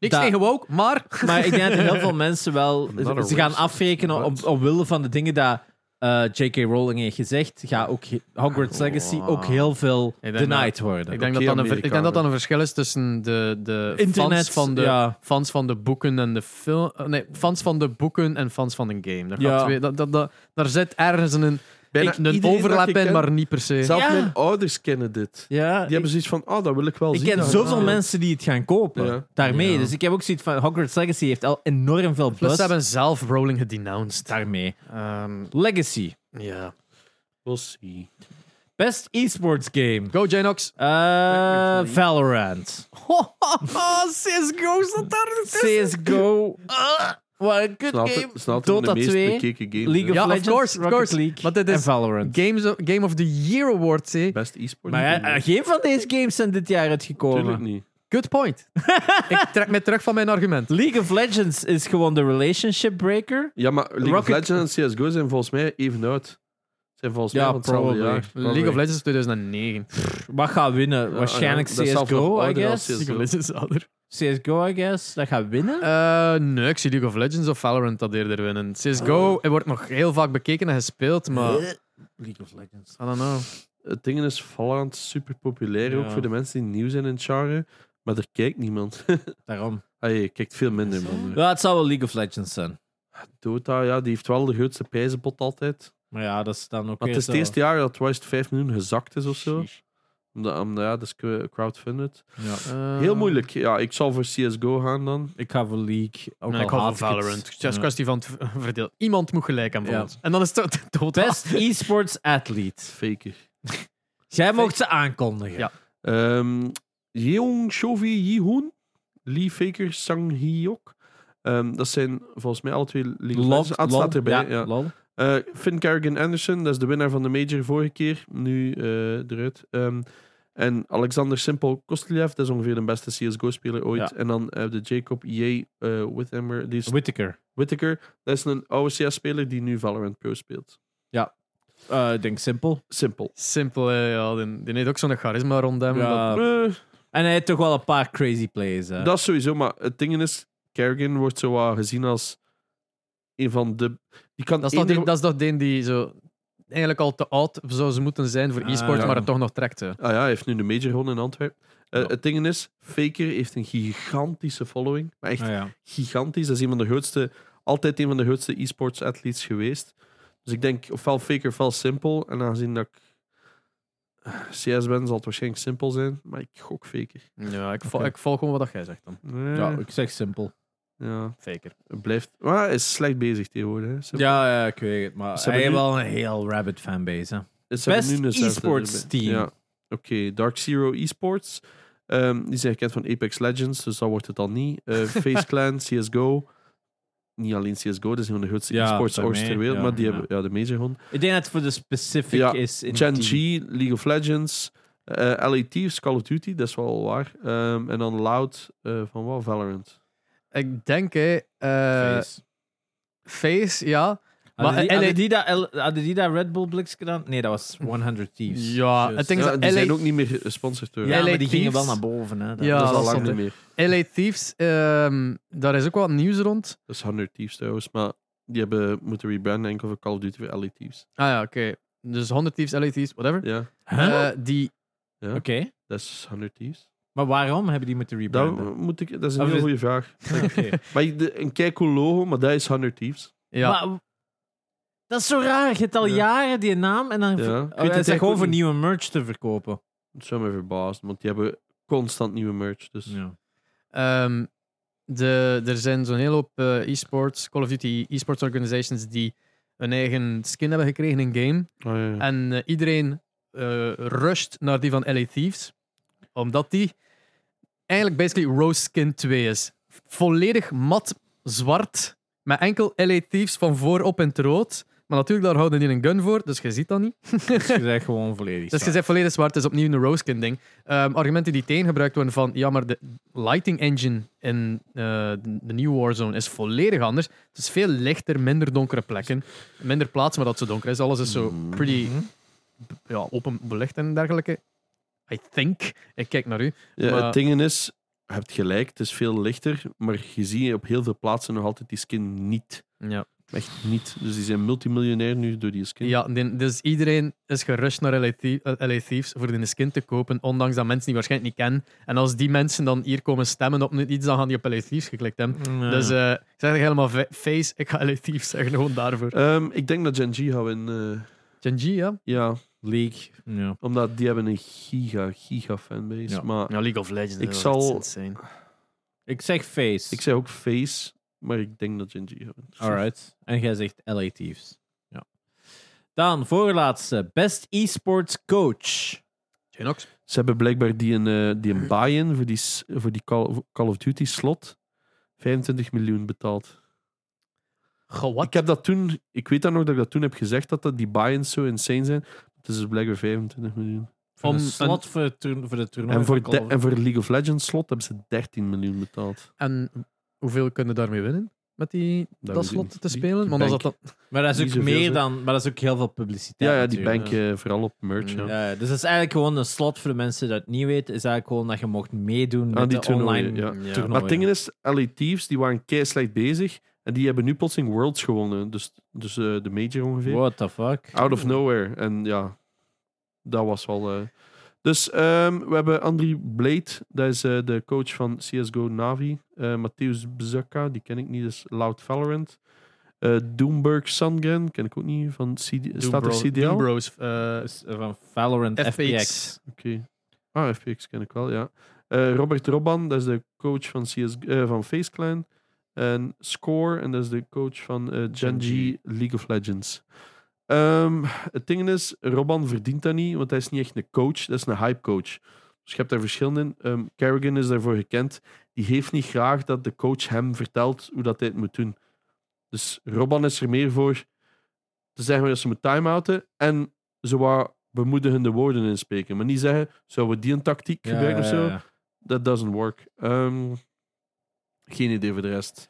Niks
Da-
tegen woke, maar...
Maar ik denk dat heel veel mensen wel.
Another
Ze gaan
racist.
afrekenen op, omwille van de dingen dat eh, J.K. Rowling heeft gezegd. Gaat ook he- Hogwarts Legacy
Wow.
ook heel veel
denk
denied
dat-
worden.
Ik denk, dat dan een, ver- ik denk dat dan een verschil is tussen de, de
Internet,
fans, van de,
ja.
fans van de boeken en de film. Nee, fans van de boeken en fans van een game. Daar, gaat
Ja.
twee- dat, dat, dat, daar zit ergens een,
Bijna
ik- een
iedereen
overlap
dat je
in,
kent,
maar niet per se.
Zelfs
Ja.
mijn ouders kennen dit.
ja,
Die hebben
ik,
zoiets van, oh, dat wil ik wel
ik
zien.
ken
Dat
zoveel
gaat.
mensen die het gaan kopen
Ja.
daarmee.
Ja.
Dus ik heb ook zoiets van: Hogwarts Legacy heeft al enorm veel
Plus,
buzz
ze hebben zelf Rowling gedenounced.
daarmee.
Ehm,
Legacy,
ja.
We'll see.
best esports game.
Go, Janox.
Eh, Valorant.
CSGO staat daar.
CSGO. Ah, Wat een good
Snap
game.
het, snap het,
Dota
de meest
2.
bekeken game.
League of
Ja, of
Legends,
course, of
Rocket
course.
League
Want dit
en
is
Valorant.
Games of, Game of the Year Award, hè.
Best e-sport.
Maar ja, eh, geen van deze games zijn dit jaar
Tuurlijk
uitgekomen.
niet.
Good point. ik trek me terug van mijn argument.
League of Legends is gewoon de relationship breaker.
Ja, maar League
Rocket-
of Legends en CSGO zijn volgens mij even oud. Zijn volgens
Ja,
mij van hetzelfde
probably.
jaar.
League of Legends 2009.
Wat gaat winnen? Waarschijnlijk
ja, dat is zelfs nog
CSGO, I
ouder dan
guess.
CS:GO.
Legends ouder.
CSGO, I guess. Dat gaat winnen.
Eh, nee, ik zie League of Legends of Valorant dat eerder winnen.
Oh.
CSGO wordt nog heel vaak bekeken en gespeeld, maar...
Eh.
I
League of Legends.
don't know.
Het ding is, Valorant is super populair, ook
Ja.
voor de mensen die nieuw zijn in het genre. Maar er kijkt niemand.
Daarom.
ah, je kijkt veel minder, man.
Ja, het zou wel League of Legends zijn.
Dota, ja, die heeft wel de grootste prijzenpot altijd.
Maar ja, dat is dan ook
Maar
weer
het is het
zo.
eerste jaar dat Twice 5 miljoen gezakt is of zo. Omdat, omdat, ja, dat is cra- crowdfunded.
Ja.
Eh,
Heel moeilijk. Ja, ik zal voor CSGO gaan dan.
Ik ga voor League. Ook
Nee,
al
ik hou van
haat het.
Valorant. Het is
Ja.
kwestie van het v- verdeel. Iemand moet gelijk aan
Ja.
Valorant. En dan is het dood.
Best
Ah.
esports athlete.
Faker.
Jij mocht ze aankondigen.
Ja.
Ehm Jeong Shovi Jihoon, Lee Faker, Sang Hyok. Ehm dat zijn volgens mij alle twee League of
Lol,
Legends. Ah, het staat
lol,
erbij.
ja,
Ja.
lol.
Eh, Finn Kerrigan Anderson, dat is de winnaar van de major vorige keer, nu eh, eruit. Ehm, en Alexander Simpel Kostiljev, dat is ongeveer de beste CSGO-speler ooit.
Ja.
En dan heb de Jacob J. eh Whithammer, die is
Whittaker.
Whittaker. Dat is een oude CS-speler die nu Valorant Pro speelt.
Eh, Ik denk simpel.
Simpel.
Simpel, hè, ja. Die, die heeft ook zo'n charisma rond hem.
Ja.
dat-
Eh,
En hij heeft toch wel een paar crazy plays. Hè?
Dat sowieso, maar het ding is, Kerrigan wordt zo wat gezien als een van de. Die kan
Dat is, toch
eender-
die, dat is toch die die zo... Eigenlijk al te oud zou ze moeten zijn voor
Ah,
e-sport,
ja.
maar het toch nog trekt. hè.
Ah ja, hij heeft nu de major gewonnen in Antwerpen. Eh,
Ja.
Het ding is, Faker heeft een gigantische following. Maar echt
Ah, ja.
gigantisch. Dat is een van de grootste, altijd een van de grootste e-sports athletes geweest. Dus ik denk ofwel Faker ofwel simpel. En aangezien dat ik eh, CS ben, zal het waarschijnlijk simpel zijn. Maar ik gok Faker.
Ja, ik, val,
Oké.
ik val gewoon wat dat jij zegt dan.
Eh,
Ja,
ja,
ik zeg simpel.
Faker.
het blijft. Maar hij is slecht bezig tegenwoordig. Hè. Simpel.
Ja, ja, ik weet het. Maar
Ze
hij heeft
hebben
wel een heel rabbit fanbase. Hè.
Ze hebben
Best
nu een zesde
e-sports
erbij.
team.
Ja. Oké, Dark Zero Esports. Ehm, die zijn gekend van Apex Legends, dus dat wordt het dan niet. Eh, Face Clan, CSGO. Niet alleen CSGO, dat is een van de grootste
Ja,
esports orgs
daarmee,
ter wereld,
ja,
maar die
ja.
hebben ja, de major gewoon.
Ik denk dat het voor de specific
Ja,
is. In
Gen
die-
G, League of Legends, eh LA Thieves, Call of Duty, dat is wel waar. Ehm, en dan Loud eh, van wat? Valorant.
Ik denk, hè... eh,
face.
Face, ja.
eh,
Hadden
maar
die-
LA
hadden die dat L- hadden die dat Red Bull Blitz gedaan? Nee, dat was 100 Thieves.
Ja,
Juist.
het ding is
Hm. Ja,
dat
die zijn
LA,
ook niet meer gesponsord door.
Ja,
LA
maar die gingen
Thieves-
wel naar boven. Hè. Dat-
Ja,
dat is al
dat
lang
zat,
niet
hè.
meer.
LA Thieves, ehm, daar is ook wat nieuws rond.
Dat is 100 Thieves trouwens, maar die hebben moeten rebranden enkel voor Call of Duty voor LA Thieves.
Ah ja, oké. Dus 100 Thieves, LA Thieves, whatever.
Ja,
Huh?
Eh, die,
ja.
Eh, Oké.
dat is 100 Thieves.
Maar waarom hebben die moeten rebranden?
Dat, moet ik, dat is een
Of
hele
is-
goede vraag.
Oké.
Maar ik- de- een kijk cool logo, maar dat is 100 Thieves.
ja.
Maar Dat is zo raar. Je hebt al
Ja.
jaren die naam en dan
Ja. Ik weet
ja.
het
het
eigenlijk
gewoon
ook
voor
niet.
nieuwe merch te verkopen.
Het zou me verbazen, want die hebben constant nieuwe merch. Dus
Ja.
Ehm, de, er zijn zo'n hele hoop eh, e-sports, Call of Duty e-sports organizations die een eigen skin hebben gekregen in game.
Ah, ja, ja.
En eh, iedereen eh, rusht naar die van LA Thieves, omdat die eigenlijk basically Rose Skin 2 is. Volledig mat zwart, met enkel LA Thieves van voorop in het rood. Maar natuurlijk, daar houden die een gun voor, dus je ziet dat niet.
Dus je zegt gewoon volledig.
Dus je zegt volledig zwart, is opnieuw een Rose Skin ding. Ehm, argumenten die tegengebruikt worden van, ja, maar de lighting engine in eh, de, de New Warzone is volledig anders. Het is veel lichter, minder donkere plekken. Minder plaats waar dat zo donker is. Alles is zo
Mhm.
pretty
Mhm.
ja, open belicht en dergelijke. I think. Ik kijk naar u.
Eh,
Ja,
maar-
Het ding is, je hebt gelijk, het is veel lichter, maar je ziet op heel veel plaatsen nog altijd die skin niet.
Ja.
Echt niet. Dus die zijn multimiljonair nu door die skin.
ja die- dus iedereen is gerust naar LA, Thie- eh, LA Thieves voor die skin te kopen, ondanks dat mensen die waarschijnlijk niet kennen. En als die mensen dan hier komen stemmen op iets, dan gaan die op LA Thieves geklikt hebben.
Mhm.
Ja.
Dus eh, ik zeg het helemaal fa- face, ik ga LA Thieves zeggen, gewoon daarvoor.
Ehm, ik denk dat Gen G gaan winnen. eh,
Genji, ja?
ja,
eh, League. Ja.
omdat die hebben een giga, giga fanbase.
Ja.
Maar
Ja, League of Legends.
Ik dat is zal-
zijn.
Ik zeg Face.
ik zei ook face, maar ik denk dat Gen G gaat winnen.
Alright. En jij zegt LA Thieves. Ja. Dan, voorlaatste. Best esports coach.
Genox.
Ze hebben blijkbaar die een, eh, die een buy-in voor die, s- voor die Call, voor Call of Duty slot 25 miljoen betaald. Ik heb dat toen, ik weet dan nog dat ik dat toen heb gezegd dat dat die buy-ins zo insane zijn. Het is dus blijkbaar 25 miljoen.
Voor
Om
een slot voor, het toerno- voor de toernooi.
En voor,
van Call
de,
of-
en voor League of Legends slot hebben ze 13 miljoen betaald.
En hoeveel kunnen daarmee winnen? Met die, dat,
weet ik niet.
slot te
Die-
spelen?
die
Want als dat
bank.
dan...
Maar dat is
Niet
ook
zoveel,
meer
zeg.
dan... Maar dat is ook heel veel publiciteit
Ja, ja die
natuurlijk.
bank eh, vooral op merch. Ja.
Ja, ja. dus dat is eigenlijk gewoon een slot voor de mensen die dat niet weten. Is eigenlijk gewoon dat je mocht meedoen met
Aan die
de online
toernooien. Ja.
Ja.
toernooien.
Maar het ding is, LA Thieves die waren kei slecht bezig. En die hebben nu plotseling Worlds gewonnen. Dus, dus eh, de major ongeveer.
What the fuck?
Out of nowhere. En ja, dat was wel. eh. Dus ehm, we hebben Andri Blade, dat is eh, de coach van CSGO Navi. Eh Matthäus Bzakka, die ken ik niet, dus Loud Valorant. Eh Doomburg Sungen, ken ik ook niet, van CD, staat er CDL.
Doom
Oké.
Bros, eh,
Dus, eh, Van Valorant FPX.
FPX.
Ah, FPX ken ik wel, ja. Eh, Robert Robban, dat is de coach van, CS, eh, van Face Clan. En Score, en dat is de coach van eh Gen G League of Legends. Ehm, het ding is, Robban verdient dat niet, want hij is niet echt een coach, dat is een hype coach. Dus je hebt daar verschillen in. Ehm, Kerrigan is daarvoor gekend. Die heeft niet graag dat de coach hem vertelt hoe dat hij het moet doen. Dus Robban is er meer voor te zeggen dat ze moet timeouten en zowat bemoedigende woorden inspreken. Maar niet zeggen, zouden we die een tactiek
Ja,
gebruiken of
ja,
zo?
ja.
That doesn't work. Ehm, geen idee voor de rest.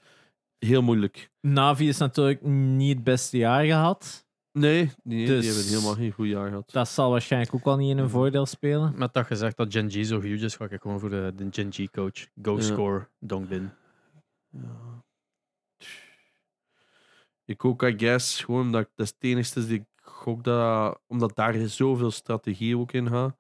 Heel moeilijk.
Navi is natuurlijk niet het beste jaar gehad.
Nee, nee
Dus-
die hebben helemaal geen goed jaar gehad.
Dat zal waarschijnlijk ook al niet in hun voordeel spelen.
met dat gezegd dat Genji zo huge is, ga ik gewoon voor de, de Genji coach. Go
Ja.
score, don't win.
Ja. Ik ook, I guess. Gewoon omdat ik- dat is het enigste die ik gok dat... Omdat daar zoveel strategie ook in gaat.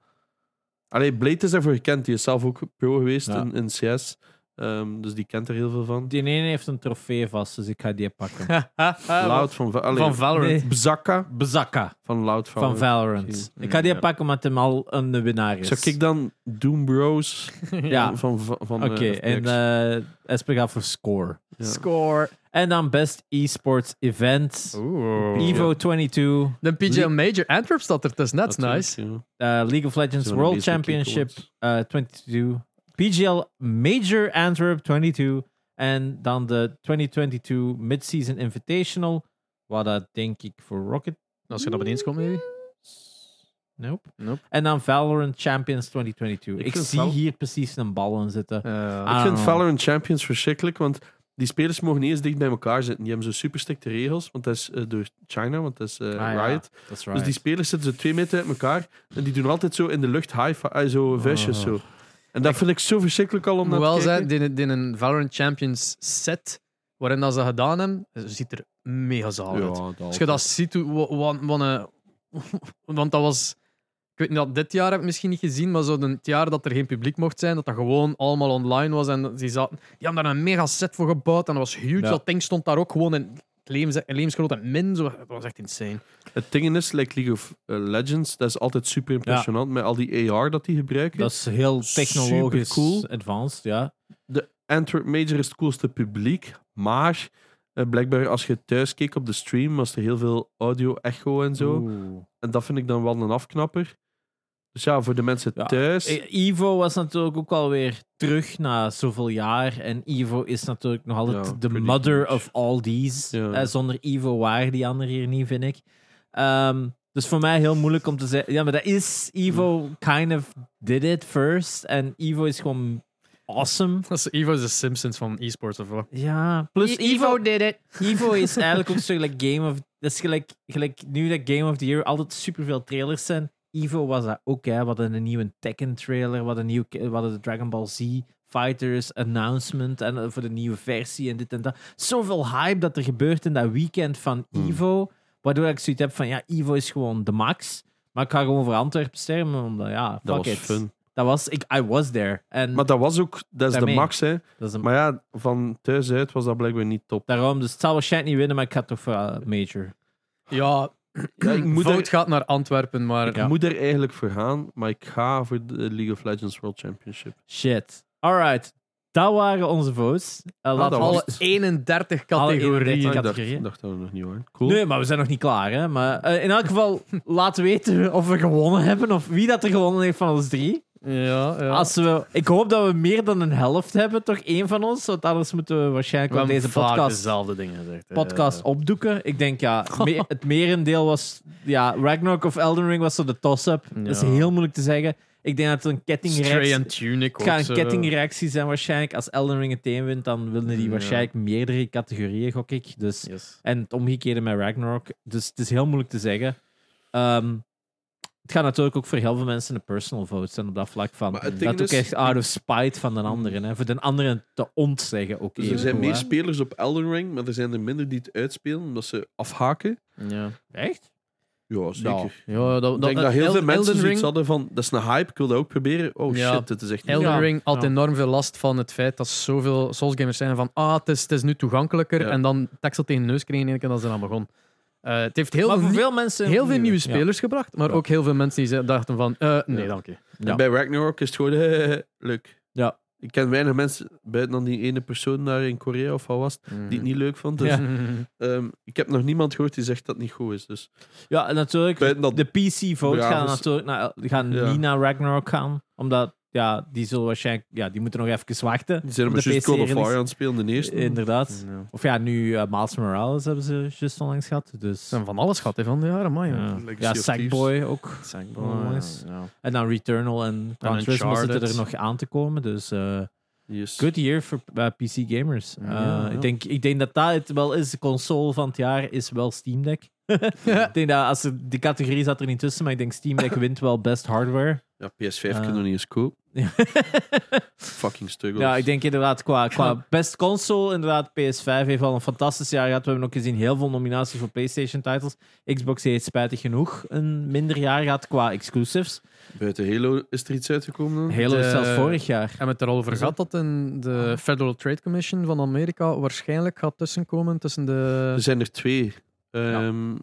Allee, Blade is daarvoor gekend. Die is zelf ook pro geweest
Ja.
in, in CS. Ehm, dus die kent er heel veel van.
Die ene heeft een trofee vast, dus ik ga die pakken. Ah,
Loud van... Va- Allee,
Van Valorant.
Nee.
Bzakka
Bezakka
van Loud van...
van Valorant.
Oké.
Ik ga die
Ja.
pakken omdat hem al een winnaar is.
Zou ik dan Doom Bros
Ja, oké.
van, van, van eh, FTX?
en eh Esper gaat voor score.
Ja.
Score.
En dan best esports event.
Oh,
Oeh.
Evo 22,
De PGL Major Antwerp staat er, dat is net
Natuurlijk,
nice.
ja. Zijn
eh, League of Legends
wel de
World
meeste
Championship
kick-ons.
eh, 22, PGL Major Antwerp 22 en dan de 2022 Midseason Invitational. Wat dat denk ik voor Rocket.
Als je naar beneden komt, maybe.
Nope.
Nope.
En dan Valorant Champions 2022.
Ik
Ik,
vind
zie
Val-
hier precies een bal in zitten.
Eh,
Ah.
Ik vind
Oh.
Valorant Champions verschrikkelijk, want die spelers mogen niet eens dicht bij elkaar zitten. Die hebben zo super strikte regels, want dat is eh, door China, want dat is eh,
Ah, ja.
Riot.
Dat is
Dus die spelers zitten zo twee meter uit elkaar en die doen altijd zo in de lucht high fi- eh, zo vuistjes
Oh.
zo. En dat vind ik zo verschrikkelijk al om
Ik
naar
moet
te
wel
kijken.
zeggen, die, die een Valorant Champions set, waarin dat ze gedaan hebben, ziet er mega zalig uit.
Ja,
Als je dat ziet, hoe- wa- wa- wat een- want dat was... Ik weet niet, dat dit jaar heb ik het misschien niet gezien, maar zo de- het jaar dat er geen publiek mocht zijn, dat dat gewoon allemaal online was en die zaten... Die hebben daar een mega set voor gebouwd en dat was huge.
Ja.
Dat ding stond daar ook gewoon in levens, levensgroot en min. Zo, dat was echt insane.
Het ding is, like League of eh, Legends, dat is altijd super impressionant met al die AR dat die gebruiken.
Dat is heel technologisch
Supercool. advanced,
advanced, ja.
De Antwerp Major is het coolste publiek, maar eh, blijkbaar als je thuis keek op de stream, was er heel veel audio-echo en zo. En dat vind ik dan wel een afknapper. Dus ja, voor de mensen
Ja,
thuis...
Eh, Ivo was natuurlijk ook alweer terug na zoveel jaar. En Ivo is natuurlijk nog altijd
Ja,
de
pretty
mother
much.
of all these.
Ja.
Eh, zonder Ivo waren die anderen hier niet, vind ik. Ehm, dus voor mij heel moeilijk om te zeggen. Ja, maar dat is. Ivo kind of did it first. En Ivo is gewoon awesome.
Dat is Evo is de Simpsons van esports of wat.
Ja, plus Ivo,
did it.
Ivo is eigenlijk ook zo gelijk Game of... Dat is gelijk, gelijk nu dat Game of the Year altijd superveel trailers zijn. Ivo was dat ook, hè. We hadden een nieuwe Tekken-trailer, we hadden, een nieuw, we hadden de Dragon Ball Z Fighters announcement en eh, voor de nieuwe versie en dit en dat. Zoveel hype dat er gebeurt in dat weekend van
Hmm.
Ivo, waardoor ik zoiets heb van, ja, Ivo is gewoon de max. Maar ik ga gewoon voor Antwerpen stemmen, omdat, ja, fuck
dat was
it.
fun.
Dat was... Ik, I was there. En
Maar dat was ook... Dat is
Daarmee.
de max, hè.
dat is een,
Maar ja, van thuis uit was dat blijkbaar niet top.
daarom, dus het zal waarschijnlijk niet winnen, maar ik ga toch voor eh, Major.
Ja,
ik moet
fout
er-
gaat naar Antwerpen, maar
Ik moet er eigenlijk voor gaan, maar ik ga voor de League of Legends World Championship.
Shit. Alright. Dat waren onze votes. Eh,
Ah,
laat
dat was
alle-
alle
het.
31
Alle
categorieën.
31.
Ah, ik dacht,
categorie.
ik dacht dat we nog niet hoor. Cool.
Nee, maar we zijn nog niet klaar. Hè? Maar eh, in elk geval, laat weten of we gewonnen hebben. Of wie dat er gewonnen heeft van ons drie.
Ja, ja.
Als we, ik hoop dat we meer dan een helft hebben, toch één van ons. Want anders moeten we waarschijnlijk wel deze podcast,
dezelfde dingen gezegd.
podcast opdoeken. Ik denk ja, me- het merendeel was. Ja, Ragnarok of Elden Ring was zo de toss-up. Dat is
Ja.
heel moeilijk te zeggen. Ik denk dat het een
Stray
kettingreeks
and Tunic.
Het gaat een kettingreactie zijn waarschijnlijk. Als Elden Ring het een wint, dan willen die
Ja.
waarschijnlijk meerdere categorieën, gok ik. Dus, En het omgekeerde met Ragnarok. Dus het is heel moeilijk te zeggen. Ehm, het gaat natuurlijk ook voor heel veel mensen een personal vote zijn op dat vlak van.
Maar het ding
Dat ook
is-
echt out of spite van de anderen. Hè. Voor de anderen te ontzeggen ook
Dus er
even,
zijn meer
hè.
spelers op Elden Ring, maar er zijn er minder die het uitspelen omdat ze afhaken.
Ja,
Echt?
Ja, zeker.
Nou,
ik
ja dat, dat,
denk dat heel veel
Elden
mensen zoiets
Ring,
hadden van, dat is een hype, ik wil dat ook proberen. Oh
Ja.
shit, dit is echt niet...
Elden
Ja.
Ring had
Ja.
enorm veel last van het feit dat zoveel Souls-gamers zijn van ah, het is, het is nu toegankelijker
Ja.
en dan tekstel tegen de neus kregen in één keer dat ze aan begon. Eh, het heeft heel,
maar voor
veel,
veel mensen.
heel veel nieuwe
Ja.
spelers gebracht, maar
Ja.
ook heel veel mensen die ze- dachten van eh, nee,
Ja.
dank je.
Ja.
En bij Ragnarok is het gewoon eh, leuk.
Ja.
Ik ken weinig mensen, buiten dan die ene persoon daar in Korea of wat was, het, die
Mm.
het niet leuk vond. Dus,
Ja.
ehm, ik heb nog niemand gehoord die zegt dat het niet goed is. Dus
Ja, en natuurlijk.
Buiten dat-
de PC-vote
Ja,
gaan
dus-
natuurlijk naar, gaan
Ja.
niet naar Ragnarok gaan. Omdat, ja, die zullen waarschijnlijk... Ja, die moeten nog even wachten.
die zijn
op
maar
de
juist God of
PC-release.
War aan het spelen, de eerste.
Inderdaad. Of ja, nu eh, Miles Morales hebben ze juist onlangs gehad. Dus...
Ze hebben van alles gehad hè, van de jaren, man. Ja.
Ja,
Legacy
ja
of
Sackboy ook. Onlangs. En dan Returnal en Gran Turismo
Uncharted.
zitten er nog aan te komen. Dus eh
Yes.
good year voor eh, PC gamers. Eh,
ja.
Ik, denk, ik denk dat dat het wel is. De console van het jaar is wel Steam Deck. ik denk dat als er- die categorie zat er niet tussen, maar ik denk Steam Deck wint wel best hardware.
Ja, PS5
Eh.
kan nog niet eens koop. Fucking struggles.
Ja, ik denk inderdaad qua, qua best console, inderdaad PS5 heeft al een fantastisch jaar gehad. We hebben ook gezien heel veel nominaties voor PlayStation titles. Xbox heeft spijtig genoeg een minder jaar gehad qua exclusives.
Buiten Halo is er iets uitgekomen dan?
Halo
De-
is zelfs vorig jaar.
En met erover gehad dat in de Federal Trade Commission van Amerika waarschijnlijk gaat tussenkomen tussen de
Er zijn er twee. Ehm,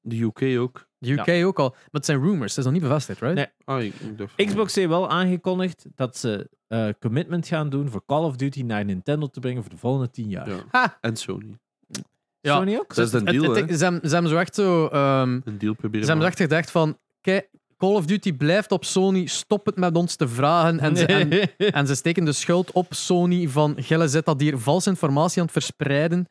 De UK ook.
de UK ook al. Maar het zijn rumors, het is nog niet bevestigd, right?
Nee.
Ah, ik, ik dacht van-
Xbox heeft wel aangekondigd dat ze eh, commitment gaan doen voor Call of Duty naar Nintendo te brengen voor de volgende tien jaar.
Ja.
Ha!
En Sony.
Ja.
Sony ook?
Dus Dat is een
Het-
deal,
het-
hè?
ze, hebben, ze hebben zo echt zo... ehm,
Een deal proberen.
ze hebben
maken.
echt gedacht van... Kijk, Call of Duty blijft op Sony, stop het met ons te vragen. En ze, en, en ze steken de schuld op Sony van... Gelle zit dat hier valse informatie aan het verspreiden.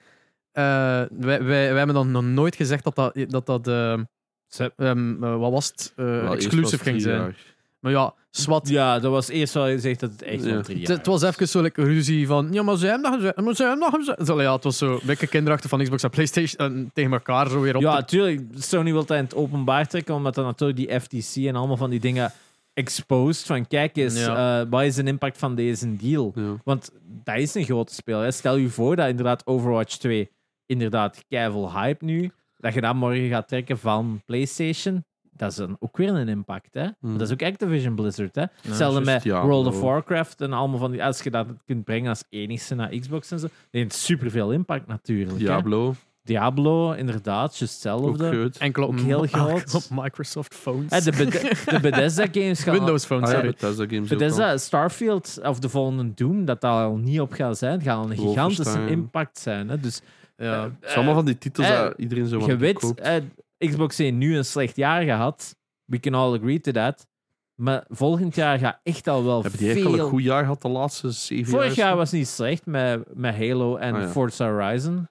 Eh, wij, wij, wij hebben dan nog nooit gezegd dat dat... dat, dat ehm,
Ze-
ehm, eh, wat was het? Eh,
Wel, eerst was
exclusive
het
ging
drie
zijn.
jaar.
Maar ja, swat.
ja, dat was eerst wel gezegd dat het echt
Ja.
wel drie
Het-
jaar
Het was
was.
even zo'n like, ruzie van. Ja, maar zij hebben nog gezegd. Maar zij hebben nog gezegd. Zo, Ja, het was zo. Wekke kinderachtig van Xbox en PlayStation. en tegen elkaar zo weer op.
Ja,
te-
natuurlijk. Sony wil dat in het openbaar trekken, omdat dan natuurlijk die FTC en allemaal van die dingen exposed. Van kijk eens,
Ja.
eh, wat is de impact van deze deal?
Ja.
Want dat is een grote speel. Hè. Stel je voor dat inderdaad Overwatch 2 inderdaad keivel hype nu, dat je dat morgen gaat trekken van PlayStation. Dat is dan ook weer een impact, hè? Want Dat is ook Activision Blizzard, hè? Hetzelfde
juist,
met
Hmm. ja,
World of
bro.
Warcraft en allemaal van die... Als je dat kunt brengen als enigste naar Xbox en zo, dan heeft het superveel impact natuurlijk, hè.
Diablo.
Diablo, inderdaad, just
Ook
hetzelfde.
groot.
Enkel op,
Ook heel
ma-
groot.
op Microsoft phones.
Eh, de, Beth- de Bethesda games gaan...
Windows phones,
Ah, ja,
sorry.
Bethesda games ook al.
Bethesda, Starfield of de volgende Doom, dat daar al niet op gaat zijn, gaan een gigantische
Wolfenstein.
impact zijn. Hè? Dus
Ja.
eh,
Het is allemaal van die titels
eh,
dat iedereen zo
je
wat
weet,
koopt.
eh, Xbox heeft nu een slecht jaar gehad. We can all agree to that. Maar volgend jaar gaat echt al wel
Hebben die echt al
veel...
een goed jaar gehad de laatste zeven
Vorig jaar
jaar?
was niet slecht met, met Halo en
Ah, ja.
Forza Horizon.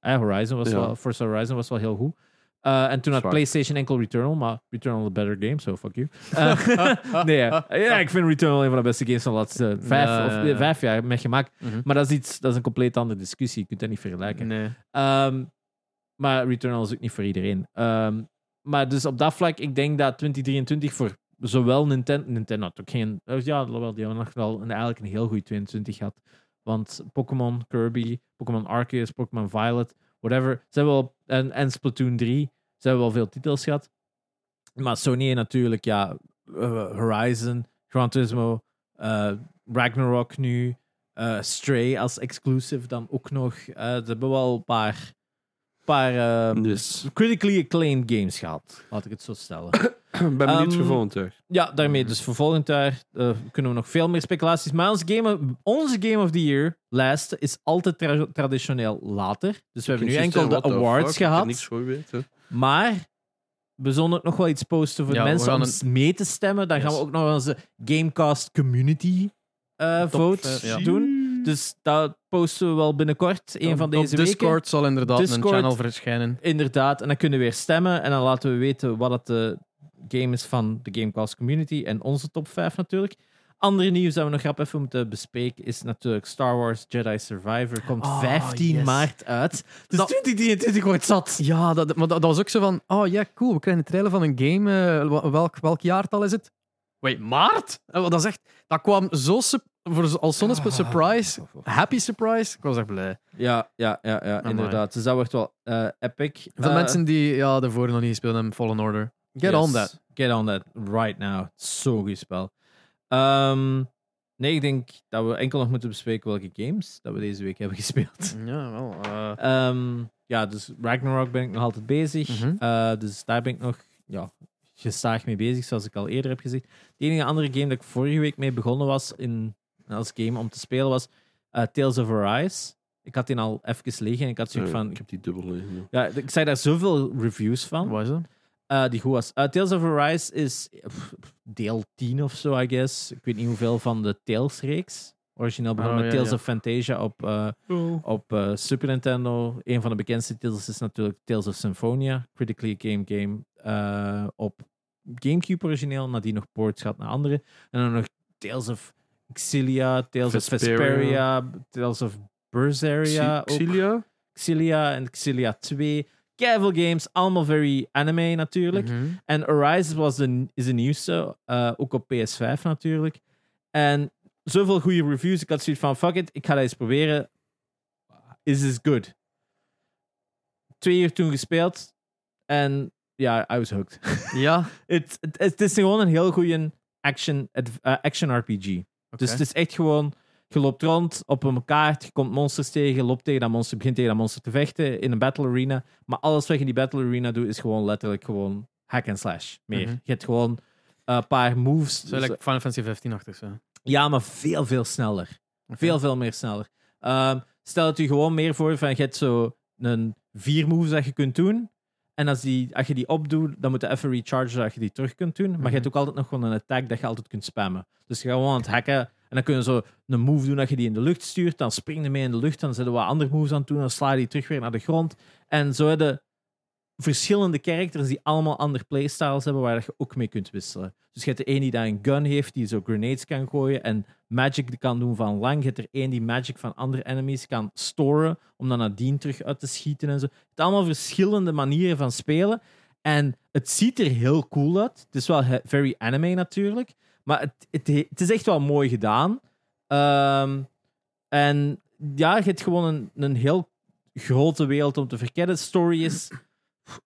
Eh, Horizon was
Ja.
wel, Forza Horizon was wel heel goed. Eh, en toen had
Zwaar.
PlayStation enkel Returnal, maar Returnal een better game, so fuck you.
Ah,
Eh, nee, ja. ja, ik vind Returnal een van de beste games van de laatste vijf,
Ja,
of,
ja,
eh,
ja.
vijf jaar met gemak.
Mhm.
Maar dat is, iets, dat is een compleet andere discussie, je kunt dat niet vergelijken.
Nee.
Ehm, maar Returnal is ook niet voor iedereen. Ehm, maar dus op dat vlak, ik denk dat 2023 voor zowel Nintendo... Nintendo had ook geen... eh, Ja, wel, die hebben nog wel een, eigenlijk een heel goede 22 gehad. Want Pokémon Kirby, Pokémon Arceus, Pokémon Violet, whatever. Ze hebben wel, en, en Splatoon 3, ze hebben wel veel titels gehad. Maar Sony heeft natuurlijk, ja, eh, Horizon, Gran Turismo, eh, Ragnarok nu, eh, Stray als exclusive dan ook nog. Eh, ze hebben wel een paar, paar eh,
Dus
critically acclaimed games gehad, laat ik het zo stellen.
ik ben benieuwd
Ehm,
voor volgend jaar.
Ja, daarmee. Dus voor volgend jaar eh, kunnen we nog veel meer speculaties. Maar ons game, onze Game of the Year lijst is altijd tra- traditioneel later. Dus we hebben nu enkel de awards
niks
gehad.
voor weten.
Maar we zullen ook nog wel iets posten voor
Ja,
de
we
mensen
gaan
om
een-
s- mee te stemmen. Dan gaan we
Yes.
ook nog onze Gamecast Community eh, vote
eh, ja.
doen. Dus dat posten we wel binnenkort, een van
Op-
deze
op
weken.
Discord zal inderdaad
Discord.
een channel verschijnen.
Inderdaad, en dan kunnen we weer stemmen en dan laten we weten wat het de game is van de Gamecast community en onze top 5 natuurlijk. Andere nieuws dat we nog grap even moeten bespreken is natuurlijk Star Wars Jedi Survivor. Komt
Oh,
15
yes.
maart uit. Dus
Dat-
2023 wordt zat.
Ja, dat, maar dat, dat was ook zo van... Oh ja, cool, we krijgen een trailer van een game. eh, wa- welk, welk jaartal is het? Wait, maart? Eh, wel, Dat, is echt, dat kwam zo sup- voor, z- als zo'n sp-
Ah.
surprise. Happy surprise. Ik was echt blij.
Ja, ja, ja, ja inderdaad. Dus dat wordt wel eh, epic.
Voor
Eh,
mensen die ja, daarvoor nog niet gespeeld hebben, Fallen Order. Get
Yes.
on that.
Get on that right now. Zo goed spel. Ehm, nee, ik denk dat we enkel nog moeten bespreken welke games dat we deze week hebben gespeeld.
Ja, wel. eh,
Ehm, ja, dus Ragnarok ben ik nog altijd bezig.
Mhm.
Eh, dus daar ben ik nog ja, gestaag mee bezig, zoals ik al eerder heb gezegd. De enige andere game dat ik vorige week mee begonnen was in, als game om te spelen was eh, Tales of Arise. Ik had die al even liggen en Dus ik had zoiets
Eh,
van...
Ik heb die dubbel liggen. ja.
Ja, ik zei daar zoveel reviews van.
wat is dat?
Eh, die goed was. Eh, Tales of Arise is pff, deel 10 of zo, I guess. Ik weet niet hoeveel van de Tales-reeks. Origineel begonnen
Oh,
met
ja,
Tales
ja.
of Fantasia op, eh, op eh, Super Nintendo. Een van de bekendste titels is natuurlijk Tales of Symphonia. Critically acclaimed game eh, op Gamecube origineel. Nadien nog ports gehad naar andere. En dan nog Tales of Xillia, Tales
Vesperia.
of Vesperia, Tales of Berseria.
Xi-
ook.
Xilia?
Xillia en Xillia 2. Keiveel games, allemaal very anime natuurlijk.
Mhm.
En Arise was de, is de nieuwste, eh, ook op PS5 natuurlijk. En zoveel goede reviews. Ik had zoiets van: fuck it, ik ga dat eens proberen. Is this good? Twee uur toen gespeeld. En ja, I was hooked.
Ja. oké.
Het het- het is gewoon een heel goede action, adv- eh, action RPG. Dus het is echt gewoon: je loopt rond op een kaart, je komt monsters tegen, je loopt tegen dat monster, je begint tegen dat monster te vechten in een battle arena. Maar alles wat je in die battle arena doet, is gewoon letterlijk gewoon hack and slash. Meer.
Mhm.
Je hebt gewoon een paar moves.
Zo, like Final Fantasy 15 achtig zo.
Ja, maar veel, veel sneller. Veel, veel meer sneller. Ehm, stel het u gewoon meer voor van je hebt zo een vier moves dat je kunt doen. En als, die, als je die opdoet, dan moet je even rechargen dat je die terug kunt doen. Maar je hebt ook altijd nog gewoon een attack dat je altijd kunt spammen. Dus je gaat gewoon aan het hacken. En dan kun je zo een move doen dat je die in de lucht stuurt. Dan spring je mee in de lucht. Dan zetten we wat andere moves aan toe. Dan sla je die terug weer naar de grond. En zo hebben verschillende characters die allemaal andere playstyles hebben waar je ook mee kunt wisselen. Dus je hebt de ene die daar een gun heeft, die zo grenades kan gooien en magic kan doen van lang. Je hebt er één die magic van andere enemies kan storen, om dan nadien terug uit te schieten en zo. Het zijn allemaal verschillende manieren van spelen. En het ziet er heel cool uit. Het is wel he- very anime natuurlijk. Maar het, het, he- het is echt wel mooi gedaan. Ehm, en ja, je hebt gewoon een, een heel grote wereld om te verkennen. Story is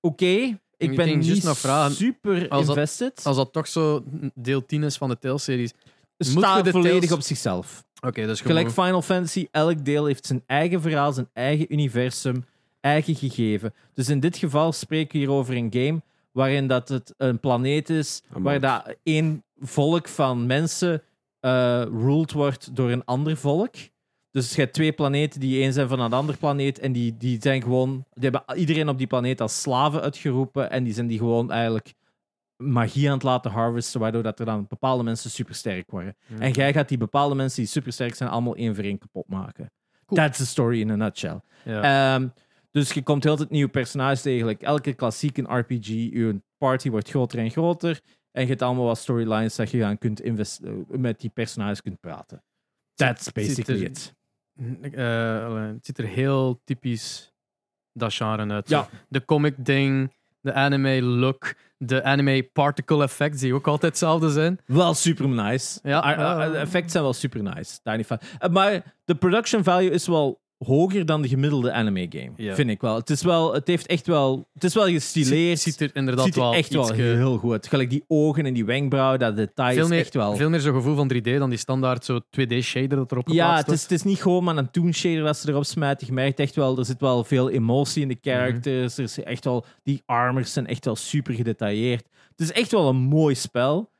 oké. Ik
Ik
ben
ging
niet
juist nog vragen,
super
als dat-
invested.
Als dat toch zo deel 10 is van de Tales-series.
Het
moeten we
staat
de
volledig
Tales-
op zichzelf.
Oké, dus
Gelijk Final Fantasy, elk deel heeft zijn eigen verhaal, zijn eigen universum. eigen gegeven. Dus in dit geval spreken we hier over een game waarin dat het een planeet is
Een
waar
markt.
dat één volk van mensen eh ruled wordt door een ander volk. Dus je hebt twee planeten die één zijn van een ander planeet en die, die zijn gewoon... Die hebben iedereen op die planeet als slaven uitgeroepen en die zijn die gewoon eigenlijk magie aan het laten harvesten, waardoor dat er dan bepaalde mensen supersterk worden. En jij gaat die bepaalde mensen die supersterk zijn, allemaal één voor één kapot maken.
Cool.
That's the story in a nutshell.
Ja.
Ehm, dus je komt heel het tijd nieuwe personages tegen. Like elke klassieke RPG, je party wordt groter en groter. En je hebt allemaal wat storylines dat je aan kunt invest- eh, met die personages kunt praten. That's
ziet er-
basically it.
Eh, allee, het ziet er heel typisch dat genre uit.
Ja.
De comic ding, de anime look, de anime particle effects die ook altijd hetzelfde zijn.
Wel super nice.
Ja,
Ah, ah,
ja, ja.
de effecten zijn wel super nice. Daar niet van. Eh, Maar de production value is wel hoger dan de gemiddelde anime game.
Ja.
Vind ik wel. Het is wel, het heeft echt wel, het is wel gestileerd.
Ziet, ziet er inderdaad
ziet er
wel
echt wel
ietske-
heel goed. Gelijk die ogen en die wenkbrauwen, dat detail
veel
is
meer,
echt wel...
veel meer zo'n gevoel van 3D dan die standaard zo 2D shader dat erop
ja,
geplaatst
het is, het is niet gewoon maar een toon shader dat ze erop smijten. Je merkt echt wel, er zit wel veel emotie in de characters. Er is echt wel, die armors zijn echt wel super gedetailleerd. Het is echt wel een mooi spel.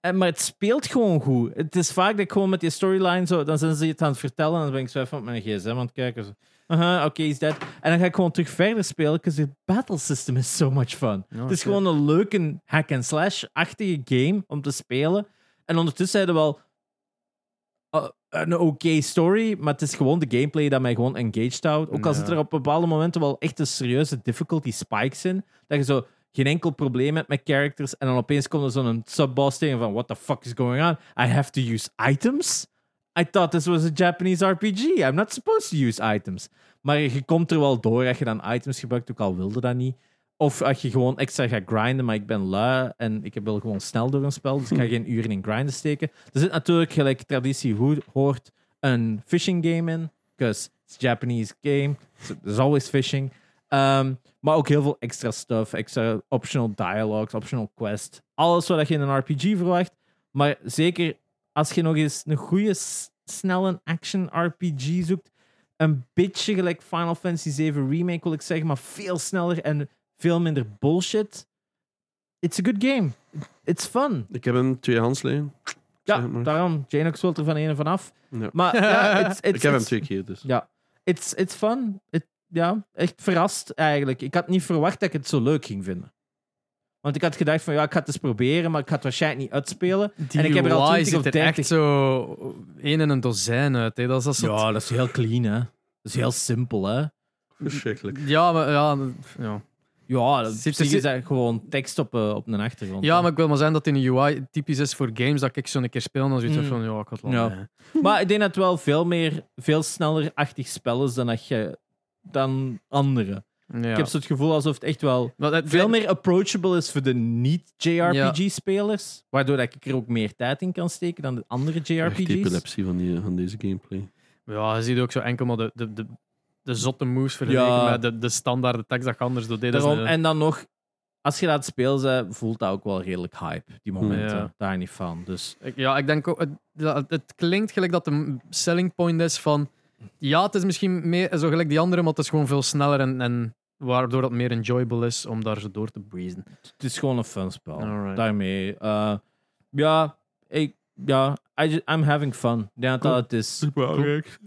En, maar het speelt gewoon goed. Het is vaak dat ik gewoon met die storyline zo... Dan zijn ze het aan het vertellen en dan ben ik zo even op mijn gsm aan het kijken. Zo, aha, oké, is dat. En dan ga ik gewoon terug verder spelen, want het battle system is so much fun.
Oh,
het is
shit.
gewoon een leuke hack-and-slash-achtige game om te spelen. En ondertussen hebben we wel eh, een oké story, maar het is gewoon de gameplay dat mij gewoon engaged houdt. Ook al
Ja.
zit er op bepaalde momenten wel echt een serieuze difficulty spikes in, dat je zo geen enkel probleem hebt met characters en dan opeens komt er zo'n subboss tegen van what the fuck is going on? I have to use items? I thought this was a Japanese RPG. I'm not supposed to use items. Maar je komt er wel door als je dan items gebruikt, ook al wilde dat niet. Of als je gewoon extra gaat grinden, maar ik ben lui en ik wil gewoon snel door een spel, dus ik ga geen uren in grinden steken. Er zit natuurlijk, gelijk traditie ho- hoort, een fishing game in. Because it's a Japanese game. so There's always fishing. Ehm, maar ook heel veel extra stuff, extra optional dialogues, optional quests. Alles wat je in een RPG verwacht. Maar zeker als je nog eens een goede, s- snelle action RPG zoekt. Een beetje gelijk Final Fantasy 7 Remake wil ik zeggen, maar veel sneller en veel minder bullshit. It's a good game. It's fun.
Ik heb hem tweedehands liggen.
Ja,
Zeg het maar.
daarom. Janox wil er van een en vanaf.
Ja.
Maar ja, it's, it's,
Ik heb hem
it's-
twee keer, dus.
Ja, it's, it's fun. It- ja, echt verrast eigenlijk. Ik had niet verwacht dat ik het zo leuk ging vinden. Want ik had gedacht van ja, ik ga het eens proberen, maar ik ga het waarschijnlijk niet uitspelen.
Die
en ik heb er al
UI
20
ziet
of
er
30.
echt zo één in een dozijn uit. Hè. Dat is, dat soort-
Ja, dat is heel clean, hè. Dat is heel simpel, hè.
Verschrikkelijk.
ja, maar, ja, ja.
Ja, dat
Zit-
op zich
zit-
is dat gewoon tekst op, eh, op een achtergrond.
Ja,
hè.
maar ik wil maar zeggen dat die UI typisch is voor games dat ik zo een keer speel en dan zoiets heb van, ja, ik had lang.
Ja.
hè.
eh. Maar ik denk dat het wel veel meer, veel sneller achtig spel is dan, dat je, dan anderen.
Ja.
Ik heb zo het gevoel alsof het echt wel
Maar het-
veel meer approachable is voor de niet-JRPG-spelers. Waardoor dat ik er ook meer tijd in kan steken dan de andere
Echt
JRPG's.
epilepsie van, die, eh, van deze gameplay.
Ja, je ziet ook zo enkel maar de, de, de, de zotte moves vergeleken
Ja.
met de, de standaard tekst dat je anders doet. hè. Dat is
Daarom,
een-
en dan nog, als je dat speelt, eh, voelt dat ook wel redelijk hype, die momenten.
Ja.
Daar niet van. Dus
Ik- Ja, ik denk ook. Het, dat- het klinkt gelijk dat de selling point is van. Ja, het is misschien meer zo gelijk die andere, maar het is gewoon veel sneller en, en waardoor dat meer enjoyable is om daar zo door te breezen.
het is gewoon een fun spel.
Alright.
Daarmee. eh, ja, ik, ja I ju- I'm having fun. Ik denk dat
Cool.
dat het is.
is belangrijk.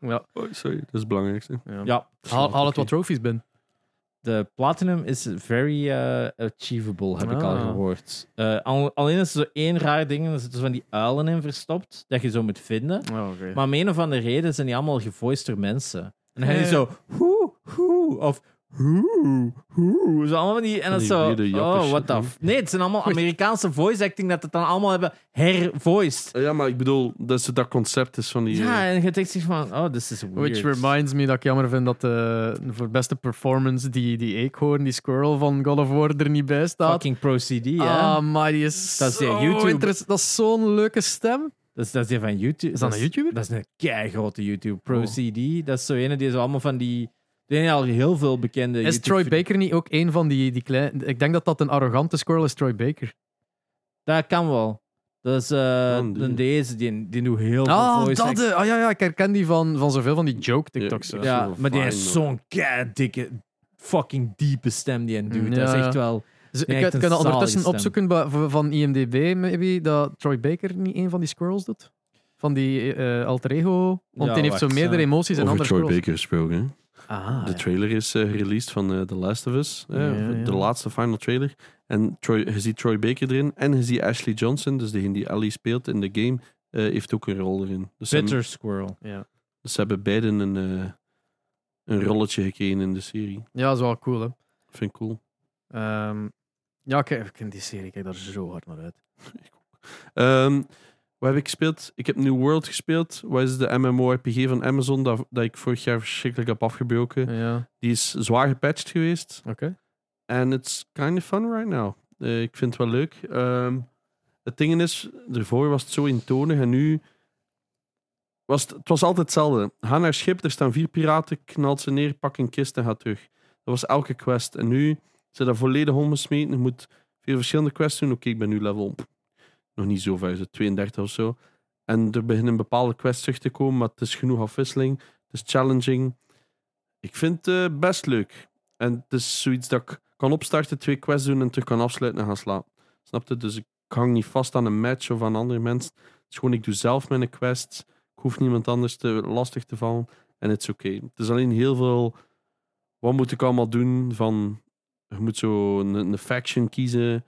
Ja.
Oh, sorry, dat is het belangrijkste.
Ja,
Haal, haal het wat trophies binnen.
De platinum is very eh, achievable, heb ik al
Ah.
gehoord. Eh, al- alleen is er zo één raar ding, en er zitten van die uilen in verstopt, dat je zo moet vinden.
Oh,
Maar om een of andere reden zijn die allemaal gevoiced door mensen. En dan gaan die
Eh.
zo, hoe, hoe, of hoe, hoe. Zo allemaal van die, en dat is
Van
zo,
die weirde jappe
oh,
shit,
what the
man.
f- Nee, het zijn allemaal Amerikaanse voice acting dat het dan allemaal hebben hervoiced.
Eh, Ja, maar ik bedoel, dat, ze, dat concept is van die...
Ja,
eh,
en je denkt zich van, oh, this is weird.
Which reminds me dat ik jammer vind dat eh, voor beste performance die, die eekhoorn, die squirrel van God of War er niet bij staat.
Fucking Pro CD, hè.
Ah, maar die is
Dat is die
zo
YouTube-
interess- Dat is zo'n leuke stem.
Dat is, dat is die van YouTube.
Is dat een YouTuber?
Dat is een keigrote YouTube. Pro
Oh.
CD. Dat is zo ene die zo allemaal van die... Die heeft al heel veel bekende...
Is
YouTube-
Troy Baker niet ook een van die, die kleine... Ik denk dat dat een arrogante squirrel is, Troy Baker.
Dat kan wel. Dat is eh,
een
een
dude.
deze, die, die doet heel veel
Ah,
Oh, voice
dat.
act.
eh, Ah ja, ja, ik herken die van, van zoveel van die joke-TikToks.
Ja,
eh.
Ja,
Zo
maar die
fijn,
heeft
hoor.
zo'n dikke, fucking diepe stem die een dude.
Mm,
dat
ja,
is echt
ja.
wel...
Dus
Nee,
ik
echt
kan
een
dat ondertussen
zalige
opzoeken ba- v- van IMDb, maybe, dat Troy Baker niet een van die squirrels doet. Van die eh alter ego. Want
Ja,
die heeft zo
wacht,
meerdere
eh,
emoties en
Over
andere
Troy
squirrels.
Baker gesproken. hè.
Ah,
De trailer is eh, released van eh, The Last of Us. eh,
Ja, ja.
De laatste final trailer. En Troy, je ziet Troy Baker erin. En je ziet Ashley Johnson, dus degene die Ellie speelt in de game, eh, heeft ook een rol erin. Dus ze, hebben,
Bitter Squirrel.
Ja.
dus ze hebben beiden een, eh, een rolletje gekregen in de serie.
ja, dat is wel cool, hè.
Vind ik cool.
Ehm, ja, kijk, ik ken die serie, ik kijk daar zo hard naar uit.
Ehm, wat heb ik gespeeld? Ik heb New World gespeeld. Wat is de MMORPG van Amazon dat, dat ik vorig jaar verschrikkelijk heb afgebroken?
Ja,
Die is zwaar gepatcht geweest.
oké.
En it's kind of fun right now. Eh, ik vind het wel leuk. Ehm, het ding is, ervoor was het zo eentonig en nu was het, het was altijd hetzelfde. Ga naar schip, er staan vier piraten, knalt ze neer, pak een kist en ga terug. Dat was elke quest. En nu zit dat volledig omgesmeten. Je moet veel verschillende quests doen. Oké, ik ben nu level pff, nog niet zo ver, zo 32 of zo. En er beginnen bepaalde quests terug te komen, maar het is genoeg afwisseling. Het is challenging. Ik vind het eh, best leuk. En het is zoiets dat ik kan opstarten, twee quests doen en terug kan afsluiten en gaan slapen. Snap je? Dus ik hang niet vast aan een match of aan andere mensen. Het is gewoon, ik doe zelf mijn quests. Ik hoef niemand anders te lastig te vallen. En het is oké. Het is alleen heel veel... Wat moet ik allemaal doen van... Je moet zo een, een faction kiezen.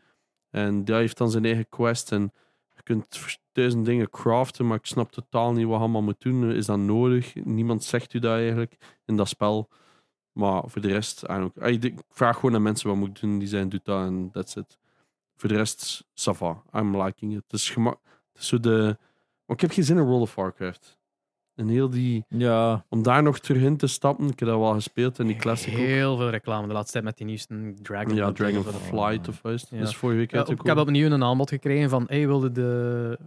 En die heeft dan zijn eigen quest. En je kunt vers- duizend dingen craften, maar ik snap totaal niet wat je allemaal moet doen. Is dat nodig? Niemand zegt u dat eigenlijk in dat spel. Maar voor de rest, eigenlijk, ah, ik denk- ik vraag gewoon aan mensen wat moet ik doen. Die zijn, doet dat en that's it. Voor de rest, Sava. I'm liking it. Het is gemak. Het is zo de. Maar ik heb geen zin in World of Warcraft. En heel die.
Ja,
Om daar nog terug in te stappen, ik heb dat wel gespeeld en die classic ook.
Heel veel reclame de laatste tijd met die nieuwste Dragon.
Ja,
Ja,
Dragonflight of juist.
Ja.
Dat is vorige week
Ja, ik heb
uitgekomen.
opnieuw een aanbod gekregen van, hey, wilde, de,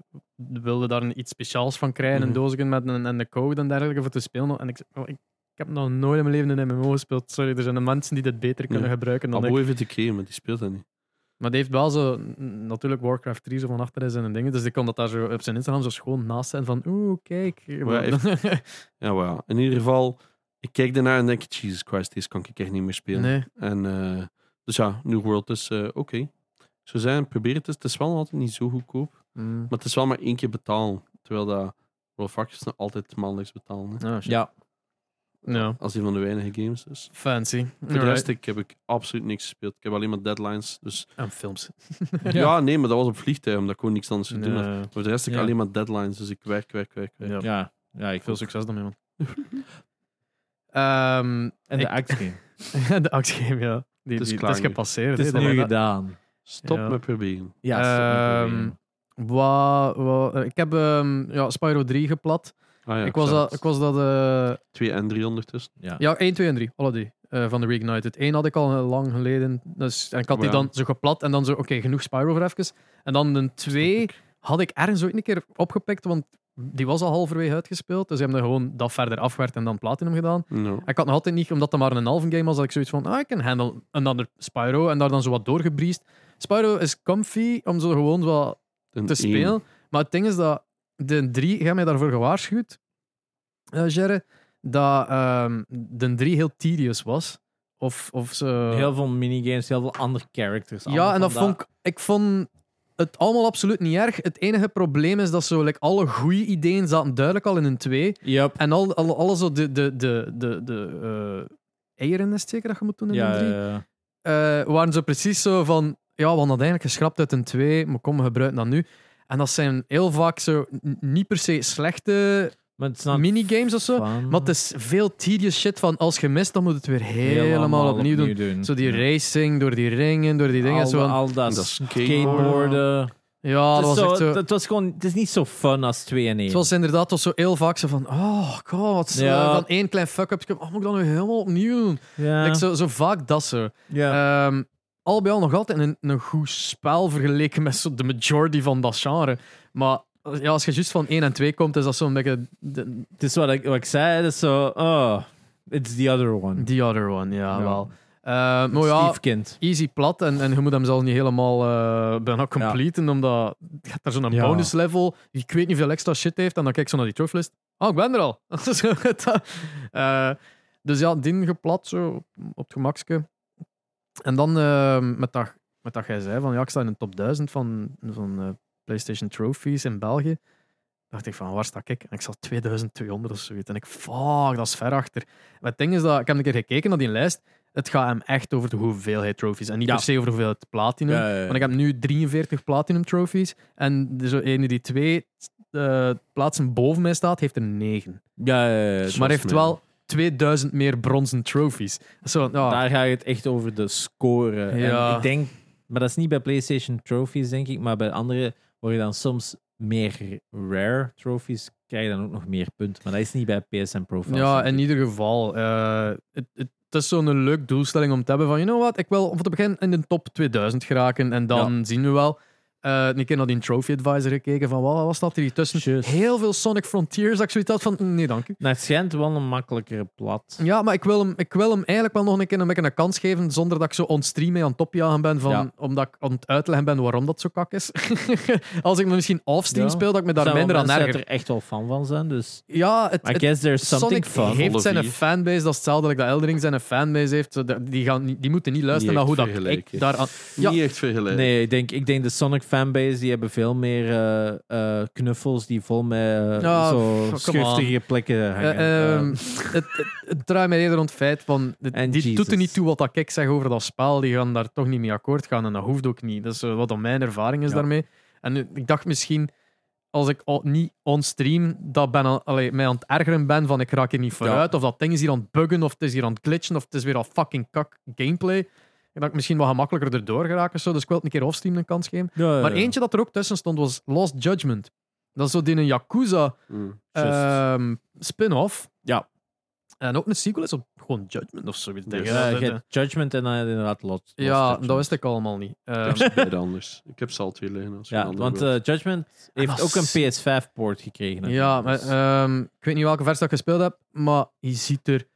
wilde daar een, iets speciaals van krijgen,
Mhm.
een doosje met een, en de code en dergelijke voor te spelen. En ik, zei, oh, ik, ik heb nog nooit in mijn leven een MMO gespeeld. Sorry, er zijn mensen die dit beter kunnen
Ja.
gebruiken dan
Abo
ik.
heeft het gekregen, maar die speelt dat niet.
Maar die heeft wel zo, n- natuurlijk Warcraft 3 zo van achter is en dingen, dus die kon dat daar zo op zijn Instagram zo schoon naast zijn van, oeh, kijk.
hij Ja, maar ja. In ieder geval, ik kijk daarnaar en denk, Jesus Christ, deze kan ik echt niet meer spelen.
nee.
En, eh, dus ja, New World is eh, oké. Ik zou zeggen, probeer het eens. Het is wel altijd niet zo goedkoop.
Mm.
Maar het is wel maar één keer betalen. Terwijl dat World of Warcraft nou altijd maandelijks betalen. hè.
Ah, shit.
ja.
Ja.
Als een van de weinige games is.
Fancy.
Voor de
Alright.
rest ik, heb ik absoluut niks gespeeld. Ik heb alleen maar deadlines. Dus...
En films.
Ja. nee, maar dat was op vliegtuig, omdat ik gewoon niks anders te doen had.
Nee.
Voor de rest heb ik
Ja.
alleen maar deadlines. Dus ik werk, werk, werk. werk.
Ja.
Ja, ja ik
Veel
wil
succes daarmee, man. Ehm,
En de
Ik-
actie.
de actiegame, ja. Die,
Het is
die,
klaar
dat is
nu.
gepasseerd.
Het is
hè. Dat
nu
wij dat-
gedaan.
Stop
Ja.
met proberen.
Ja,
Ehm, Wa- wa- eh, ik heb ehm, ja, Spyro 3 geplat.
Ah, ja,
ik, was dat, ik was dat... eh,
Twee en drie ondertussen.
ja, 1, 2 en 3. Alle drie. eh, van de Reignited. 1 had ik al eh, lang geleden. Dus, en ik had die
Ja.
dan zo geplat. En dan zo, oké, genoeg Spyro voor even. En dan een 2 had ik ergens ooit een keer opgepikt, want die was al halverwege uitgespeeld. Dus ze hebben er gewoon dat verder afgewerkt en dan Platinum gedaan.
No.
Ik had nog altijd niet, omdat dat maar een halve game was, dat ik zoiets van, ah, ik kan handle een ander Spyro en daar dan zo wat doorgebriest. Spyro is comfy om zo gewoon wat
Een
te
één.
spelen. Maar het ding is dat de 3, jij hebt mij daarvoor gewaarschuwd, eh Gerre, dat ehm, de 3 heel tedious was. Of, of ze...
heel veel minigames, heel veel andere characters.
Ja, en dat vond ik, ik vond het allemaal absoluut niet erg. Het enige probleem is dat zo, like, alle goede ideeën zaten duidelijk al in een 2.
Yep.
En al, al, alles zo de, de, de, de, de eh, eieren is het zeker dat je moet doen in
Ja,
een 3.
ja, ja.
Eh, waren ze precies zo van, ja, we hadden dat eigenlijk geschrapt uit een 2, maar kom, we gebruiken dat nu. En dat zijn heel vaak zo n- niet per se slechte
maar het is not
minigames of zo.
fun.
Maar het is veel tedious shit van als je mist, dan moet het weer helemaal, opnieuw doen. Zo die
Ja.
racing, door die ringen, door die dingen.
al,
zo van-
al dat
Dat
skateboarden.
ja,
Het
dat
is
was
zo-
echt zo...
Het was gewoon, het is niet zo fun als 2 en 1.
Het was inderdaad het was zo heel vaak zo van, oh god, zo
Ja.
van één klein fuck-up, oh, moet ik dat nu helemaal opnieuw doen?
ja.
Like, zo, zo vaak dat zo.
ja.
Ehm, al bij al nog altijd een, een goed spel vergeleken met zo de majority van dat genre. Maar ja, als je juist van 1 en 2 komt, is dat zo'n beetje de-
het is wat ik, wat ik zei, het is zo, oh, it's the other one.
the other one. Ja,
Ja.
wel. Eh, maar ja,
stiefkind.
easy plat en, en je moet hem zelfs niet helemaal eh, bijna completen, omdat je hebt daar zo'n
Ja.
bonus level, ik weet niet veel extra shit heeft, en dan kijk ik zo naar die troflist. Oh, ik ben er al. Zo, dat- eh, dus ja, die geplat, zo, op het gemakske. En dan eh, met, dat, met dat jij zei, van ja, ik sta in de top 1000 van, van eh, PlayStation Trophies in België. Dacht ik van, waar sta ik? En ik zat 2200 of zoiets. En ik, fuck, dat is ver achter. Maar het ding is dat, ik heb een keer gekeken naar die lijst. Het gaat hem echt over de hoeveelheid trophies. En niet
Ja.
per se over de hoeveelheid platinum.
Ja, ja, ja.
Want ik heb nu 43 platinum trophies. En de zo ene die twee eh, plaatsen boven mij staat, heeft er 9.
Ja, ja, ja, ja.
maar
was
heeft
meer.
wel 2000 meer bronzen trophies. Zo, ja.
Daar ga je het echt over de score.
Ah. Ja.
En ik denk, maar dat is niet bij PlayStation Trophies, denk ik, maar bij andere word je dan soms meer rare trophies, krijg je dan ook nog meer punten. Maar dat is niet bij PSN Profiles.
Ja,
denk
in
ik.
ieder geval. eh, het, het, het is zo'n leuk doelstelling om te hebben van, you know what, ik wil om te beginnen in de top 2000 geraken en dan zien we wel. Eh, een keer naar die Trophy Advisor gekeken van, wat was dat hier tussen?
Just.
Heel veel Sonic Frontiers, dat ik zoiets had van, "Mm, nee dank u.
Nou, het schijnt wel een makkelijkere plat.
Ja, maar ik wil hem, ik wil hem eigenlijk wel nog een keer een, beetje een kans geven zonder dat ik zo on-stream mee aan het topjagen ben, van,
Ja.
omdat ik aan het uitleggen ben waarom dat zo kak is. Als ik me misschien off-stream
Ja.
speel, dat ik me
Er
daar
zijn wel
minder aan
mensen
erger.
dat er echt wel fan van zijn, dus
Ja, het,
I
het-
guess there's something
Sonic
fun.
alle
heeft zijn
vier.
fanbase, dat is hetzelfde als dat Eldering zijn fanbase heeft. Zo, dat- Die, gaan, niet- die moeten niet luisteren
Niet
naar hoe
echt
dat ik
vergelijken.
daar aan... Ja.
Niet echt vergelijken.
Nee, ik denk, ik denk de Sonic fanbase, die hebben veel meer eh, eh, knuffels die vol met eh,
Ja, pff,
zo
come
schuftige plekken hangen.
Eh, ehm,
Eh,
het, het, het draait mij eerder rond het feit van... dit-
En
die doet er
Jesus.
niet toe wat dat ik zeg over dat spel. Die gaan daar toch niet mee akkoord gaan. En dat hoeft ook niet. Dat is eh, wat dan mijn ervaring is
Ja.
daarmee. En nu, ik dacht misschien... Als ik al- niet onstream, dat ben aan, allee, mij aan het ergeren ben van ik raak hier niet vooruit. Of dat ding is hier aan het buggen, of het is hier aan het glitchen, of het is weer al fucking kak gameplay. Dat ik misschien wat gemakkelijker erdoor geraken. Zo. Dus ik wil het een keer offstream een kans geven.
ja, ja,
Maar
ja.
eentje dat er ook tussen stond was Lost Judgment. Dat is zo die een Yakuza
Mm.
Just.
ehm, spin-off.
Ja.
En ook een sequel is op gewoon Judgment of zoiets.
Dus,
Ja,
ja,
je hebt Judgment en dan heb je inderdaad Lot.
ja, dat wist ik allemaal niet. Ehm,
Dat is beide anders. Ik heb ze al twee liggen. Als je een
Ja,
ander
want
wilt.
eh, Judgment heeft
Ah, dat
ook een
is-
PS5-poort gekregen. hè.
ja, maar,
Dus-
ehm, ik weet niet welke versie dat ik gespeeld heb, maar je ziet er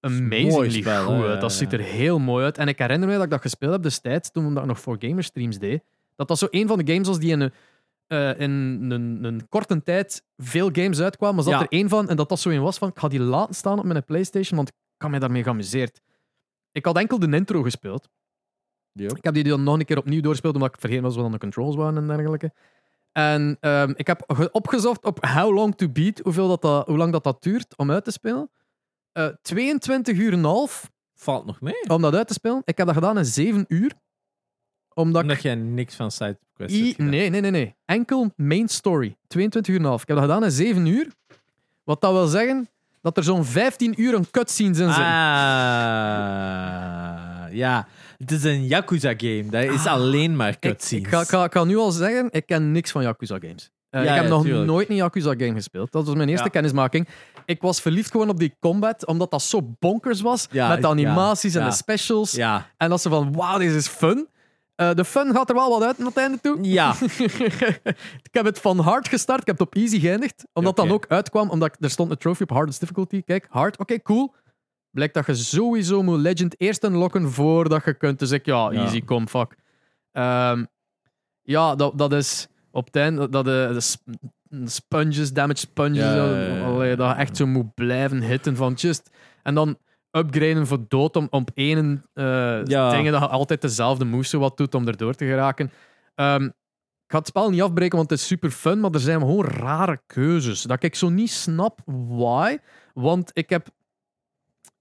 mooi
amazingly
spel,
goed
hè,
uit. Dat
ja,
ziet
ja.
er heel mooi uit. En ik herinner me dat ik dat gespeeld heb destijds, toen omdat ik nog voor gamer streams deed. Dat was zo een van de games als die in een, eh, in een, een korte tijd veel games uitkwamen. Was dat
Ja.
er één van? En dat dat zo een was van, ik ga die laten staan op mijn Playstation, want ik had mij daarmee geamuseerd. Ik had enkel de intro gespeeld.
Yep.
Ik heb die dan nog een keer opnieuw doorgespeeld, omdat ik vergeten was wat dan de controls waren en dergelijke. En ehm, ik heb ge- opgezocht op how long to beat, hoeveel dat dat, hoe lang dat, dat duurt om uit te spelen. Eh 22 uur en een half
Valt nog mee.
om dat uit te spelen. Ik heb dat gedaan in 7 uur. Omdat ik...
Omdat jij niks van side quests
I-
hebt gedaan.
nee, nee, nee, nee. Enkel main story. 22 uur en een half. Ik heb dat gedaan in 7 uur. Wat dat wil zeggen dat er zo'n 15 uur een cutscenes in zitten.
Ah, ja. Het is een Yakuza-game. Dat is
Ah,
alleen maar
Ik,
cutscenes.
ik, ga, ik, ga, ik ga nu al zeggen, ik ken niks van Yakuza games. Eh,
Ja,
ik heb
ja,
nog
tuurlijk.
nooit een Yakuza game gespeeld. Dat was mijn eerste
Ja.
kennismaking. Ik was verliefd gewoon op die combat, omdat dat zo bonkers was.
Ja,
met de
ja,
animaties en
ja.
de specials.
Ja.
En dat ze van, wauw, dit is fun. Eh, de fun gaat er wel wat uit naar het einde toe.
Ja.
ik heb het van hard gestart, ik heb het op easy geëindigd. Omdat
Oké.
dan ook uitkwam, omdat ik- er stond een trophy op hardest difficulty. Kijk, hard, oké, cool. Blijkt dat je sowieso moet legend eerst unlocken voordat je kunt. Dus ik,
Ja.
ja, easy, kom, fuck. Ehm, ja, dat, dat is op het einde, dat eh, de, de sp- sponges, damage sponges,
Ja, ja,
eh,
ja, ja.
allee, dat je echt zo moet blijven hitten van just... En dan upgraden voor dood om op één eh
Ja.
dingen dat je altijd dezelfde moves zo wat doet om erdoor te geraken. Ehm, ik ga het spel niet afbreken, want het is super fun, maar er zijn gewoon rare keuzes. Dat ik zo niet snap why. Want ik heb.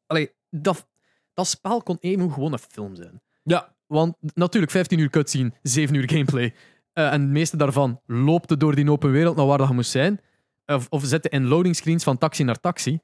Allee, dat, dat spel kon even gewoon een film zijn.
Ja.
Want natuurlijk, 15 uur cutscene, 7 uur gameplay. Eh, en het meeste daarvan loopt het door die open wereld naar waar dat je moest zijn. Of, of zette in loading screens van taxi naar taxi.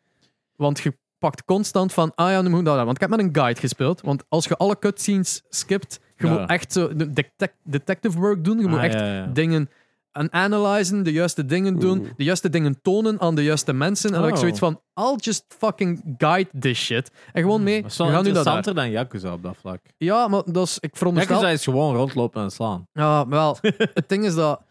Want je pakt constant van, ah ja, nu moet ik dat doen. Want ik heb met een guide gespeeld. Want als je alle cutscenes skipt, je
Ja.
moet echt zo de- detec- detective work doen. Je moet
Ah,
echt
ja, ja.
dingen aan analyzen, de juiste dingen doen,
Mm.
de juiste dingen tonen aan de juiste mensen. En dan heb ik
Oh.
zoiets van, I'll just fucking guide this shit. En gewoon mee,
Hmm, Dat is
we
wel
gaan nu dat daar.
interessanter dan Yakuza op dat vlak.
Ja, maar dat is, ik veronderstel...
Yakuza is gewoon rondlopen en slaan.
Ja, wel. het ding is dat.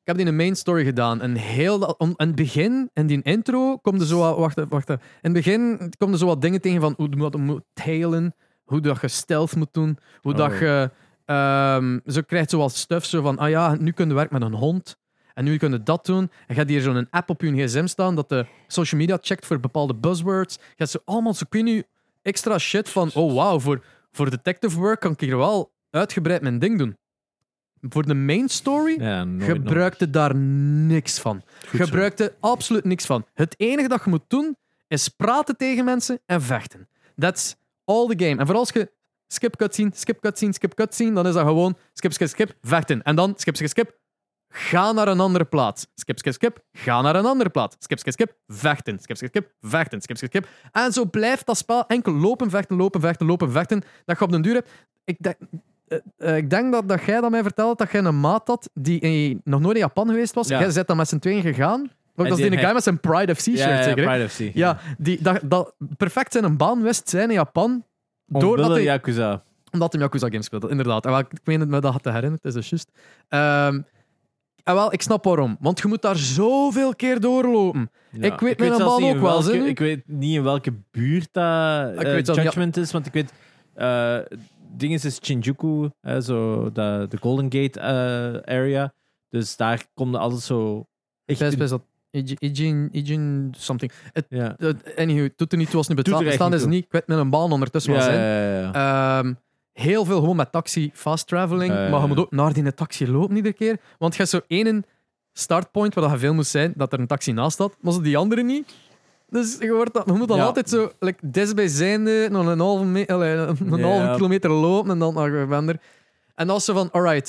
Ik heb die in een main story gedaan. En heel. dat- om- In het begin, in die intro, komt er zo wat. Wacht, even, wacht. even. In het begin komen er zo wat dingen tegen van hoe moet moet tailen. hoe dat je stealth moet doen, hoe dat
Oh.
je ehm, zo krijgt zoals stuff zo van, ah ja, nu kun je werken met een hond en nu kun je dat doen. En gaat hier zo'n app op je gsm staan dat de social media checkt voor bepaalde buzzwords. Je hebt zo allemaal zo, ik weet niet, extra shit van, oh wow, voor, voor detective work kan ik hier wel uitgebreid mijn ding doen. Voor de main story
Ja, nooit nog.
gebruikte daar niks van.
zo.
gebruikte absoluut niks van. Het enige dat je moet doen is praten tegen mensen en vechten. That's all the game. En vooral als je skip cutscene, skip cutscene, skip cutscene, dan is dat gewoon skip, skip, skip, vechten. En dan skip, skip, skip, ga naar een andere plaats. Skip, skip, skip, ga naar een andere plaats. Skip, skip, skip, vechten. Skip, skip, skip, vechten. Skip, skip, skip. En zo blijft dat spel enkel lopen, vechten, lopen, vechten, lopen, vechten. Dat je op den duur hebt... Ik denk, eh, eh, ik denk dat, dat jij dat mij vertelde, dat jij een maat had die eh, nog nooit in Japan geweest was.
Ja.
Jij bent dan met z'n tweeën gegaan. Ook
En
dat is
die
die guy
heeft-
met zijn Pride FC-shirt,
ja, ja,
zeker? hè?
privacy.
Ja, die, dat, dat perfect zijn een baan wist zijn in Japan. Doordat
Omwille
hij,
Yakuza.
omdat hij Yakuza games speelde, inderdaad. En wel, ik meen het me dat te herinneren, het is dus juist. Ehm, en wel, ik snap waarom. Want je moet daar zoveel keer doorlopen.
Ja.
weet mijn
zelfs
bal
niet in
ook wel,
welke-
hè, nu.
Ik weet niet in welke buurt dat eh,
weet zelfs niet-
Judgment is, want ik weet... eh Dinges is Shinjuku, hè, zo de, de Golden Gate eh, area. Dus daar komt altijd zo... Echt,
Best, best dat... Ijin- Ijin, Ijin something. Het,
Ja.
het- anywho, het doet er niet toe als het niet
Doet er
betaald
echt
staan
niet
is
toe.
niet. Ik weet met een baan ondertussen wel
Ja,
zijn.
ja, ja, ja.
Ehm, heel veel gewoon met taxi, fast traveling.
Ja, ja,
maar
ja.
je moet ook naar die taxi lopen iedere keer. Want je hebt zo één startpoint waar dat je veel moet zijn, dat er een taxi naast staat, maar zo die andere niet. Dus je, wordt dat, je moet dan
Ja.
altijd zo like, desbijzijnde nog een halve, me- allee, een
Ja.
halve kilometer lopen en dan naar je wender. En als ze van, alright,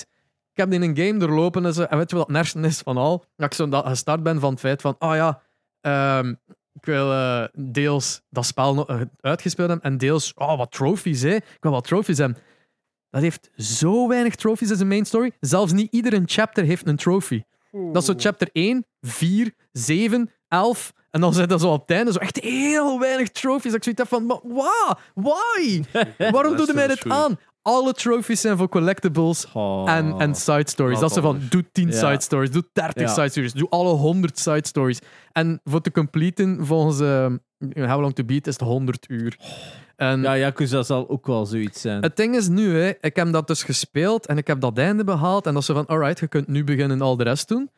ik heb die in een game doorlopen en, zo, en weet je wat het nersten is van al? Dat ik zo dat gestart ben van het feit van, ah ja, ehm, ik wil eh, deels dat spel nog, eh, uitgespeeld hebben en deels oh, wat trophies. Hè. Ik wil wat trophies hebben. Dat heeft zo weinig trophies in zijn main story. Zelfs niet iedere chapter heeft een trophy. Dat is zo chapter 1, 4, 7, 11. En dan zit dat zo op het einde. Zo echt heel weinig trophies. Dat ik zoiets heb van, maar wa- Why? Waarom doe je mij
dat is
dit aan? Alle trophies zijn voor collectibles
Oh.
en, en side stories.
Wat
Dat ze van,
anders.
doe 10
Ja.
side stories, doe 30
Ja.
side stories, doe alle 100 side stories. En voor te completen, volgens ehm, How Long To Beat, is het 100 uur. En
Ja, Yakuza zal ook wel zoiets zijn.
het ding is nu, hè, ik heb dat dus gespeeld en ik heb dat einde behaald. En dat ze van, alright, je kunt nu beginnen al de rest doen.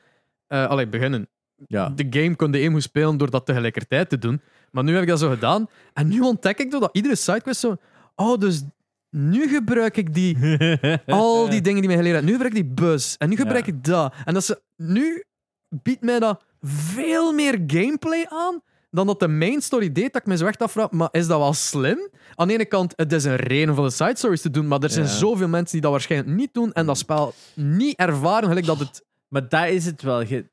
Eh allee, beginnen.
ja.
De game kon de eenmaal spelen door dat tegelijkertijd te doen. Maar nu heb ik dat zo gedaan. En nu ontdek ik dat iedere sidequest zo... Oh, dus nu gebruik ik die al die dingen die mij geleerd hebben. Nu gebruik ik die bus. En nu gebruik
Ja.
ik dat. En dat ze, nu biedt mij dat veel meer gameplay aan dan dat de main story deed. Dat ik me zo echt afvraag, maar is dat wel slim? Aan de ene kant, het is een reden om van de side stories te doen, maar er zijn
Ja.
zoveel mensen die dat waarschijnlijk niet doen en dat spel niet ervaren, gelijk dat het...
Maar daar is het wel. Je-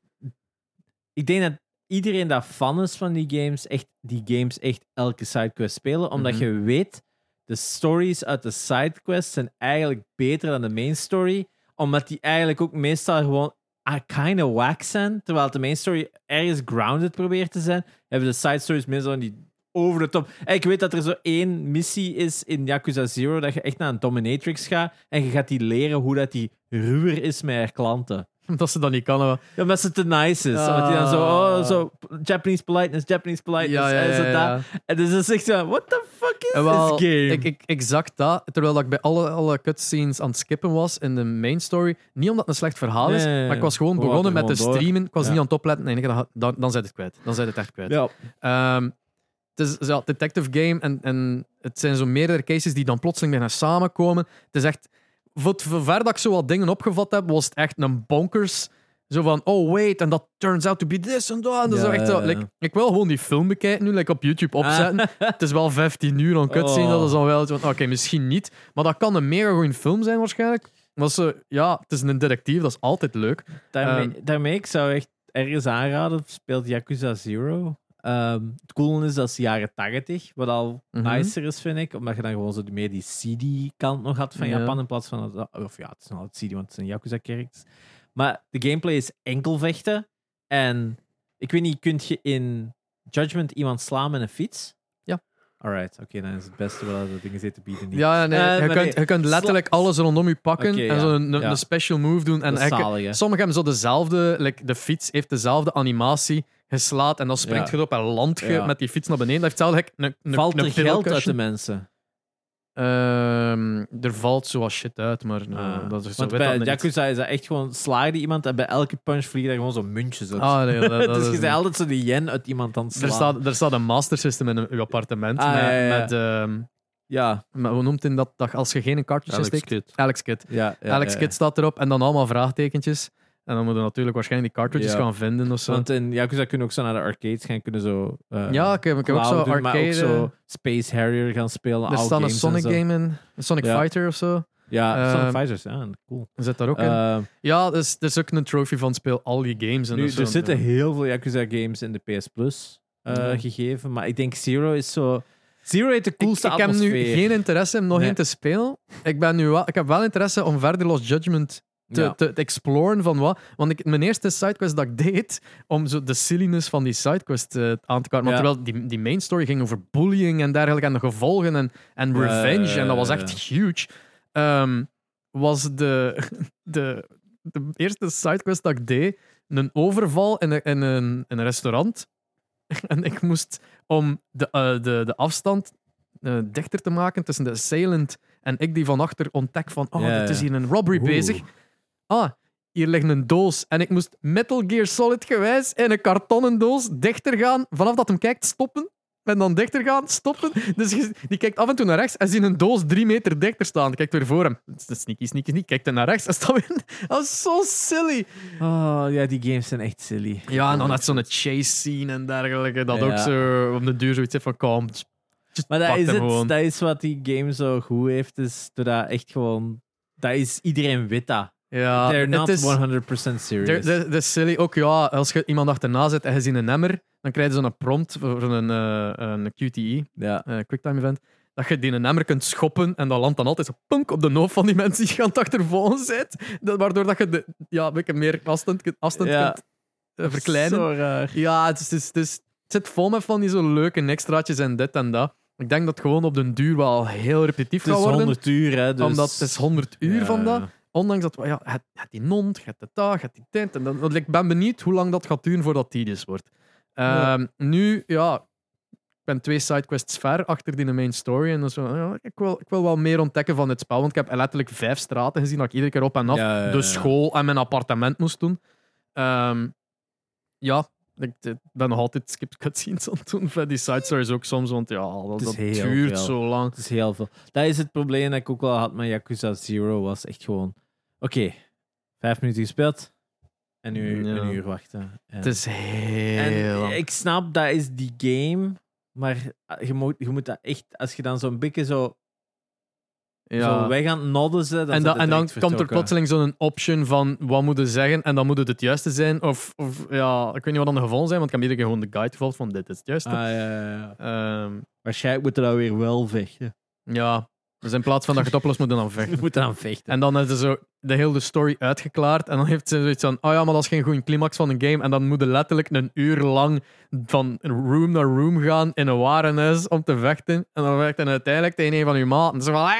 Ik denk dat iedereen dat fan is van die games, echt die games echt elke sidequest spelen, omdat
Mhm.
je weet, de stories uit de sidequests zijn eigenlijk beter dan de main story, omdat die eigenlijk ook meestal gewoon ah, kind of whack zijn, terwijl de main story ergens grounded probeert te zijn, hebben de side stories meestal die over de top. En ik weet dat er zo één missie is in Yakuza Zero, dat je echt naar een dominatrix gaat en je gaat die leren hoe dat die ruwer is met haar klanten.
Dat ze dat niet kan. hè.
Ja, Omdat ze te nice is. Omdat die dan zo,
Ah.
oh, zo, Japanese politeness, Japanese politeness. Eh,
Ja, ja,
en zo
ja, ja.
dus dat. En dus is echt zo, what the fuck is
Eh, wel,
this game?
Ik, ik, exact dat. Terwijl dat ik bij alle, alle cutscenes aan het skippen was in de main story. Niet omdat het een slecht verhaal is,
Nee, nee, nee.
maar ik was gewoon
Gewoon
begonnen met
gewoon
te
door.
streamen. Ik was
Ja.
niet aan het opletten. Nee, dan, dan, dan zit het kwijt. Dan zit het echt kwijt.
ja.
Ehm, het is ja, detective game en, en het zijn zo meerdere cases die dan plotseling bijna samenkomen. Het is echt... Voor het- voor ver dat ik zo wat dingen opgevat heb, was het echt een bonkers. Zo van, oh wait, en dat turns out to be this en dat. En dat is
Ja,
echt zo,
ja, Ah. ja.
like, ik wil gewoon die film bekijken nu, like op YouTube opzetten. Het is wel 15 uur aan cutscene,
Oh.
dat is dan wel... zo van, Oké, misschien niet, maar dat kan een mega goede film zijn waarschijnlijk. Maar ze, ja, het is een detectief, dat is altijd leuk.
Daarmee,
Ehm.
daarmee, ik zou echt ergens aanraden, speelt Yakuza Zero. Ehm, het coole is dat is jaren 80, wat al
Mhm.
nicer is, vind ik. Omdat je dan gewoon zo meer die CD-kant nog had van
Ja.
Japan in plaats van... het- of ja, het is nog altijd CD, want het zijn Yakuza-characters. Maar de gameplay is enkel vechten. En ik weet niet, kunt je in Judgment iemand slaan met een fiets?
Ja.
Alright, oké, dan is het beste wel dat we dingen zitten bieden. niet.
Ja, nee,
Eh,
je,
maar
kunt,
nee,
je kunt letterlijk alles rondom je pakken
Oké,
en zo
ja,
een, een-
ja.
een special move doen.
Dat
En
is
eigenlijk-
zalig, hè?
sommigen hebben zo dezelfde, like, de fiets heeft dezelfde animatie geslaat en dan springt
Ja.
je erop en land je
Ja.
met die fiets naar beneden. Dat heeft hetzelfde, like, een, een,
Valt
een
er geld uit de
pill-cushion.
mensen?
Ehm, er valt zoals shit uit, maar eh,
Ah.
dat is zo
Want
weet dat
bij
niet.
Yakuza is dat echt gewoon slaagde iemand en bij elke punch vliegen daar gewoon zo'n muntjes uit.
Ah, nee, dat, dat
dus
is
je
niet.
zei altijd zo die yen uit iemand aan het
er,
slaan.
staat, er staat een master system in uw appartement.
Ah,
met,
ja, ja, ja.
met, ehm,
Ja,
met- hoe noemt hij dat? dat als je geen kaartjes
Alex
steekt?
Kidd.
Alex Kid.
ja, ja,
Alex
ja.
Kid staat erop en dan allemaal vraagtekentjes. En dan moeten we natuurlijk waarschijnlijk die cartridges
Ja.
gaan vinden of zo.
Want in Yakuza kunnen ook zo naar de arcades gaan, kunnen zo... eh,
ja, ik heb, ik heb ook
Cloud
zo
doen,
arcade.
Maar ook zo Space Harrier gaan spelen.
er
oude
staat een
games en
Sonic
zo.
game in, een Sonic
Ja.
Fighter of zo.
Ja,
Eh,
Sonic Fighters, ja, cool.
Zit daar ook in.
Eh,
Ja, er is, er is ook een trophy van speel al je games en
nu,
zo.
er zitten heel veel Yakuza games in de PS Plus eh,
Ja.
gegeven, maar ik denk Zero is zo... Zero heeft de
ik,
coolste
ik heb nu
atmosfeer.
geen interesse om nog
Nee.
één te spelen. Ik, ben nu wel, ik heb wel interesse om verder Lost Judgment te,
Ja.
te, te exploren van wat. Want ik, mijn eerste sidequest dat ik deed, om zo de silliness van die sidequest eh, aan te kaarten. Maar
Ja.
terwijl die, die main story ging over bullying en dergelijke en de gevolgen en, en revenge. en dat was
ja,
echt huge. Ehm, was de, de, de eerste sidequest dat ik deed een overval in een, in een, in een restaurant. en ik moest om de, eh, de, de afstand eh, dichter te maken tussen de assailant en ik die van achter ontdek van oh,
Ja,
dit is
ja.
hier een robbery
Oeh.
bezig. Ah, hier ligt een doos. En ik moest Metal Gear Solid gewijs in een kartonnen doos dichter gaan. Vanaf dat hem kijkt, stoppen. En dan dichter gaan, stoppen. Dus je- die kijkt af en toe naar rechts en ziet een doos drie meter dichter staan. Die kijkt weer voor hem. Het is een Sneaky, sneaky, sneaky. Kijkt dan naar rechts en staat weer... Dat is zo silly.
Oh, ja, die games zijn echt silly.
Ja, en dan had zo'n chase scene en dergelijke. Dat
Ja.
ook zo op de duur zoiets heeft van... Kom, just
Maar dat
pak
is,
hem
het,
gewoon.
dat is wat die game zo goed heeft, is dat dat echt gewoon... Dat is iedereen weet dat.
Ja,
They're
Ah, het
not
is-
100% serious.
Dat dat is silly. Ook ja, als je iemand achterna zit en je ziet een emmer, dan krijg je zo'n prompt voor een, eh, een QTE,
ja.
eh quicktime event, dat je die een emmer kunt schoppen en dat landt dan altijd zo punk op de hoofd van die mensen die je aan het achtervolgen zit. Dat- Waardoor dat je de, ja, een beetje meer afstand, kunt- afstand
Ja.
kunt eh, verkleinen.
Zo raar.
Ja, het, is, het, is, het, is- het zit vol met van die zo leuke extraatjes en dit en dat. Ik denk dat het gewoon op den duur wel heel repetitief
Het is
gaat worden.
100 uur, hè. Dus...
Omdat het is 100 uur
Ja,
van dat.
ja.
Ondanks dat, we- ja, het, het die non, het de taag, het die tent. En dan, want ik ben benieuwd hoe lang dat gaat duren voordat die dus wordt. Ehm,
Ja.
Nu, ja, ik ben twee sidequests ver achter die main story. En dan zo, ja, ik, wil, ik wil wel meer ontdekken van dit spel. Want ik heb letterlijk vijf straten gezien dat ik iedere keer op en af
Ja, ja, ja.
de school en mijn appartement moest doen. Ehm, ja, ik ik ben nog altijd skip cutscenes aan het doen. van Die side stories ook soms, want ja, dat,
is
dat
heel
duurt
veel.
zo lang.
Het is heel veel. Dat is het probleem dat ik ook wel had met Yakuza Zero. Was echt gewoon... Oké, vijf minuten gespeeld. En nu
Ja.
een uur wachten. En,
Het is heel
en
lang.
ik snap, dat is die game. Maar je moet, je moet dat echt... Als je dan zo'n beetje zo,
Ja.
zo weg aan het nodden ze, dan
en,
zit
dan-
het
en dan
direct
komt er
vertrokken.
plotseling zo'n option van wat moet je zeggen en dan moet het het juiste zijn. Of, of ja, ik weet niet wat dan de gevolgen zijn, want ik heb iedere keer gewoon de guide gevolgd van dit is het juiste.
Ah, ja, ja, ja.
Ehm,
Waarschijnlijk moeten we dan weer wel vechten.
ja, dus in plaats van dat je het oplost moet je dan vechten.
We moeten dan vechten.
En dan is er zo de hele story uitgeklaard. En dan heeft ze zoiets van: oh ja, maar dat is geen goede climax van een game. En dan moet je letterlijk een uur lang van room naar room gaan in een warenhuis om te vechten. En dan vecht je uiteindelijk tegen een van je maten. En ze van: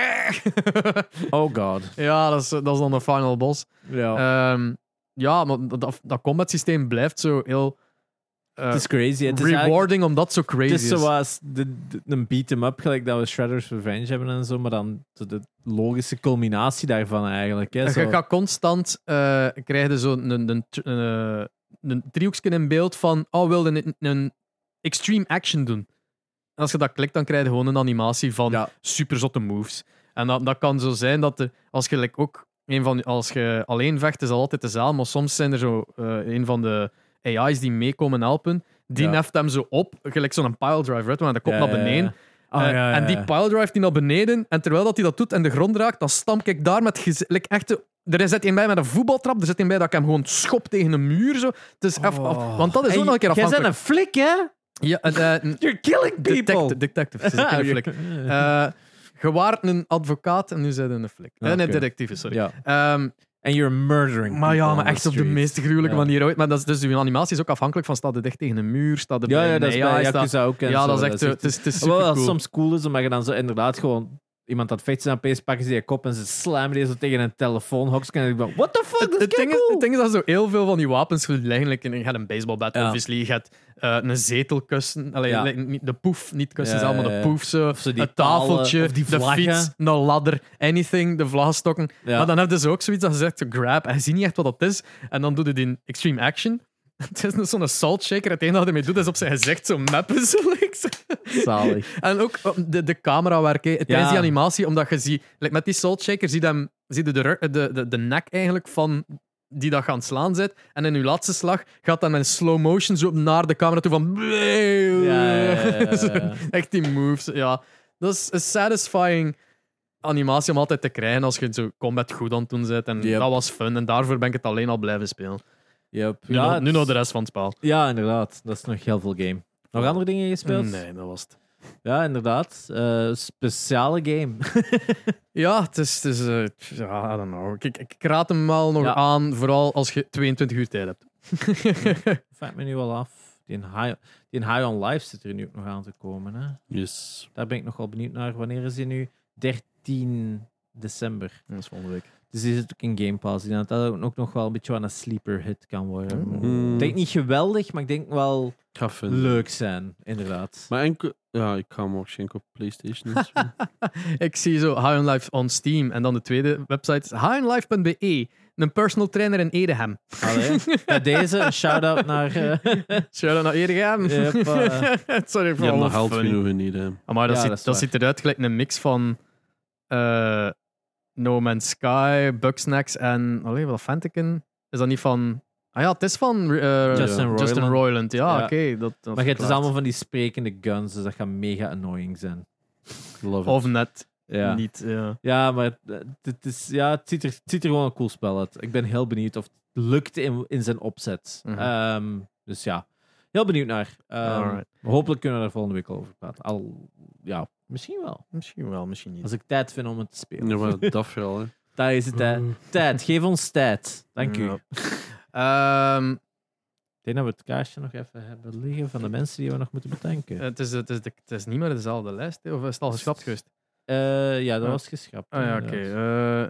Oh god.
ja, dat is, dat is dan de final boss.
Ja.
Ehm, ja, maar dat- dat, dat combat systeem blijft zo heel eh,
het is crazy. Het is eigenlijk-
rewarding omdat het zo crazy
Het
is.
is zoals de, de, een beat-em-up, gelijk dat we Shredder's Revenge hebben en zo, maar dan de, de logische culminatie daarvan eigenlijk. Hè,
En
zo.
Je gaat constant eh krijg je zo een, een, een, eh, een driehoekje in beeld van oh, wilde een, een extreme action doen. En als je dat klikt, dan krijg je gewoon een animatie van
Ja.
superzotte moves. En dat, dat kan zo zijn dat de, als je like, ook een van als je alleen vecht, is dat altijd dezelfde, maar soms zijn er zo eh, een van de AI's die meekomen helpen. Die
Ja.
neft hem zo op, gelijk zo'n piledrive, right? Maar dat komt
Ja,
naar
ja, ja.
beneden.
Ah,
Eh,
ja, ja,
En die
ja.
piledrive die naar beneden. En terwijl dat hij dat doet en de grond raakt, dan stamp ik daar met gez- like echt. de- Er zit een bij met een voetbaltrap, er zit een bij dat ik hem gewoon schop tegen een muur. Zo. Het is eff- af- want dat is
Oh. Hey,
ook nog een keer
Jij bent
afhankelijk.
een flik, hè?
Ja, en, eh,
You're killing people!
detective. detective ze zijn geen flik. Eh, je waart een advocaat en nu zijn een flik. Eh, Nee,
Ah, Oké.
detective, sorry.
Ja.
Ehm,
En you're murdering
maar ja,
people
maar
on
echt
the
op de
streets.
meest gruwelijke
Ja.
manier ooit. Maar dat is, dus uw animatie is ook afhankelijk van staat er dicht tegen een muur, staat er
Ja,
bij
ja,
een
dat is
AI,
bij
staat-
Yakuza ook. en
Ja,
zo,
dat is echt... zo- Het is, het is
Ah, Wel, dat
supercool.
soms cool is, omdat je dan zo inderdaad gewoon iemand dat vecht en opeens pakken ze je kop en ze slammen die zo tegen een telefoonhok. En ik ben, what the fuck, dat is
Het ding, is,
keicool.
het ding is dat zo heel veel van die wapens goed liggen. Like, je gaat een baseballbat,
Ja.
obviously. Je gaat eh, een zetelkussen. Allee,
Ja.
like, niet- de poef, niet kussen
Ja,
zelf, maar
ja,
de
ja.
poef. Zo.
Of zo die
een tafeltje,
palen, of die
de
vlaggen.
fiets, een ladder, anything, de vlaggenstokken.
Ja.
Maar dan heb je dus ook zoiets dat je zegt, zo grab, en je ziet niet echt wat dat is. En dan doet hij die extreme action. Het is dus zo'n salt shaker. Het enige dat hij mee doet, is op zijn gezicht zo mappen. Zo, like, zo.
Zalig.
En ook oh, de, de camerawerk hè, tijdens
Ja.
die animatie, omdat je ziet, like met die salt shaker zie je, hem, zie je de, ru- de, de, de nek eigenlijk van die dat gaan slaan zit. En in uw laatste slag gaat dan in slow motion zo naar de camera toe van.
ja, ja, ja, ja.
Zo, Echt die moves. Ja, dat is een satisfying animatie om altijd te krijgen als je zo combat goed aan het doen bent. En
Yep.
dat was fun. En daarvoor ben ik het alleen al blijven spelen.
Yep.
Nu, nog, nu nog de rest van het spel.
dus- Ja, inderdaad. Dat is nog heel veel game. Nog andere dingen gespeeld?
Hmm. Nee, dat was het.
Ja, inderdaad. Eh, speciale game.
Ja, het is. Het is eh, pff, ja, I don't know. Ik, ik, ik raad hem wel nog
Ja.
aan, vooral als je 22 uur tijd hebt.
Vraag me nu al af. Die high, die high on Life zit er nu ook nog aan te komen. Hè?
Yes.
Daar ben ik nogal benieuwd naar. Wanneer is die nu? 13 december.
dat is volgende week.
Dus die zit ook in Game Pass. Ik denk dat dat ook nog wel een beetje aan een sleeper hit kan worden.
Mm.
Hmm.
Ik denk niet geweldig, maar ik denk wel
Ga vinden.
leuk zijn. Inderdaad.
Maar enkel... Ja, ik ga hem waarschijnlijk op PlayStation eens spelen.
Ik zie zo High on Life on Steam en dan de tweede website is highnlife.be. Een personal trainer in Edeham.
Allee. Bij deze, een shout-out naar... eh,
Shout out naar Edeham.
Yep, eh.
nou, Sorry
Je
voor
hebt
alle
nog geld
funny.
genoeg eh, niet, hè.
Maar dat,
Ja, dat
ziet, dat,
is waar.
ziet eruit gelijk een mix van eh, No Man's Sky, Bugsnax en. Allee, wat Fantiken? Is dat niet van. Ah ja, het is van eh,
Justin
Justin
Roiland.
Roiland. Ja,
Ja.
oké. dat, dat
maar het is
verklaart.
dus allemaal van die sprekende guns, dus dat gaat mega annoying zijn.
Love
Of net
Ja.
niet. Ja.
Ja, maar eh, het, is, ja, het, ziet er, het ziet er gewoon een cool spel uit. Ik ben heel benieuwd of het lukt in, in zijn opzet.
Mhm.
Ehm, dus ja, heel benieuwd naar. Ehm,
Alright.
Hopelijk kunnen we daar volgende week over praten. Al, ja, misschien wel.
Misschien wel, misschien niet.
Als ik tijd vind om het te spelen.
Ja, maar dat vooral, hè.
Daar is het, hè.
Mm.
Tijd, geef ons tijd. Dank u.
Ja.
Ik
Ehm,
denk dat we het kaartje nog even hebben liggen van de mensen die we nog moeten bedanken.
het, is, het, is de- het is niet meer dezelfde lijst, hè, of is het al geschrapt geweest?
Eh, ja, dat
Ja.
was geschrapt.
Ah ja, oké.
inderdaad.
eh,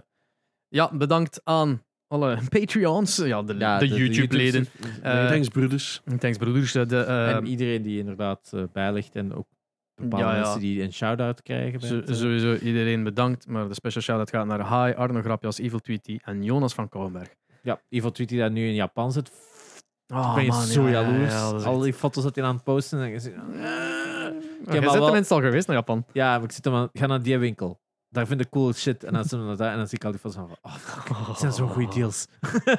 ja, bedankt aan alle Patreons. Ja, de,
Ja,
de,
de- de
YouTube-leden. Eh,
Thanks, broeders.
Thanks, broeders. De, de, eh,
en iedereen die inderdaad eh, bijligt en ook bepaalde
Ja, ja.
mensen die een shout-out krijgen. bij
Zo-
het, eh,
sowieso iedereen bedankt, maar de special shout-out gaat naar Hi, Arno Grapjas, Evil Tweety en Jonas van Kouwenberg.
Ja, Ivo Tweet die daar nu in Japan zit.
Oh,
ik ben
man,
zo
ja, ja, ja,
jaloers.
dat is
Al
echt-
die foto's dat hij aan het posten. En ik zeg,
Jij
maar
bent
wel-
tenminste al geweest naar Japan.
ja, maar ik zit dan aan, ga naar die winkel. Daar vind ik cool shit. En dan, zitten we daar, en dan zie ik al die foto's van. Oh, dat zijn zo'n
Oh.
goede deals.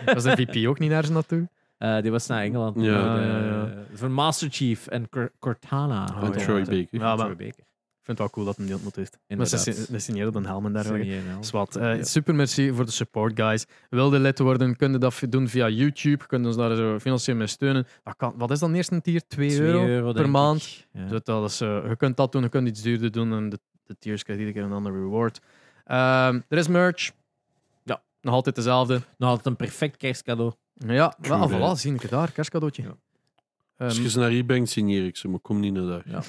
Was de VP ook niet naar ze naartoe?
Eh, die was naar Engeland.
Ja.
Voor de-
Ja, ja,
Voor Master Chief en Cor- Cortana.
Oh, ja.
en Troy Baker.
Ja, maar-
Troy Baker.
Ik vind het wel cool dat hem die ontmoet heeft. Maar ze
Inderdaad.
sin- ze signeerden een helm en dergelijke.
Serieus, nou.
Zwat. Eh,
Ja.
Super merci voor de support, guys. Wilde lid worden, kun je dat doen via YouTube. Kun je ons daar zo financieel mee steunen. Dat kan, wat is dan eerst een tier? 2
Twee
euro,
denk
per
ik.
maand.
Ja.
Dus dat is, eh, je kunt dat doen, je kunt iets duurder doen en de, de tiers krijgt iedere keer een ander reward. Ehm, er is merch.
Ja.
Nog altijd dezelfde.
Nou, altijd een perfect kerstcadeau.
Ja,
True
wel, voilà,
that.
zie ik het daar, kerstcadeautje.
Ja.
Ehm,
Als je ze naar hier brengt, signeer ik ze, maar kom niet naar daar.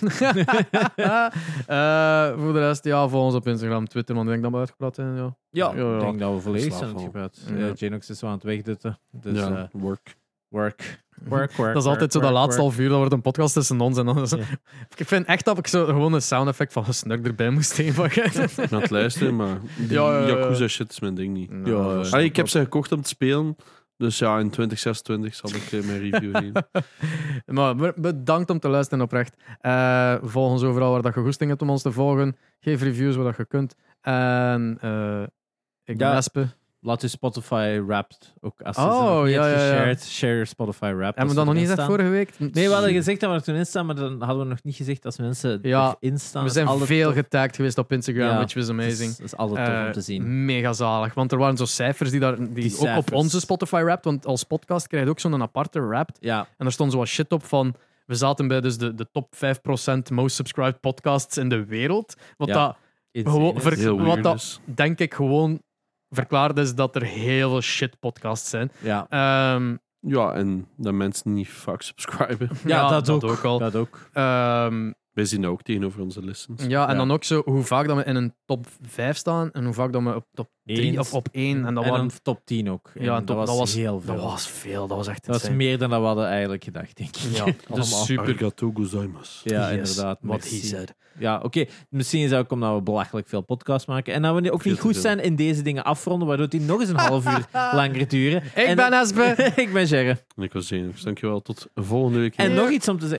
eh, voor de rest, ja, volg ons op Instagram, Twitter, want ik denk dat we uitgepraat zijn. Ja.
Ja, ik
Ja, ja.
denk dat we volledig
Slaaf
zijn
al.
gepraat.
Ja.
Eh, Genox is zo aan het wegdutten. Dus
ja,
eh,
work.
work. Work, work.
Dat is altijd zo dat laatste half uur, dat wordt een podcast tussen ons en dan is-
Ja.
Ik vind echt dat ik zo gewoon een sound effect van gesnurk erbij moest inpakken.
Ik ben aan het luisteren, maar die
Ja, ja, ja.
Yakuza shit is mijn ding niet.
Ja,
Ja,
dat is-
Allee, ik heb ze gekocht om te spelen, dus ja, in 2026 zal ik eh, mijn review geven.
Maar be- bedankt om te luisteren oprecht. Eh volg ons overal waar dat je goesting hebt om ons te volgen. Geef reviews waar dat je kunt. En eh, ik ben
Ja.
Espe.
Laat je Spotify Wrapped ook als
Oh,
je ze nog niet
ja,
hebt
ja, ja.
geshared. Share your Spotify Wrapped.
Hebben we
als
dat nog
ze
niet
erin
gezegd
staan.
vorige week?
Nee, we hadden gezegd dat we er toen in staan, maar dan hadden we nog niet gezegd als mensen
Ja,
erin staan.
We
Dat
zijn
is altijd
veel
tof.
getagd geweest op Instagram,
Ja.
which was amazing.
Dat is, dat is altijd tof
Eh,
om te zien.
Mega zalig. Want er waren zo cijfers die, daar, die,
Die
ook op
cijfers.
onze Spotify rapt. Want als podcast krijg je ook zo'n aparte rapt.
Ja,
En daar stond zo wat shit op van. We zaten bij dus de, de top 5% most subscribed podcasts in de wereld. Wat
Ja.
dat
insane
Gewoon
is.
ver-
Heel
Wat
weird
dat-
is.
denk ik gewoon verklaard is dat er heel veel shit podcasts zijn.
ja.
Ehm,
Ja, en dat mensen niet vaak subscriben.
Ja, dat ook.
al.
dat ook.
Ehm,
Wij zien dat ook tegenover onze listens.
Ja, en
Ja.
dan ook zo hoe vaak dat we in een top 5 staan en hoe vaak dat we op top 3
Eens.
of op 1. En dat,
en
waren,
een top 10 ook. En
ja, en top-
dat, was
dat, was
heel veel.
dat was veel. Dat was echt
Dat was
insane.
meer dan dat we hadden eigenlijk gedacht, denk ik.
Ja, allemaal.
Dus super gato gozaimasu.
Ja,
Yes,
inderdaad.
Wat
merci.
he said.
Ja, oké. Misschien is dat ook omdat we belachelijk veel podcasts maken. En dat we ook
Veel
niet
te
goed
veel.
zijn in deze dingen afronden, waardoor die nog eens een half uur langer duren.
Ik ben Esbe.
Ik ben Gerre.
En ik was zenuwachtig. Dankjewel. Tot volgende week.
En nog iets om te zeggen.